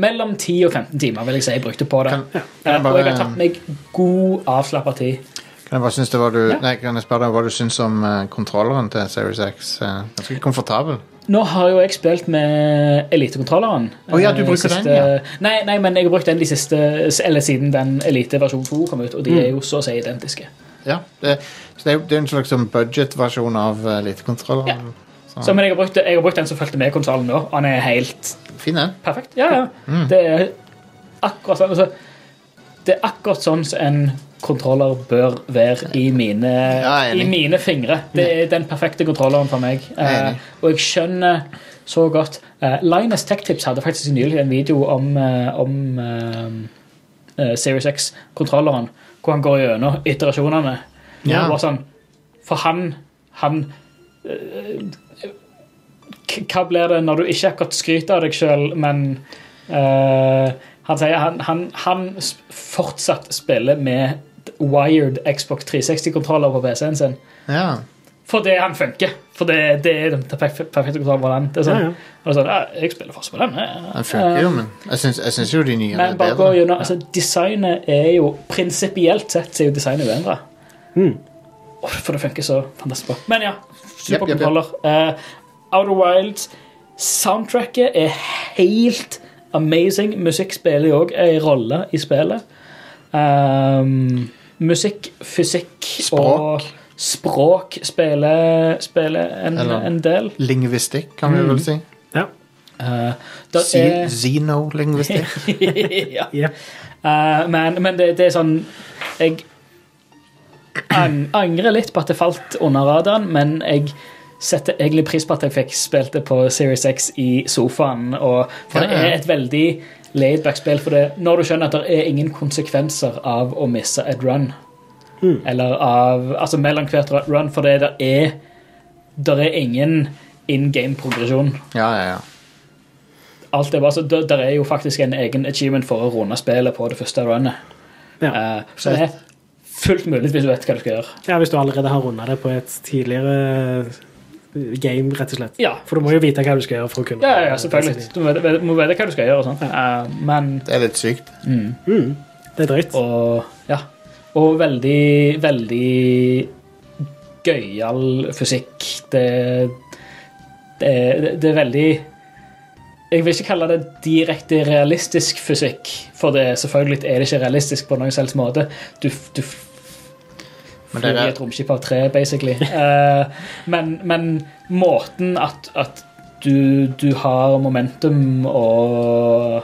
mellom 10 og 15 timer vil jeg si jeg brukte på det. kan jeg Eh, bare- Og jeg har tatt meg god, avslappa tid. Kan jeg bare synes det var du, nei, kan jeg spørre deg hva du syns om eh, kontrolleren til Series X? Eh, ganske komfortabel. Nå har jo jeg spilt med elitekontrolleren. Å ja, du eh, bruker siste- den, ja. Nei, nei, men jeg har brukt den de siste, eller siden den elite versjon 2 kom ut, og de Mm. er jo så å si identiske. Ja, det, så det er jo det er en slags sånn budget-versjon av uh, elitekontrolleren. Så- Så, men jeg har, brukt, jeg har brukt den som fulgte med konsollen nå. og Han er helt Fin, den. perfekt. Ja, ja. Det er akkurat sånn altså, Det er akkurat sånn som en kontroller bør være i mine, jeg er i enig. mine fingre. Det er den perfekte kontrolleren for meg. Jeg er Eh, og jeg skjønner så godt eh, Linus Tech Tips hadde faktisk nylig en video om, eh, om eh, eh, Series X-kontrolleren, hvor han går gjennom iterasjonene. Ja. Og bare sånn, for han, han eh, k- Hva blir det når du ikke akkurat skryter av deg sjøl, men eh, Han sier han, han, han s- fortsatt spiller med wired Xbox 360-kontroller på PC-en sin. Ja. Fordi han funker. For det, det er den perf- perfekte kontrollen på den. Det er sånn, Ja, ja. Og sånn, ja, jeg spiller fortsatt på den. ja, ja. Den funker jo, Eh, men jeg syns, jeg syns jo de nye men er bare gå bedre. gjennom, altså, designet er jo Prinsipielt sett så er jo designet uendra. For det funker så fantastisk bra. Men ja, superkontroller. Eh, Outer Wilds. Soundtracket er helt amazing. Musikk spiller jo òg en rolle i spillet. Ehm, musikk, fysikk og språk spiller, spiller en, Eller en del. Lingvistikk, kan vi Mm. eh, vel si. Ja. det er- Xenolingvistikk. ja. Eh, men men det, det er sånn Jeg ang angrer litt på at det falt under radaren, men jeg setter egentlig pris på at jeg fikk spilt det på Series X i sofaen. Og, for Ja, det ja. er et veldig laidback-spill for det når du skjønner at det er ingen konsekvenser av å misse et run. Mm. Eller av Altså mellom hvert run, for det der er Der er ingen in game-progresjon. Ja, ja, ja. Alt er bare så, der, der er jo faktisk en egen achievement for å runde spillet på det første runnet. Eh, så det er fullt mulig hvis du vet hva du skal gjøre. Ja, Hvis du allerede har runda det på et tidligere eh, game, rett og slett. Ja. For du må jo vite hva du skal gjøre for å kunne Ja, ja, ja selvfølgelig. Du må vite, må vite hva du skal gjøre. og sånt. Eh, men Det er litt sykt. Mm. Det er drøyt. Og, ja. og veldig, veldig gøyal fysikk. Det, det, Eh, det, det er veldig Jeg vil ikke kalle det direkte realistisk fysikk, for det, selvfølgelig er det ikke realistisk på noen selvs måte. Du, f- du f- Men det er- flyr i et romskip av tre, basically. Eh, men, men måten at, at du, du har momentum og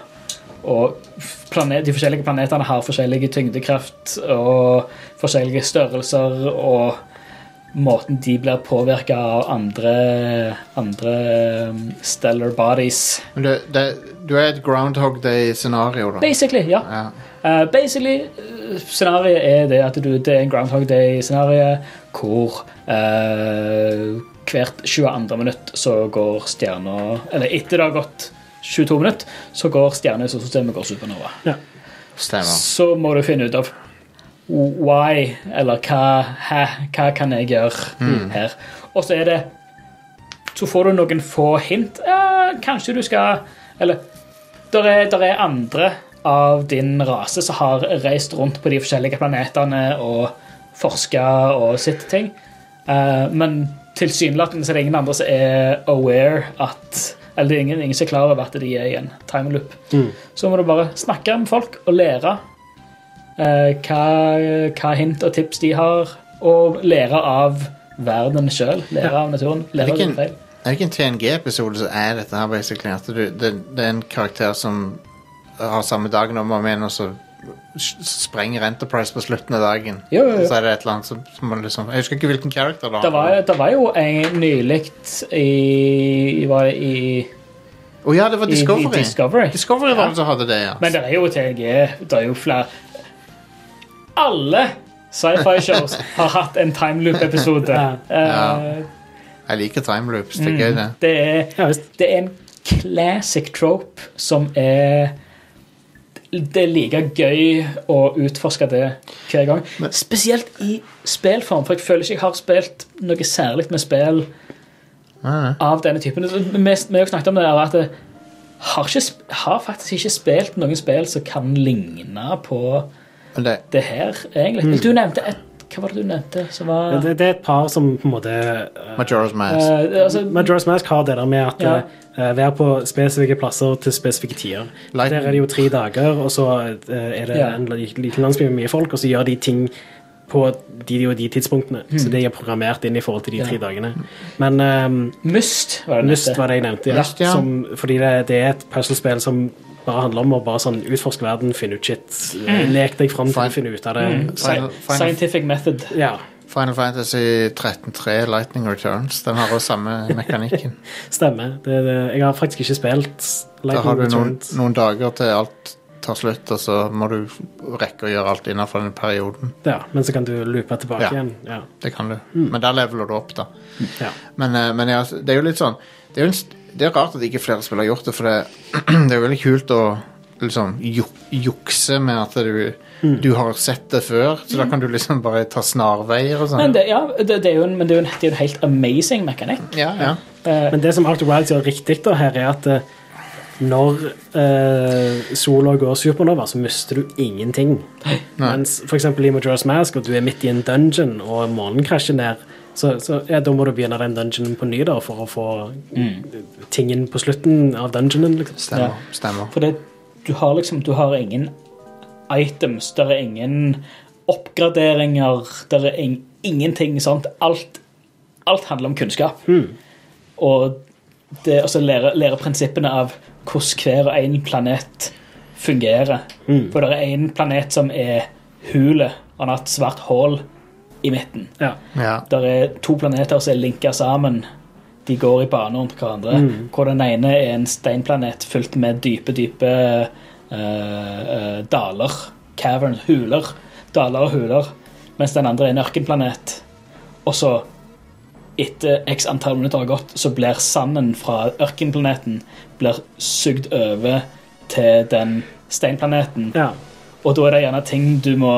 og planet, de forskjellige planetene har forskjellige tyngdekraft og forskjellige størrelser, og måten de blir påvirka av andre, andre um, stellar bodies. Men det, det, du er et Groundhog Day-scenario, da. Basically, ja. Ja. Eh, basically, eh, scenarioet er det at du, det er en Groundhog Day-scenario hvor eh, hvert 22. minutt så går stjerna Eller etter det har gått 22 minutter, så går stjerna i solsystemet går supernova. Stemmer. Så må du finne ut av why, eller hva, hæ, hva kan jeg gjøre Mm. her. Og så er det Så får du noen få hint. Eh, kanskje du skal Eller der er, der er andre av din rase som har reist rundt på de forskjellige planetene og forska og sett ting. Eh, men tilsynelatende så er det ingen andre som er aware at Eller det er ingen, ingen som er klar over at de er i en timeloop. Så må du bare snakke med folk og lære eh, hva, hva hint og tips de har, og lære av verden sjøl. Lære av naturen. Er det Lære av ikke dine en, feil. er det ikke en TNG-episode som er dette her, basically? At du, det, det er en karakter som har samme dagen om og om igjen, og så s- sprenger Enterprise på slutten av dagen. Jo, jo, jo. Så er det et eller annet som, som man liksom Jeg husker ikke hvilken karakter det Det var, var. det var jo en nylig i Var det i Å ja, det var i- i Discovery. Discovery. Discovery var det som hadde det, ja. Men det er jo TNG. Det er jo flere Alle sci-fi-shows har hatt en timeloop-episode. Eh, Jeg liker timeloops. Det er Mm. gøy, det. Det er, det er en classic trope som er Det er like gøy å utforske det hver gang. Spesielt i spillform, for jeg føler ikke jeg har spilt noe særlig med spill Ah. av denne typen. Vi vi har jo snakket om det her, at jeg har, ikke, sp- har faktisk ikke spilt noen spill som kan ligne på Men det, det her, egentlig. Mm. Du nevnte et Hva var det du nevnte som var Det, det er et par som på en måte eh, Majora's Mask. Eh, altså- Majora's Mask har det der med at Ja. eh, være på spesifikke plasser til spesifikke tider. Light- Der er det jo tre dager, og så eh, er det Ja. en li- liten landsby med mye folk, og så gjør de ting på de og de tidspunktene. Mm. Så det er programmert inn i forhold til de Ja. tre dagene. Men ehm, Myst var det Myst neste. var det jeg nevnte. Ja. Myst, ja. Som, fordi det, det er et puzzlespill som bare handler om å bare sånn utforske verden, finne ut shit, eh, Mm. lek deg fram til å finne ut av det. Mm. Final- Sci- final- Scientific method. Ja. Final Fantasy 13.3 Lightning Returns. Den har også samme mekanikken. Stemmer. Det, det, jeg har faktisk ikke spilt Da Lightning har du noen, Returns. noen dager til alt tar slutt, og så må du rekke å gjøre alt innenfor den perioden. Ja, men så kan du loope tilbake Ja. igjen. Ja. Det kan du. Mm. Men da leveler du opp, da. Ja. Men, eh, men ja, det er jo litt sånn Det er, jo en, st- det er rart at ikke flere spill har gjort det, for det, det er jo veldig kult å liksom juk, jukse med at du, Mm. du har sett det før, så da kan du liksom bare ta snarveier og sånn. Men det, ja, det, det er jo en, men det er jo en, det er jo en helt amazing mekanikk. Men det som Arctic Wilds gjør riktig da, her, er at eh, når eh, sola går supernova, så mister du ingenting. Mens for eksempel i Majora's Mask, og du er midt i en dungeon, og månen krasjer ned, så, så ja, da må du begynne den dungeonen på ny da, for å få tingen på slutten av dungeonen. Liksom. Stemmer. stemmer. For det, du har liksom Du har ingen items, der er ingen oppgraderinger, der er ing, ingenting sånt. Alt, alt handler om kunnskap. Og det altså lære, lære prinsippene av hvordan hver og en planet fungerer. For det er en planet som er hule, og han har et svart hull i midten. Ja. Der er to planeter som er linka sammen. De går i bane rundt hverandre. Mm. Hvor den ene er en steinplanet fylt med dype, dype eh, eh, daler. Cavern, huler. Daler og huler. Mens den andre er en ørkenplanet. Og så, etter x antall minutter har gått, så blir sanden fra ørkenplaneten blir sugd over til den steinplaneten. Og da er det gjerne ting du må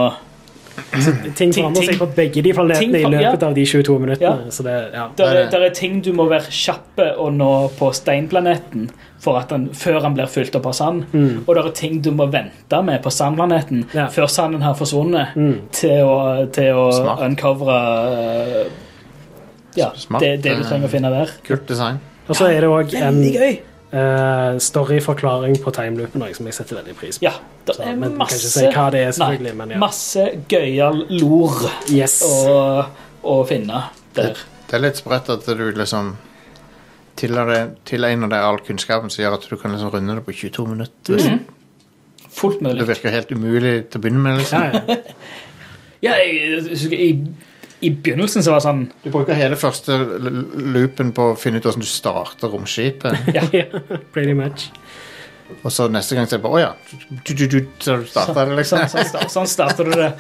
Ting forandrer seg på begge de Ting planetene i for- ja. løpet av de 22 minuttene. Ja. Så det, ja. Der er, der er ting du må være kjappe og nå på steinplaneten for at den, før han blir fylt opp av sand. Mm. Og det er ting du må vente med på sandplaneten før sanden har forsvunnet, Mm. til å, til å Smart. uncovere eh, ja, Smart. det, det du trenger å finne der. Kult design. Og så er det òg en Veldig gøy. eh, storyforklaring på timeloopen også, som jeg setter veldig pris på. Ja, det Så, er men vi kan ikke Eh, masse, si hva det er, selvfølgelig, men ja. masse gøyal lor å, å finne Det, der. det er litt sprøtt at du liksom tilegner deg- tilegner deg all kunnskapen som gjør at du kan liksom runde det på 22 minutter. Mhm. Fullt mulig. Det virker helt umulig til å begynne med. liksom. Ja, jeg, jeg husker i, i begynnelsen så var det sånn Du bruker hele første l- l- loopen på å finne ut hvordan du starter romskipet. Pretty much. Og så neste gang så er det bare Å ja. Du, du, du, så starter det, liksom. Sånn, sånn, sta- sånn starter du det.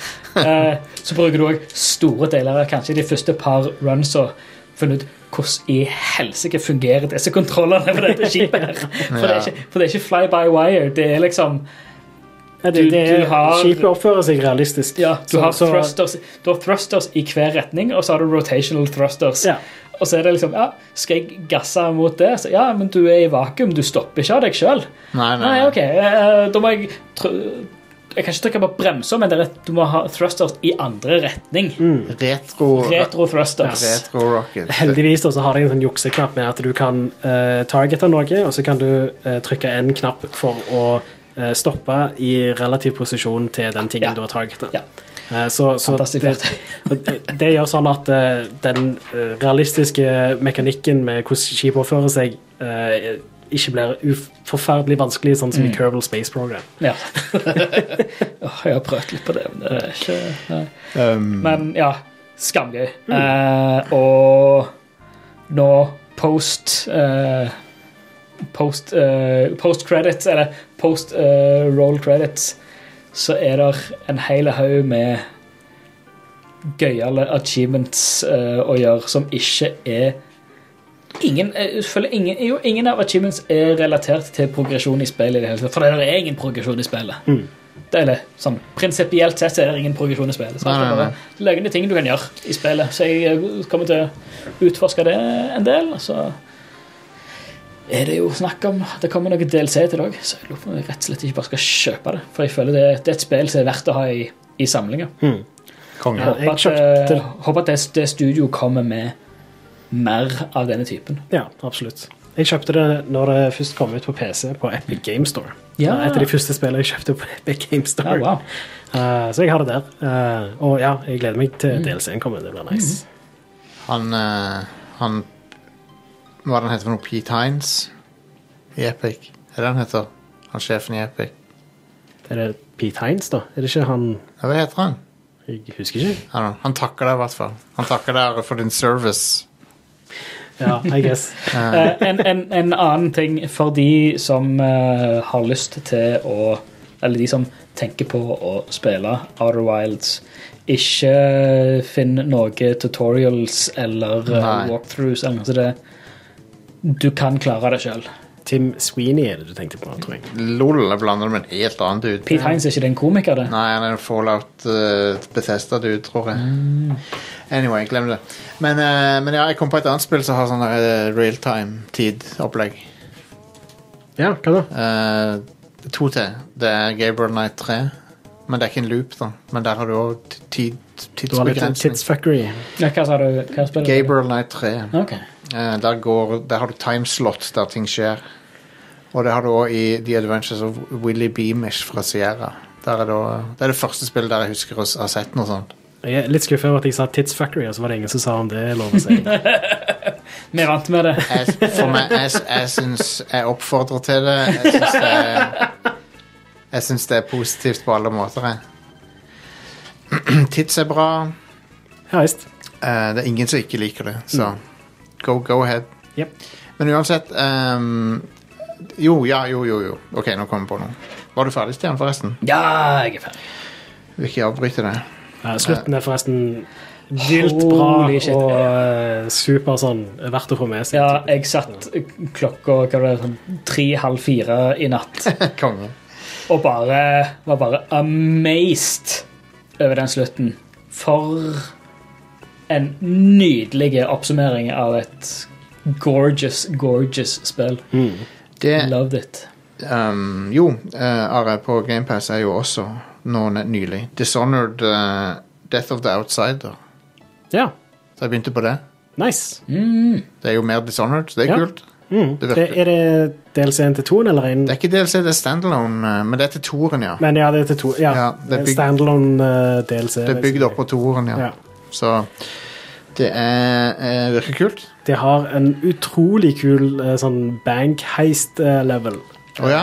Eh, så bruker du òg store deler av kanskje de første par runs og funnet ut hvordan i helsike fungerer disse kontrollene på dette skipet. her. For det er ikke, for det er ikke fly by wire. Det er liksom Ja, det, Du- det er, du har- Skipet oppfører seg realistisk. ja, du, Så- har så- thrusters, du har thrusters i hver retning, og så har du rotational thrusters. Og så er det liksom ja, Skal jeg gasse mot det? Så, ja, men du er i vakuum. Du stopper ikke av deg sjøl. Nei, nei, Nei, nei. ok. eh, Da må jeg tr Jeg kan ikke trykke på bremser, men det er, rett- du må ha thrusters i andre retning. Retro, Retro thrusters. Mm. retro rocket. Heldigvis da, så har de en sånn jukseknapp med at du kan eh, targete noe, og så kan du eh, trykke en knapp for å eh, stoppe i relativ posisjon til den tingen du har targetet. Eh, så så det, det gjør sånn at eh, den eh, realistiske mekanikken med hvordan skip oppfører seg, eh, ikke blir uf- forferdelig vanskelig, sånn som i Mm. Kerbal Space Program. Ja. Åh, jeg har prøvd litt på det, men det er ikke nei. Um, Mm. Men ja, skamgøy. Eh, og nå post eh, Post, eh, post credits, eller post eh, roll credits, så er det en hel haug med gøyale achievements eh, å gjøre som ikke er Ingen, eh, jeg føler ingen, jo, ingen av achievements er relatert til progresjon i spillet. i det hele tatt, For det er ingen progresjon i spillet. Det, eller, sånn, prinsipielt sett så er det ingen progresjon i spillet. Så Nei, det nei, er bare løgne ting du kan gjøre i spillet. Så jeg eh, kommer til å utforske det en del. og Så er det jo snakk om at det kommer noe DLC til det òg, så jeg lurer på om jeg rett og slett ikke bare skal kjøpe det. For jeg føler det, det er et spill som er verdt å ha i, i samlinga. Konge. Jeg håper at, eh, håper at det, det studio kommer med mer av denne typen. Ja, absolutt. Jeg kjøpte det når det først kom ut på PC på Epic Game Store. Ja. Det er Et av de første spillene jeg kjøpte på Epic Game Store. Ja, wow. Eh, så jeg har det der. Eh, og ja, jeg gleder meg Mm. til DLC-en kommer. Det blir nice. Han, eh, han Hva er det han heter for noe? Pete Hines i Epic? Er det han heter? Han sjefen i Epic? Er det Pete Hines, da? Er det ikke han Ja, Hva heter han? Jeg husker ikke. I don't know. Han takker deg i hvert fall. Han takker deg for din service. Ja, I guess. Eh, en, en, en annen ting for de som eh, har lyst til å eller de som tenker på å spille Outer Wilds, ikke finn noe tutorials eller eh, Nei. walkthroughs eller noe sånt. Det- Du kan klare det sjøl. Tim Sweeney er det du tenkte på, tror jeg. LOL jeg blander med en helt annen dude. Pete Hines er ikke det en komiker, det? Nei, han er en fallout uh, Bethesda-dude, tror jeg. Mm. Anyway, glem det. Men, eh, men ja, jeg kom på et annet spill som har sånn uh, realtime-tid-opplegg. Ja, hva da? Eh, to til. Det er Gabriel Knight 3. Men det er ikke en loop, da. Men der har du òg Du har litt sånn tidsbegrensning. tidsfuckery. Ja, hva sa du? Hva spiller du? Gabriel Knight 3. Ok. Eh, der, går, der har du timeslots der ting skjer. Og det har du òg i The Adventures of Willy Beamish fra Sierra. Der er det, også- det er det første spillet der jeg husker å s- ha sett noe sånt. Jeg er litt skuffa over at jeg sa tidsfuckery, og så var det ingen som sa om det er lov å si. Vi er vant med det. Jeg, for meg, jeg, s- jeg syns Jeg oppfordrer til det. Jeg syns det, er- jeg syns det er positivt på alle måter. Jeg. Tids er bra. Ja, visst. Eh, det er ingen som ikke liker det, så go, go ahead. Mm. Yep. Men uansett ehm, Jo, ja, jo, jo, jo. OK, nå kom jeg på noe. Var du ferdig, Stian, forresten? Ja, jeg er ferdig. Vil ikke avbryte det. Ja, slutten er forresten vilt bra Holy shit. og eh, super sånn verdt å få med seg. Ja, jeg satt klokka hva var det, sånn tre-halv fire i natt Konge. og bare var bare amazed over den slutten. For en nydelig oppsummering av et gorgeous, gorgeous spill. Det- Loved it. Ehm, jo, eh, Are, på GamePass er jo også nå ne- nylig Dishonored eh, Death of the Outsider. Ja. Så jeg begynte på det. Nice. Det er jo mer Dishonored, så det er Ja. kult. Mm. Det Det, virker. er det DLC-en til toen eller én? Det er ikke DLC, det er standalone, eh, men det er til toeren, ja. Men ja, det er til to. Ja, Ja, det er bygd- standalone eh, DLC. Det er bygd opp på toeren, ja. Ja. Så det er, eh, virker kult. Det har en utrolig kul eh, sånn bankheist-level. Å ja?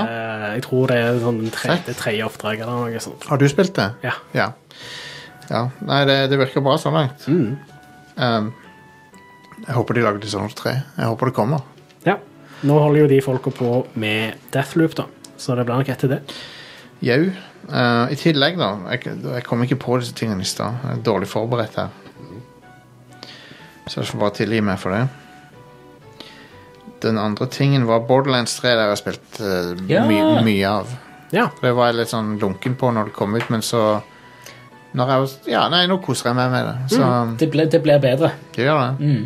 Jeg tror det er sånn tre, det tredje oppdrag eller noe sånt. Har du spilt det? Ja. Ja. ja. Nei, det, det virker bra så langt. Um, jeg håper de lager Dishonored 3. Jeg håper det kommer. ja. Nå holder jo de folka på med Deathloop, da. Så det blir nok etter det. Jau. Eh, I tillegg, da jeg, jeg kom ikke på disse tingene i stad. Jeg er dårlig forberedt her. Så jeg får bare tilgi meg for det. Den andre tingen var Borderlands 3, der jeg har spilt eh, Ja. my, mye av. Ja. Det var jeg litt sånn lunken på når det kom ut, men så når jeg, var- Ja, nei, nå koser jeg meg med det. Så Det ble, det ble bedre. Mm, det gjør det.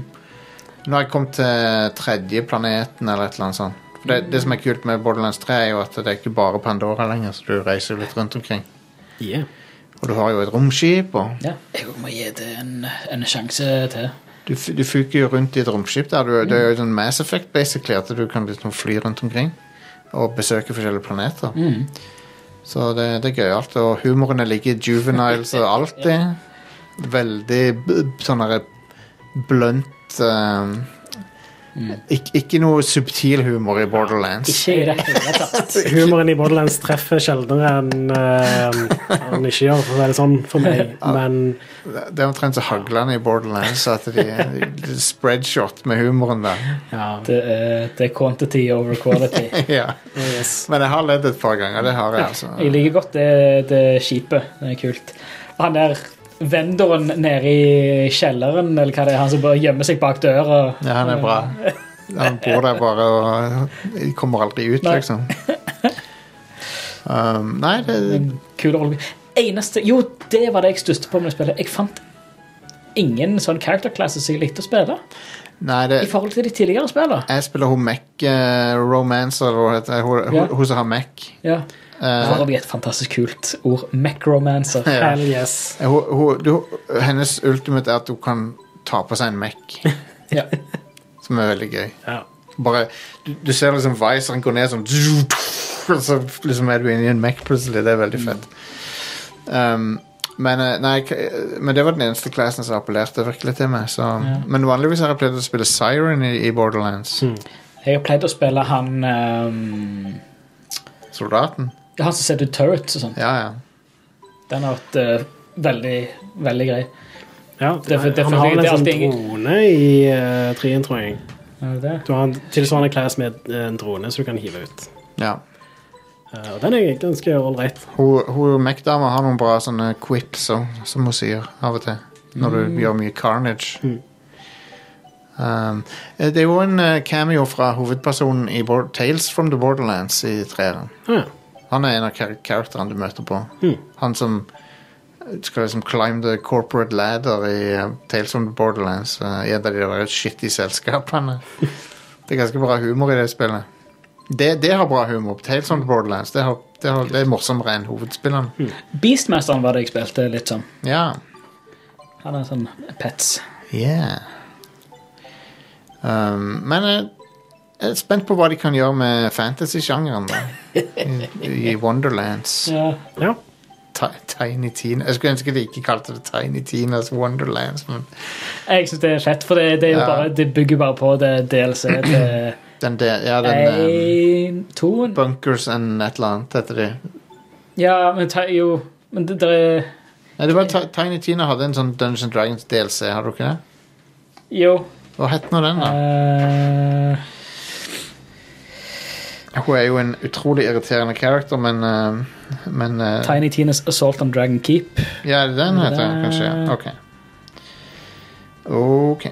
Nå har jeg kommet til tredje planeten eller et eller annet sånt. For Det, det som er kult med Borderlands 3, er jo at det er ikke bare Pandora lenger, så du reiser litt rundt omkring. Yeah. Og du har jo et romskip, og Ja. Jeg må gi det en, en sjanse til. du, f- du fyker jo rundt i et romskip der. Du, Det er jo sånn Mass Effect, basically, at du kan liksom fly rundt omkring og besøke forskjellige planeter. Mm. Så det, det er gøyalt. Og humorene ligger i juveniles og alltid. Veldig b- sånn derre blunt eh, ikk- Ikke noe subtil humor i Borderlands. Mm. Ikke i det hele tatt. Humoren i Borderlands treffer sjeldnere enn eh, han ikke gjør, for å si det sånn for meg. Men Det er omtrent så haglende i Borderlands at de, de spreadshot med humoren der. ja. Det er, det er quantity over quality. ja. Men jeg har ledd et par ganger. Det har jeg, altså. Jeg liker godt det, det skipet. Det er kult. Han der vendoren nede i kjelleren, eller hva det er, han som bare gjemmer seg bak døra. Ja, han er bra. Han bor der bare og kommer aldri ut, Nei. liksom. Um, nei, det Eh, Kul rolle. Eneste Jo, det var det jeg stusset på med det spillet. Jeg fant ingen sånn character classes jeg likte å spille Nei, det i forhold til de tidligere spillene. Jeg spiller hun Mac eh, Romance, eller hva det heter. Hun, hun, Ja. hun som har Mac. Ja. Eh, For øvrig et fantastisk kult ord. Macromancer. Ja. Eh, Hell yes. hun, hun, du, hennes ultimate er at hun kan ta på seg en Mac, Ja. som er veldig gøy. Ja. Bare, du, du ser liksom viseren gå ned sånn og Så liksom er du inni en Mac plutselig. Det er veldig fett. Um, men, eh, nei, k- men det var den eneste classen som appellerte virkelig til meg. Så. Men vanligvis har jeg pleid å spille Siren i, i Borderlands. Jeg har pleid å spille han ehm, Soldaten. Han som setter ut turrets og sånn. Ja, ja. Den har vært eh, veldig, veldig grei. Ja, Det er for- det er for- han har vel det er en sånn alltid- drone i uh, trien, tror jeg. Er det det? eh, Du har en tilsvarende class med en drone som du kan hive ut. ja. Eh, og den er ganske ålreit. Hun, hun Mac-dama har noen bra sånne quips som- som hun sier av og til. Når du Mm. gjør mye carnage. Um, eh, det er jo en eh, cameo fra hovedpersonen i Bor Tales from the Borderlands i treeren. Ja. Han er en av kar karakterene du møter på. Mm. Han som skal liksom climb the corporate ladder i eh, Tales from the Borderlands. eh, I et av de der shitty selskapene. Det er ganske bra humor i det spillet. Det, det har bra humor. Tales from the Borderlands det, har, det, har, det er morsommere enn hovedspilleren. Beastmasteren var det jeg spilte litt sånn. Ja. Han er sånn pets. Yeah. Um, men jeg, jeg er spent på hva de kan gjøre med fantasy-sjangeren. da. I, I Wonderlands. Ja. Ti- Tiny Tina Jeg skulle ønske de ikke kalte det Tiny Tinas Wonderlands, men Jeg syns det er fett, for det, det, er jo Ja. bare, det bygger bare på det DLC til den der ja, den, Nei, um, Bunkers and et eller annet heter de. Ja, men ta, jo Men det, det er Nei, det var Ti- Tiny Tina hadde en sånn Dungeons and Dragons DLC, har du ikke det? Jo. Hva het nå den, da? Eh, Hun er jo en utrolig irriterende character, men, um, men uh, Tiny Tinas Assault on Dragon Keep. Ja, er det den heter den, Det- kanskje? ja. Ok. Ok.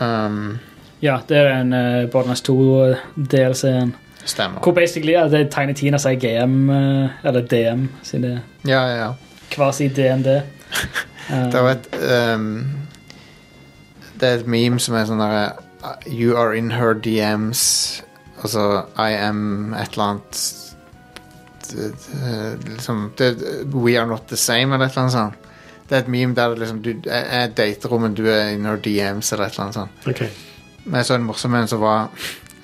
Um, Ja, det er en uh, Borderlands 2-DLC-en. stemmer. Hvor basically ja, det er Tiny Tinas er GM, eh, eller DM, sine Ja, ja, ja. kvasi-DND. Eh, Det er jo et um, Det er et meme som er sånn der uh, You are in her DMs Altså I am et eller annet det- det- liksom, det, We are not the same Eller et eller annet sånt Det er et meme der det liksom, du jeg er i daterommet Du er in her DMs eller et eller annet sånt Ok. Men jeg så en morsom en som var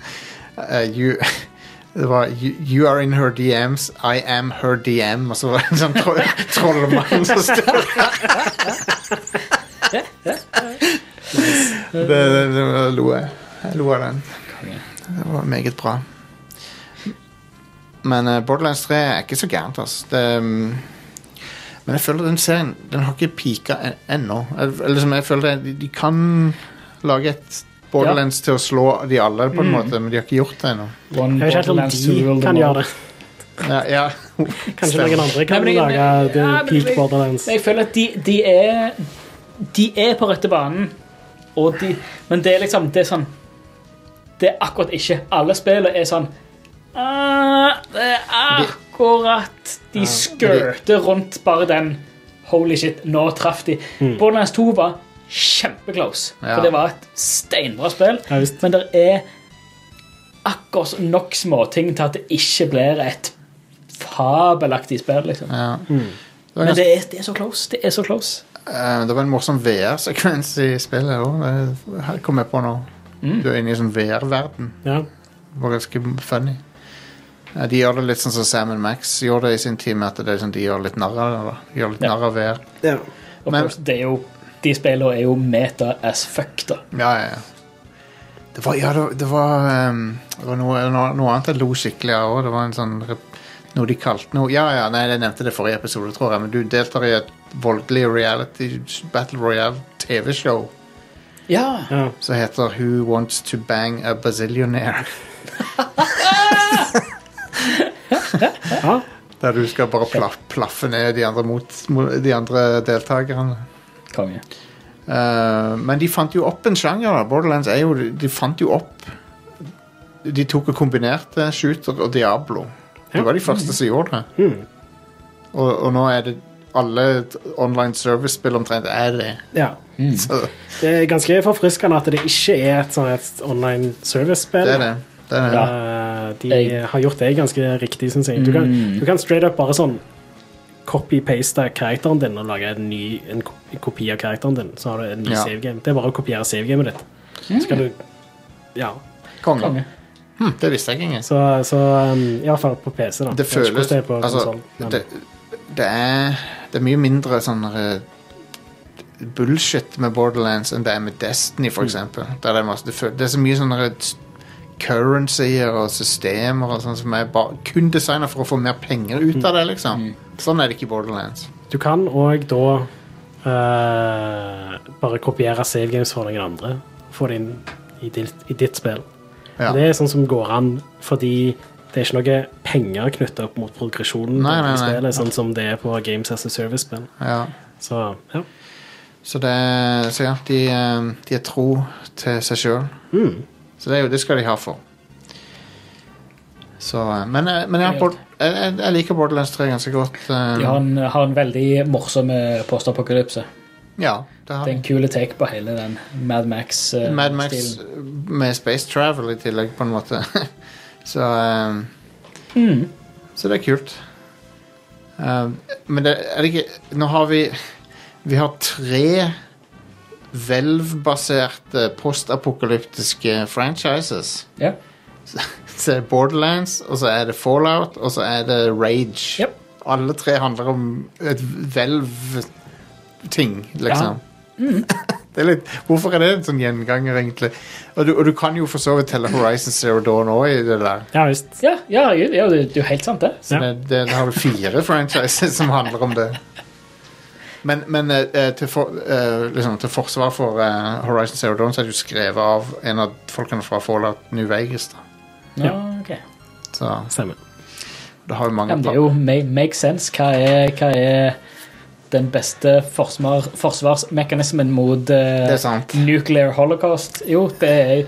eh, you, Det var you, you are in her DMs, I am her DM Og så var det en sånn tro trollmann som står det, det, det, det lo jeg. Jeg lo av den. Det var meget bra. Men eh, Borderlands 3 er ikke så gærent, altså. Det, mm, men jeg føler den serien Den har ikke pika en- ennå. Jeg, eller som jeg føler det, de, de kan lage et Borderlands til å slå de alle, på en Mm. måte, men de har ikke gjort det ennå. One Jeg vet ikke helt om Borderlands to rule de the kan world. gjøre det. Ja, ja. Kanskje Stemmer. noen andre kan Nei, men jeg- lage The Ja, men Peak jeg- Borderlands. Men Jeg føler at de, de er De er på rette banen, og de, men det er liksom Det er sånn Det er akkurat ikke. Alle spillene er sånn ah, Det er akkurat De skørter rundt bare den Holy shit, nå traff de. Mm. Borderlands 2 var kjempeclose, Ja. for det var et steinbra spill. Ja, visst. Men det er akkurat nok småting til at det ikke blir et fabelaktig spill. liksom Ja. Mm. var Men ganske- det er, det er så close. Det er så close. Eh, det var en morsom VR-sekvens i spillet òg. Her kom jeg på nå. Du er inne i sånn VR-verden. Ja. Det var ganske funny. Eh, De gjør det litt sånn som Sam Max gjorde det i sin tid, med at det er sånn, de gjør litt narr av det. da. De Gjør litt narr av VR. Og pluss, det er jo, de spillene er jo meta as fuck, da. Ja, ja, ja. Det var, ja, det, det var, ehm, det var noe, noe, noe annet jeg lo skikkelig av òg. Det var en sånn rep- noe de kalte noe Ja, ja, nei, jeg nevnte det forrige episode, tror jeg, men du deltar i et voldelig reality Battle Royale-TV-show Ja. som heter Who Wants to Bang a Bazillionaire. Der du skal bare pla plaffe ned de andre, mot, mo- de andre deltakerne. Konge. Eh, men de fant jo opp en sjanger. da. Borderlands er jo De fant jo opp De tok og kombinerte Shooter og Diablo. Det var de første som gjorde det. Og, og nå er det alle t- online service-spill omtrent er det. Ja. Så Det er ganske forfriskende at det ikke er et, sånn et online service-spill. det er det. det, er det. Eh, de har gjort det ganske riktig, syns jeg. Du kan, Mm. du kan straight up bare sånn copy-paste karakteren din og lage en ny en ko- kopi av karakteren din. Så har du en ny Ja. Mm. save-game. Det er bare å kopiere save-gamet ditt. Så kan du Ja. Konge. Hm, det visste jeg ikke engang. Så, så um, i hvert fall på PC, da. Det Jeg vet ikke hvordan føles det er på altså, konsoll, men- det, det, er, det er mye mindre sånn eh, bullshit med Borderlands enn det er med Destiny, Mm. for eksempel. Der det, er masse, det, føl- det er så mye sånne s- currencyer og systemer og sånn som er bare, kun designa for å få mer penger ut Mm. av det, liksom. Sånn er det ikke i Borderlands. Du kan òg da eh, bare kopiere save games for noen andre. Få det inn i ditt, i ditt spill. Ja. Det er sånn som går an, fordi det er ikke noe penger knytta opp mot progresjonen Nei, nei, på nei. spillet, sånn som det er på Games as a Service-spill. Ja. Så ja. Så, det, så ja, de, eh, de er tro til seg sjøl. Så det, er jo- det skal de ha for. Så, eh, men eh, men jeg, har Bord- jeg, jeg, jeg liker Borderlands 3 ganske godt. eh, De har en, har en veldig morsom eh, postapokalypse. Ja, det har Det er en kul take på hele den Mad eh, Max-stilen. Mad Max med space travel i tillegg, på en måte. så eh, Så det er kult. Eh, men det er det ikke Nå har vi Vi har tre hvelvbaserte postapokalyptiske franchises. Ja. Så, så er det Borderlands, og så er det Fallout, og så er det Rage. Alle tre handler om et hvelv-ting, liksom. Mm. Det er litt, hvorfor er det en sånn gjenganger, egentlig? Og du, og du kan jo for så vidt telle Horizon Zero Dawn òg i det der. Ja, visst. Ja, ja, herregud, ja, det det er jo helt sant, det. Så det, det, da har du fire franchises som handler om det. Men, men eh, eh, til, for, eh, liksom, til forsvar for eh, Horizon Zero Dawn så er det jo skrevet av en av folkene fra Fallout New Vegas. Da. Ja, ok. Så, Stemmer. Det har jo Ja, mange men det er jo ma- make sense. Hva er, hva er den beste forsvar, forsvarsmekanismen mot eh, Det er sant. nuclear holocaust? Jo, det er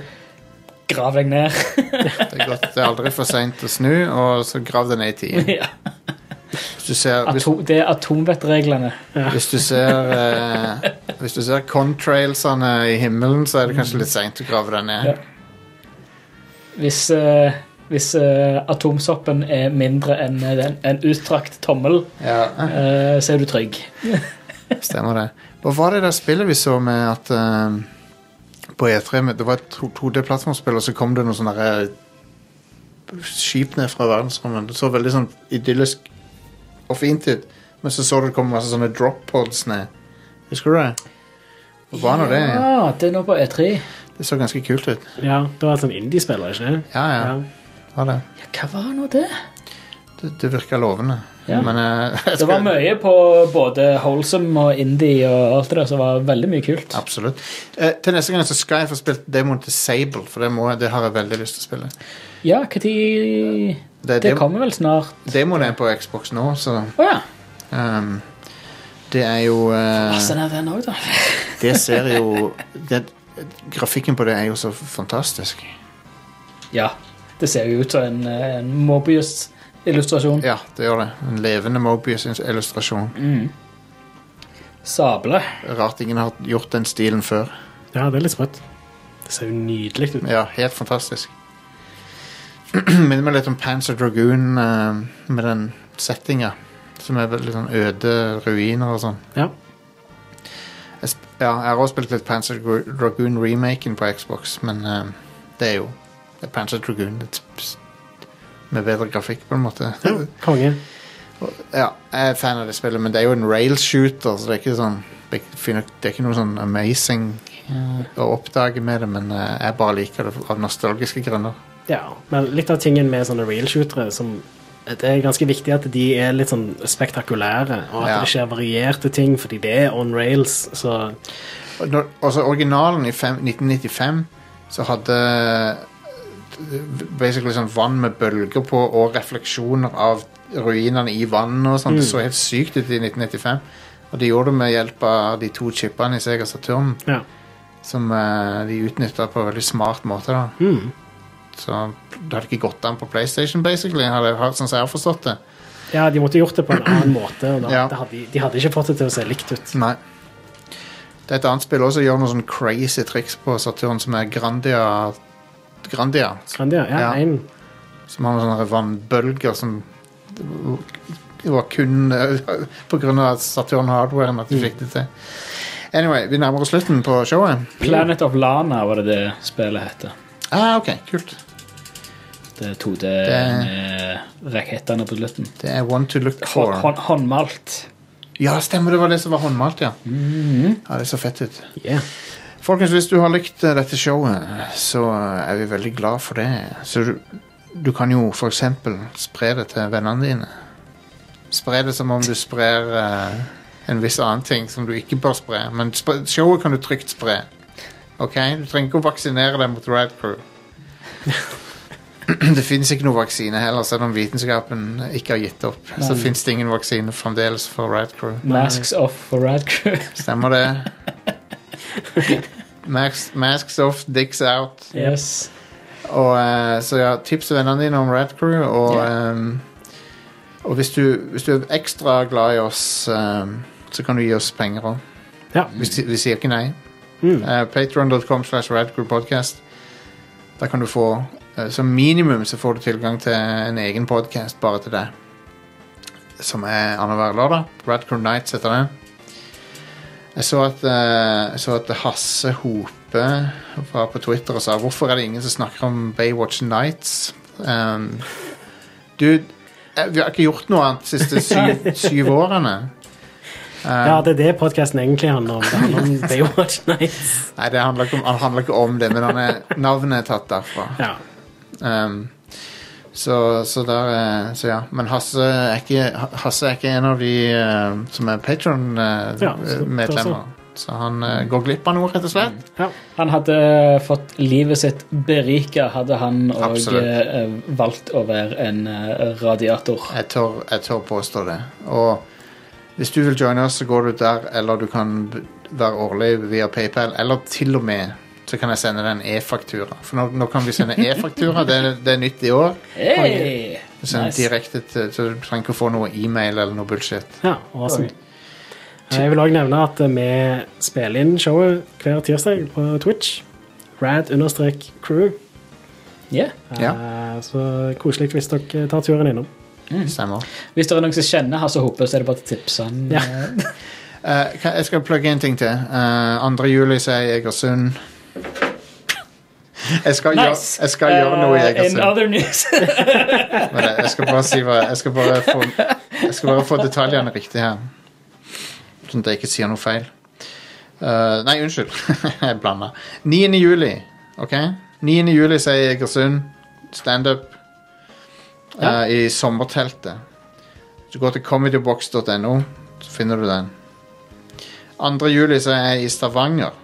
grav deg ned. Det er, godt, det er aldri for seint å snu, og så grav den ned i tiden. Ja. Hvis du ser, hvis, Atom, det er atomvettreglene. hvis du ser, eh, hvis du ser contrailsene i himmelen, så er det kanskje litt seint å grave den ned. Ja. Hvis, eh, hvis eh, atomsoppen er mindre enn den- en utstrakt tommel, Ja, eh, så er du trygg. stemmer det. Hva var det der spillet vi så med at eh, På E3 med, Det var et 2D-plattformspill, og så kom det noen sånne der, eh, skip ned fra verdensrommet. Det så veldig sånn idyllisk og fint ut, men så så du det kom masse sånne drop pods ned. Husker du det? Hva var nå det? Ja, Ah, det er nå på E E3. Det så ganske kult ut. Ja, det var et sånt indie-spill, var det sånn ikke det? Ja, ja. Ja, det. Ja, hva var nå det? Det, det virker lovende. Ja. Men eh, jeg Det var skal, mye på både Holsum og Indie og alt det der, så det var veldig mye kult. absolutt. Eh, til neste gang så skal jeg få spilt demoen til Sable, for det, må, jeg- det har jeg veldig lyst til å spille. Ja, hva tid Det, Det dem- kommer vel snart. Demoen er på Xbox nå, så Å ja. ehm, Det er jo eh, Altså, den er den òg, da. Det ser jo det, Grafikken på det er jo så fantastisk. Ja. Det ser jo ut som en, eh, en Mobius-illustrasjon. Ja, det gjør det. En levende Mobius-illustrasjon. Mm. Sable. Rart ingen har gjort den stilen før. Ja, det er litt sprøtt. Det ser jo nydelig ut. Ja, helt fantastisk. Minner meg litt om Panzer Dragoon eh, med den settinga. Som er veldig sånn øde ruiner og sånn. Ja. Jeg, sp- ja, jeg har også spilt litt Panzer Dra- Dragoon-remaken på Xbox, men eh, det er jo det er Panzer Dragoon det er sp- med bedre grafikk, på en måte. Konge. ja, jeg er fan av det spillet, men det er jo en rail-shooter, så det er ikke sånn det er ikke- finner- det er ikke noe sånn amazing eh, å oppdage med det, men eh, jeg bare liker det av nostalgiske grunner. Ja, men litt av tingen med sånne real-shootere som det er ganske viktig at de er litt sånn spektakulære, og at Ja. det skjer varierte ting, fordi det er on rails, så Og når- Altså originalen i fem, 1995 så hadde basically sånn vann med bølger på og refleksjoner av ruinene i vannet og sånn. Det så helt sykt ut i 1995. Og de gjorde det med hjelp av de to chipene i Sega Saturn Ja. som eh, de utnytta på en veldig smart måte. da. Mm. Så det hadde ikke gått an på PlayStation, basically, hadde, sånn som jeg har forstått det. Ja, de måtte gjort det på en annen måte, og da, Ja. det hadde, de hadde ikke fått det til å se likt ut. Nei. Det er et annet spill også som gjør noen sånn crazy triks på Saturn, som er Grandia. Grandia Grandia, ja, Ja. en- Som har noen sånne vannbølger som Det var kun eh, på grunn av Saturn Hardware at de fikk det til. Anyway, vi nærmer oss slutten på showet. Planet of Lana var det det spillet heter. Ah, ok, kult. Det 2D Det- med rakettene på slutten. Det er One to look Hå- for. Hånd, håndmalt. Ja, stemmer, det var det som var håndmalt, ja. Ja, Det så fett ut. yeah. Folkens, hvis du har likt eh, dette showet, så eh, er vi veldig glad for det. Så du, du kan jo for eksempel spre det til vennene dine. Spre det som om du sprer eh, en viss annen ting som du ikke bør spre. Men spre, showet kan du trygt spre. Ok? Du trenger ikke å vaksinere deg mot Rad Crew. det fins ikke noen vaksine heller, selv om vitenskapen ikke har gitt opp. Så Nei. fins det ingen vaksine fremdeles for Rad Crew. Masks off for Rad Crew. Stemmer det. Max, masks off, dicks out. Yes. Og, eh, så ja, tips til vennene dine om Rad Crew. Og, ehm, og hvis, du, hvis du er ekstra glad i oss, ehm, så kan du gi oss penger òg. Vi, si- vi sier ikke nei. Mm. Patron.com slash radcrewpodcast. Der kan du få eh, Som minimum så får du tilgang til en egen podkast bare til deg. Som er annenhver lørdag. Radcrew Nights heter den. Jeg så at, eh, jeg så at Hasse Hope var på Twitter og sa hvorfor er det ingen som snakker om Baywatch Nights. Um, dude, eh, vi har ikke gjort noe annet de siste syv, syv årene. Um, Ja, det er det podkasten egentlig handler om. Det handler om Baywatch Nights. Nei, det handler ikke om, han handler ikke om det, men han er, navnet er tatt derfra. Ja. Ehm, så, så der eh, Så ja. Men Hasse er ikke, Hasse er ikke en av de eh, som er Ja, så- Patron-medlemmer. så han eh, går glipp av noe, rett og slett. Han hadde fått livet sitt berika hadde han og Absolutt. eh, valgt å være en eh, radiator. Jeg tør, jeg tør påstå det. Og hvis du vil joine oss, så går du der, eller du kan b- være årlig via PayPal, eller til og med så kan jeg sende deg en e-faktura. For nå, nå kan vi sende e-faktura, det, er- det er nytt i år. Hey! Du sender Nice. direkte til, så du trenger ikke å få noe e-mail eller noe bullshit. Ja, awesome. Eh, Jeg vil også nevne at vi spiller inn showet hver tirsdag på Twitch. Rad-crew. Yeah. Eh, Så koselig hvis dere tar turen innom. Mm. Stemmer. Hvis det er noen som kjenner Hasse Hope, så er det bare å tipse han. Ja. Eh, kan- jeg skal plugge en ting til. Eh, 2. juli så er jeg i Egersund. Jeg skal, Nice. gjøre, jeg skal gjøre noe i Eh, in Egersund. other news. Men jeg, jeg skal bare si hva Jeg skal bare få, jeg skal bare få detaljene riktig her. Sånn at jeg ikke sier noe feil. Eh, nei, unnskyld. jeg blanda. 9. juli, OK? 9. juli så er jeg i Egersund. Standup. eh, Ja. I sommerteltet. Du går til comedybox.no, så finner du den. 2. juli så er jeg i Stavanger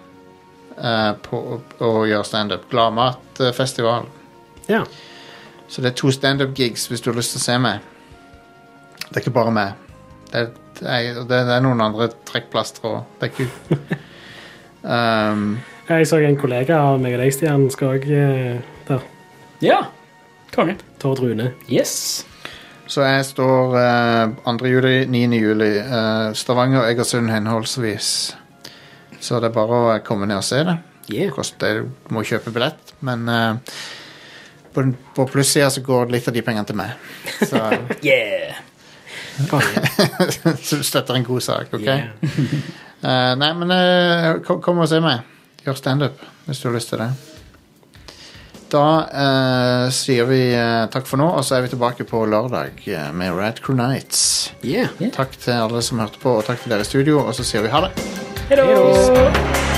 eh, på, og, og gjør standup. Gladmatfestival. Ja. Så det er to standup-gigs hvis du har lyst til å se meg. Det er ikke bare meg. Det er, jeg- det det er noen andre trekkplastre òg. Det er ikke um, Jeg så en kollega av meg og deg, Stian, skal også eh, der. ja. Konge. Tord Rune. Yes. Så jeg står eh, 2. juli, 9. juli. eh, Stavanger og Egersund henholdsvis. Så det er bare å komme ned og se det. Yeah. Kost- det- du må kjøpe billett, men eh, på, den- på plussida så går litt av de pengene til meg. Så, Yeah. så du støtter en god sak, OK? Eh, nei, men eh, kom, kom og se meg. Gjør standup hvis du har lyst til det. Da eh, sier vi eh, takk for nå, og så er vi tilbake på lørdag eh, med Rad Crew Nights. Yeah. Takk til alle som hørte på, og takk til dere i studio, og så sier vi ha det. Hei da.